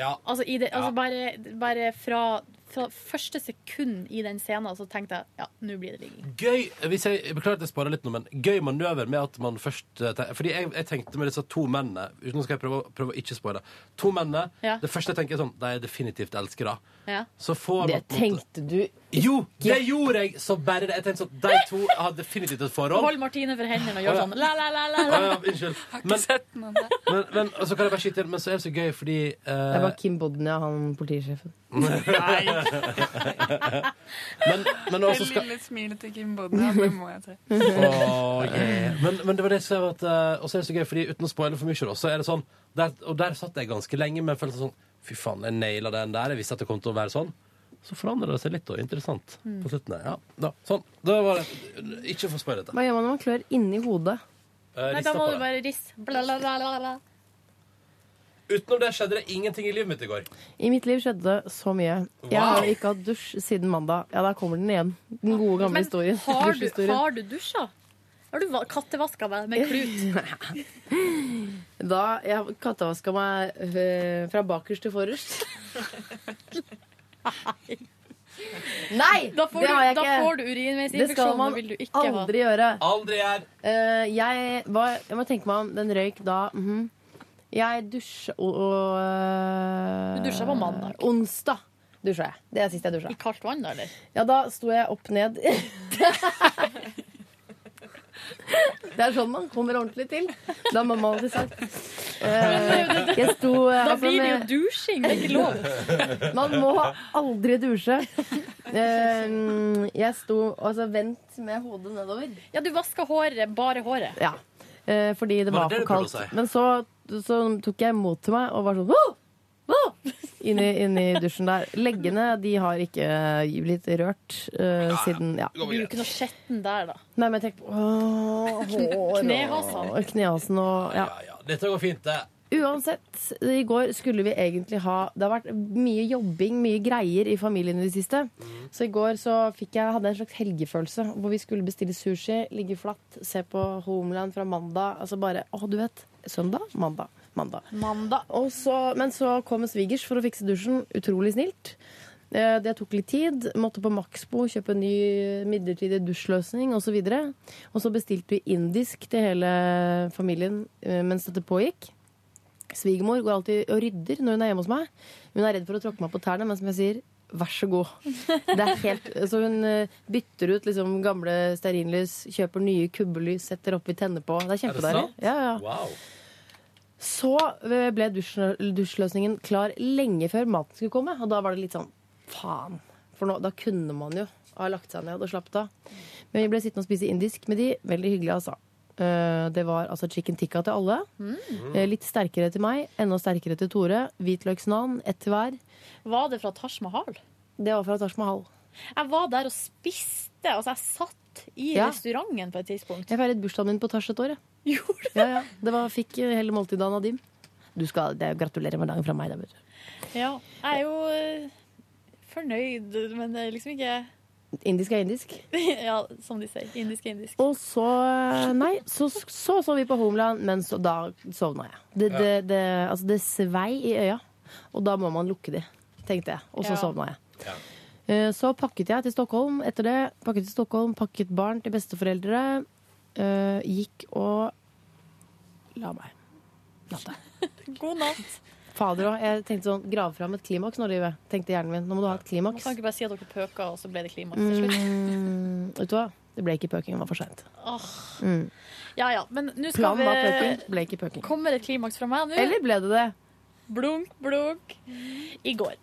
[SPEAKER 2] Ja.
[SPEAKER 4] Altså, i det, altså
[SPEAKER 2] Ja.
[SPEAKER 4] bare, bare fra, fra første sekund i den scenen så tenkte jeg ja, nå blir det ligging.
[SPEAKER 2] Gøy hvis jeg, jeg beklager at jeg sparer litt nå, men gøy manøver med at man først eh, ten- Fordi jeg, jeg tenkte med disse to mennene uten nå skal jeg prøve, å- prøve å ikke spoile. To mennene.
[SPEAKER 3] Ja.
[SPEAKER 2] Det første jeg tenker er sånn De er definitivt elskere.
[SPEAKER 4] Ja.
[SPEAKER 2] Så får man på
[SPEAKER 3] Det
[SPEAKER 2] en måte-
[SPEAKER 3] tenkte du
[SPEAKER 2] Jo, det gjorde jeg! Så bare det. Jeg tenkte sånn De to har definitivt et forhold.
[SPEAKER 4] Hold Martine for hendene og gjør
[SPEAKER 2] Å, ja.
[SPEAKER 4] sånn la, la, la, la,
[SPEAKER 2] Å,
[SPEAKER 4] la.
[SPEAKER 2] ja, unnskyld. Men, men, men og så kan jeg bare skyte inn, men så er det så gøy fordi
[SPEAKER 3] Det er
[SPEAKER 2] eh,
[SPEAKER 3] bare Kim Bodnia, han politisjefen.
[SPEAKER 2] men, men
[SPEAKER 23] det
[SPEAKER 2] også skal
[SPEAKER 23] lille smilet til Kim Bodnia, det må jeg si.
[SPEAKER 2] Åh, yeah. men, men det var det som var at eh, Og så er det så gøy, fordi uten å spoile for mye, da, så er det sånn der, Og der satt jeg ganske lenge, men følte sånn Fy faen, jeg naila den der. Jeg visste at det kom til å være sånn. Så forandrer det seg litt, da. Interessant.
[SPEAKER 3] Mm.
[SPEAKER 2] På slutten der. Ja, da, sånn. Da var det Ikke for spoil dette.
[SPEAKER 3] Hva gjør man når man klør inni hodet?
[SPEAKER 2] Eh,
[SPEAKER 4] Nei,
[SPEAKER 2] rista
[SPEAKER 4] da må
[SPEAKER 2] på
[SPEAKER 4] du
[SPEAKER 2] det.
[SPEAKER 4] bare risse. Bla, la, la, la, la.
[SPEAKER 2] Utenom det skjedde det ingenting i livet mitt i går.
[SPEAKER 3] I mitt liv skjedde det så mye. Jeg
[SPEAKER 2] Wow.
[SPEAKER 3] har ikke hatt dusj siden mandag. Ja, der kommer den igjen. Den gode, gamle
[SPEAKER 4] Men
[SPEAKER 3] historien.
[SPEAKER 4] har du,
[SPEAKER 3] Dusjhistorien.
[SPEAKER 4] har du dusja? Har du va- kattevaska deg med klut?
[SPEAKER 3] Da jeg kattevaska meg eh, fra bakerst til forrest. Nei!
[SPEAKER 4] Da får
[SPEAKER 3] det
[SPEAKER 4] du-
[SPEAKER 3] har jeg
[SPEAKER 4] da
[SPEAKER 3] ikke.
[SPEAKER 4] får du urinveisinfeksjon,
[SPEAKER 3] Det skal man
[SPEAKER 4] det vil du ikke ha.
[SPEAKER 3] aldri gjøre.
[SPEAKER 2] Aldri gjør.
[SPEAKER 3] Eh, jeg, var, jeg må tenke meg om. Den røyk da. mhm. Jeg dusja og, og eh,
[SPEAKER 4] Du dusja på mandag.
[SPEAKER 3] Onsdag dusja jeg. Det er sist jeg dusja.
[SPEAKER 4] I kaldt vann, da, eller?
[SPEAKER 3] Ja, da sto jeg opp ned. Det er sånn man kommer ordentlig til. Det har mamma alltid sagt. Eh, Jeg sto eh,
[SPEAKER 4] Da
[SPEAKER 3] altså
[SPEAKER 4] blir det jo
[SPEAKER 3] med-
[SPEAKER 4] dusjing, det er ikke lov.
[SPEAKER 3] Man må aldri dusje. Eh, Jeg sto altså vendt med hodet nedover.
[SPEAKER 4] Ja, du vaska håret, bare håret.
[SPEAKER 3] Ja, eh, fordi det
[SPEAKER 4] Var
[SPEAKER 3] var,
[SPEAKER 4] det
[SPEAKER 3] for
[SPEAKER 4] det du prøvde å
[SPEAKER 3] kaldt.
[SPEAKER 4] si?
[SPEAKER 3] Men så, så tok jeg mot til meg og var sånn «Åh! Åh!» Inni, inni dusjen der. Leggene de har ikke eh, blitt rørt eh, siden ja.
[SPEAKER 4] Du er jo ikke noe skjetten der, da.
[SPEAKER 3] Nei, men tenk på åh,
[SPEAKER 4] Kn-
[SPEAKER 3] hår og-
[SPEAKER 4] knehasen.
[SPEAKER 3] Knehasen og ja.
[SPEAKER 2] Ja, dette går fint, det.
[SPEAKER 3] Uansett, i går skulle vi egentlig ha Det har vært mye jobbing, mye greier i familien i det siste. Så i går så fikk jeg, hadde jeg en slags helgefølelse hvor vi skulle bestille sushi, ligge flatt, se på Homeland fra mandag. Altså bare Å, du vet. Søndag? Mandag. Mandag. Og så, men så kom svigers for å fikse dusjen. Utrolig snilt. Eh, Det tok litt tid. Måtte på Maxbo kjøpe en ny midlertidig dusjløsning osv. Og så bestilte vi indisk til hele familien eh, mens dette pågikk. Svigermor går alltid og rydder når hun er hjemme hos meg. Hun er redd for å tråkke meg på tærne, men som jeg sier, vær så god. Det er helt, så hun eh, bytter ut liksom gamle stearinlys, kjøper nye kubbelys, setter oppi, tenner på. Det er kjempedeilig. Ja, ja.
[SPEAKER 2] Wow.
[SPEAKER 3] Så eh, ble dusj, dusjløsningen klar lenge før maten skulle komme. Og da var det litt sånn faen. For nå, da kunne man jo ha lagt seg ned og slappet av. Men vi ble sittende og spise indisk med de. Veldig hyggelig, altså. Eh, Det var altså chicken tikka til alle. Eh, Litt sterkere til meg, enda sterkere til Tore. Hvitløksnan, ett til hver.
[SPEAKER 4] Var det fra Taj Mahal?
[SPEAKER 3] Det var fra Taj Mahal.
[SPEAKER 4] Jeg var der og spiste jeg. Altså, jeg satt i
[SPEAKER 3] Ja.
[SPEAKER 4] restauranten på et tidspunkt.
[SPEAKER 3] Jeg feiret bursdagen min på Tasj et år. jeg. Ja, ja. Det var, fikk hele måltidet av Nadim. Du skal det, gratulere med dagen fra meg. Da. vet du.
[SPEAKER 4] Ja, jeg er jo eh, fornøyd, men det er liksom ikke
[SPEAKER 3] Indisk er indisk.
[SPEAKER 4] Ja, som de sier. Indisk er indisk.
[SPEAKER 3] Og så eh, Nei, så så, så vi på Homeland, men så, da sovna jeg. Det, det, det, altså, det svei i øya, og da må man lukke de, tenkte jeg. Og så
[SPEAKER 26] Ja.
[SPEAKER 3] sovna jeg. Eh, Så pakket jeg til Stockholm etter det. Pakket til Stockholm, pakket barn til besteforeldre. eh, Gikk og la meg. Natta.
[SPEAKER 4] God natt.
[SPEAKER 3] Fader òg. Jeg tenkte sånn Grav fram et klimaks nå, livet. Tenkte hjernen min. Nå må du ha et
[SPEAKER 4] Man
[SPEAKER 3] klimaks.
[SPEAKER 4] kan ikke bare si at dere pøker, og så ble det klimaks til slutt.
[SPEAKER 3] Mm, vet du hva? Det ble ikke pøking. Det var for seint.
[SPEAKER 4] Åh.
[SPEAKER 3] Mm.
[SPEAKER 4] Ja ja, men nå skal
[SPEAKER 3] Planen var
[SPEAKER 4] vi
[SPEAKER 3] pøking. Ble ikke pøking.
[SPEAKER 4] Kommer et klimaks fra meg nå?
[SPEAKER 3] Eller ble det det?
[SPEAKER 4] Blunk, blunk. I går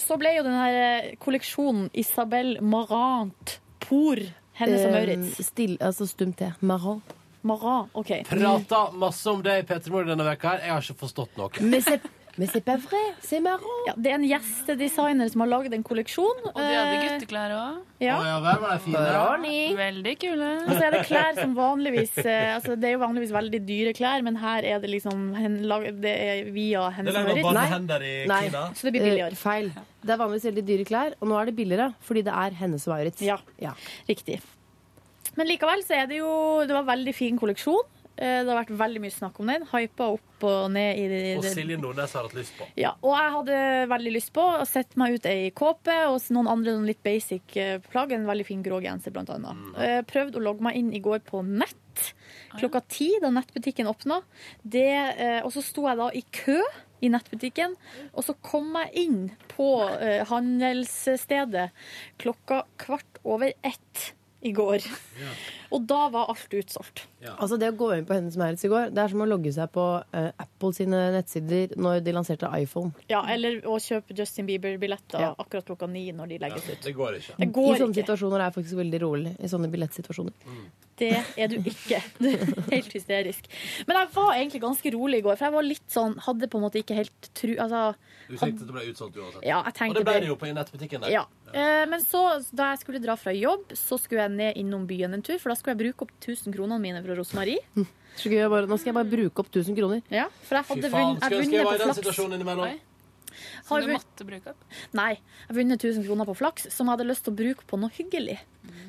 [SPEAKER 4] så ble jo den her eh, kolleksjonen Isabel Marant Por Hennes og
[SPEAKER 3] Eh,
[SPEAKER 4] Maurits.
[SPEAKER 3] Still, altså stum te. Marron.
[SPEAKER 4] Marant, OK.
[SPEAKER 2] Prata masse om deg, Petter Moore, denne veka her. Jeg har ikke forstått noe.
[SPEAKER 3] Men c'est- men c'est pas vrai. C'est marron.
[SPEAKER 4] Ja, det er en gjestedesigner som har lagd en kolleksjon. eh,
[SPEAKER 23] Og de hadde gutteklær òg.
[SPEAKER 4] Ja.
[SPEAKER 2] der var de fine.
[SPEAKER 23] Veldig kule.
[SPEAKER 4] Og så er det klær som vanligvis eh, altså Det er jo vanligvis veldig dyre klær, men her er det liksom hen, lag- Det er via
[SPEAKER 27] Det
[SPEAKER 4] hennes
[SPEAKER 27] er lagd av
[SPEAKER 4] Maurits.
[SPEAKER 27] bare hender i
[SPEAKER 3] Nei.
[SPEAKER 27] Kina.
[SPEAKER 4] Så det blir billigere.
[SPEAKER 3] Eh, feil. Det er vanligvis veldig dyre klær, og nå er det billigere fordi det er hennes og Maurits. Ja.
[SPEAKER 4] Riktig. Men likevel så er det jo Det var en veldig fin kolleksjon. Eh, Det har vært veldig mye snakk om den. Hypa opp og ned i det-
[SPEAKER 2] Og
[SPEAKER 4] det-
[SPEAKER 2] Silje Nordnes har hatt lyst på.
[SPEAKER 4] Ja, og jeg hadde veldig lyst på å sette meg ut ei kåpe og s- noen andre noen litt basic eh, plagg. En veldig fin grå genser, blant annet. Eh, Prøvde å logge meg inn i går på nett. Klokka ti, da nettbutikken åpna. Det, eh, og så sto jeg da i kø i nettbutikken, og så kom jeg inn på eh, handelsstedet klokka kvart over ett i går. Og da var alt utsolgt.
[SPEAKER 3] Altså Det å gå inn på Hennes og Maurits i går, det er som å logge seg på eh, Apple sine nettsider når de lanserte iPhone.
[SPEAKER 4] Ja, eller å kjøpe Justin Bieber-billetter
[SPEAKER 3] Ja.
[SPEAKER 4] akkurat klokka ni når de legges ut.
[SPEAKER 2] Det går ikke.
[SPEAKER 4] Det går
[SPEAKER 3] I sånne
[SPEAKER 4] ikke.
[SPEAKER 3] situasjoner er jeg faktisk veldig rolig. I sånne billettsituasjoner.
[SPEAKER 4] Det er du ikke. Du er helt hysterisk. Men jeg var egentlig ganske rolig i går, for jeg var litt sånn Hadde på en måte ikke helt tru... Altså
[SPEAKER 2] Du tenkte det ble utsolgt uansett.
[SPEAKER 4] Ja, jeg tenkte
[SPEAKER 2] og det ble
[SPEAKER 4] det.
[SPEAKER 2] det jo på nettbutikken der.
[SPEAKER 4] ja. Eh, Men så, da jeg skulle dra fra jobb, så skulle jeg ned innom byen en tur, for da skulle jeg bruke opp 1000 kronene mine fra Rosmarie.
[SPEAKER 3] Så skal jeg bare, nå skal jeg bare bruke opp 1000 kroner.
[SPEAKER 4] Ja, for jeg
[SPEAKER 2] Fy
[SPEAKER 4] hadde
[SPEAKER 2] faen,
[SPEAKER 4] vunnet,
[SPEAKER 2] skulle
[SPEAKER 4] jeg
[SPEAKER 2] ønske jeg
[SPEAKER 4] vunnet
[SPEAKER 2] var i
[SPEAKER 4] på
[SPEAKER 2] den
[SPEAKER 4] flaks.
[SPEAKER 2] situasjonen innimellom.
[SPEAKER 23] Så du
[SPEAKER 4] Har
[SPEAKER 23] måtte bruke opp?
[SPEAKER 4] Nei, jeg har vunnet 1000 kroner på flaks, som jeg hadde lyst til å bruke på noe hyggelig.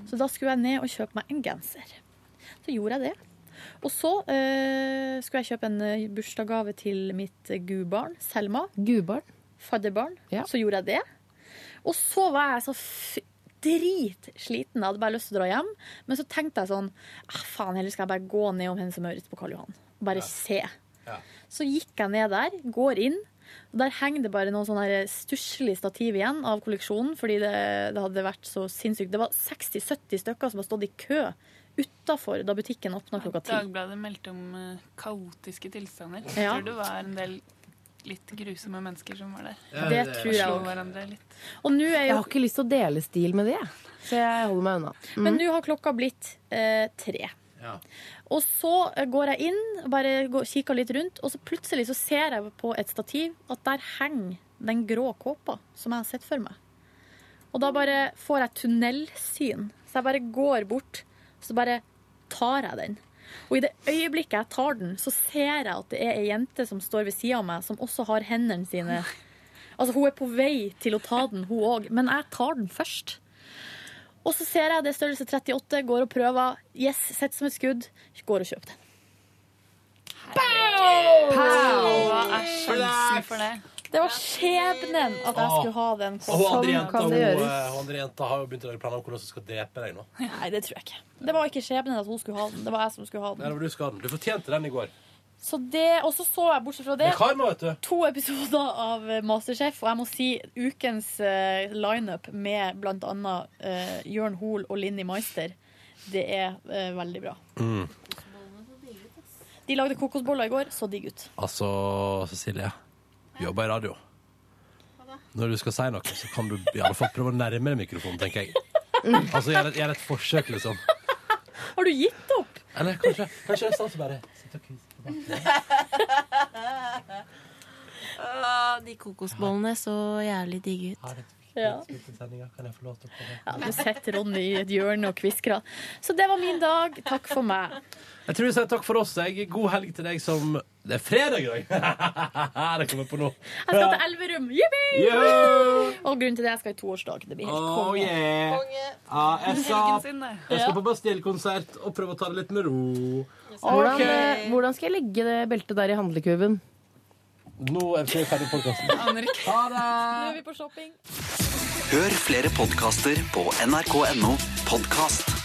[SPEAKER 4] Så da skulle jeg ned og kjøpe meg en genser. Så gjorde jeg det. Og så eh, skulle jeg kjøpe en eh, bursdagsgave til mitt eh, gudbarn, Selma.
[SPEAKER 3] Gudbarn?
[SPEAKER 4] Fadderbarn. Så gjorde jeg det. Og så var jeg så f dritsliten. Jeg hadde bare lyst til å dra hjem. Men så tenkte jeg sånn ah, Faen, heller skal jeg bare gå ned om Hennes og Maurits på Karl Johan. Bare se. Så gikk jeg ned der, går inn. Og der henger det bare noe sånn her stusslig stativ igjen av kolleksjonen, fordi det, det hadde vært så sinnssykt. Det var 60-70 stykker som har stått i kø utafor da butikken åpna klokka ti.
[SPEAKER 23] Dagbladet meldte om eh, kaotiske tilstander. Jeg
[SPEAKER 4] Ja.
[SPEAKER 23] tror det var en del litt grusomme mennesker som var der.
[SPEAKER 3] Ja, det Det tror jeg
[SPEAKER 23] Slo
[SPEAKER 3] også.
[SPEAKER 23] hverandre litt.
[SPEAKER 4] Og nå er
[SPEAKER 3] Jeg
[SPEAKER 4] jo
[SPEAKER 3] har ikke lyst til å dele stil med det, så jeg holder meg unna. Mm.
[SPEAKER 4] Men nå har klokka blitt eh, tre. Og så eh, går jeg inn, bare går, kikker litt rundt, og så plutselig så ser jeg på et stativ at der henger den grå kåpa som jeg har sett for meg. Og da bare får jeg tunnelsyn. Så jeg bare går bort, så bare tar jeg den. Og i det øyeblikket jeg tar den, så ser jeg at det er ei jente som står ved sida av meg, som også har hendene sine Altså, hun er på vei til å ta den, hun òg, men jeg tar den først. Og så ser jeg det er størrelse 38, går og prøver. Yes, sett som et skudd. Går og kjøper den.
[SPEAKER 23] Hva er sjansen for det?
[SPEAKER 4] Det var skjebnen at jeg skulle ha den.
[SPEAKER 2] Og hun andre
[SPEAKER 4] Sånn
[SPEAKER 2] jenta,
[SPEAKER 4] kan
[SPEAKER 2] hun,
[SPEAKER 4] det
[SPEAKER 2] eh,
[SPEAKER 4] gjøres.
[SPEAKER 2] hun andre jenta har jo begynt å lage planer om hvordan hun skal drepe deg nå.
[SPEAKER 4] Nei, det tror jeg ikke. Det var ikke skjebnen at hun skulle ha den. Det var jeg som skulle ha
[SPEAKER 2] Der
[SPEAKER 4] den.
[SPEAKER 2] var du skaden. Du fortjente den i går.
[SPEAKER 4] Så det, og så så jeg, bortsett fra
[SPEAKER 2] Det
[SPEAKER 4] det,
[SPEAKER 2] er karma, vet du.
[SPEAKER 4] to episoder av eh, Masterchef, og jeg må si ukens eh, lineup med blant annet eh, Jørn Hoel og Linni Meister, det er eh, veldig bra. De lagde kokosboller i går, så digg ut.
[SPEAKER 2] Altså, Cecilie. Du jobber i radio. Når du skal si noe, så kan du i alle fall prøve å nærme deg mikrofonen, tenker jeg. Altså, gjør et, gjør et forsøk, liksom.
[SPEAKER 4] Har du gitt opp?
[SPEAKER 2] Eller kanskje, kanskje jeg starter bare
[SPEAKER 28] Åh, de kokosbollene så jævlig digge ut.
[SPEAKER 4] Ja.
[SPEAKER 29] Kan jeg få lov til å komme?
[SPEAKER 4] Ja, Nå sitter Ronny i et hjørne og kviskrer. Så det var min dag. Takk for meg.
[SPEAKER 2] Jeg tror vi sier takk for oss. Jeg. God helg til deg som Det er fredag i dag! det kommer på nå.
[SPEAKER 4] Jeg skal til Elverum. Jippi!
[SPEAKER 30] Yeah!
[SPEAKER 4] Og grunnen til det, jeg skal i toårsdag. Det blir helt
[SPEAKER 2] Oh,
[SPEAKER 4] konge.
[SPEAKER 2] yeah. Ja, jeg,
[SPEAKER 4] Helgen
[SPEAKER 2] skal,
[SPEAKER 4] sin, det.
[SPEAKER 2] jeg skal på Bastille-konsert og prøve å ta det litt med ro.
[SPEAKER 3] Hvordan, eh, hvordan skal jeg legge det beltet der i handlekuben?
[SPEAKER 2] Nå er vi ferdig med podkasten.
[SPEAKER 4] Aner ikke.
[SPEAKER 2] Ha det!
[SPEAKER 4] Nå er vi på shopping.
[SPEAKER 1] Hør flere podkaster på nrk.no podkast.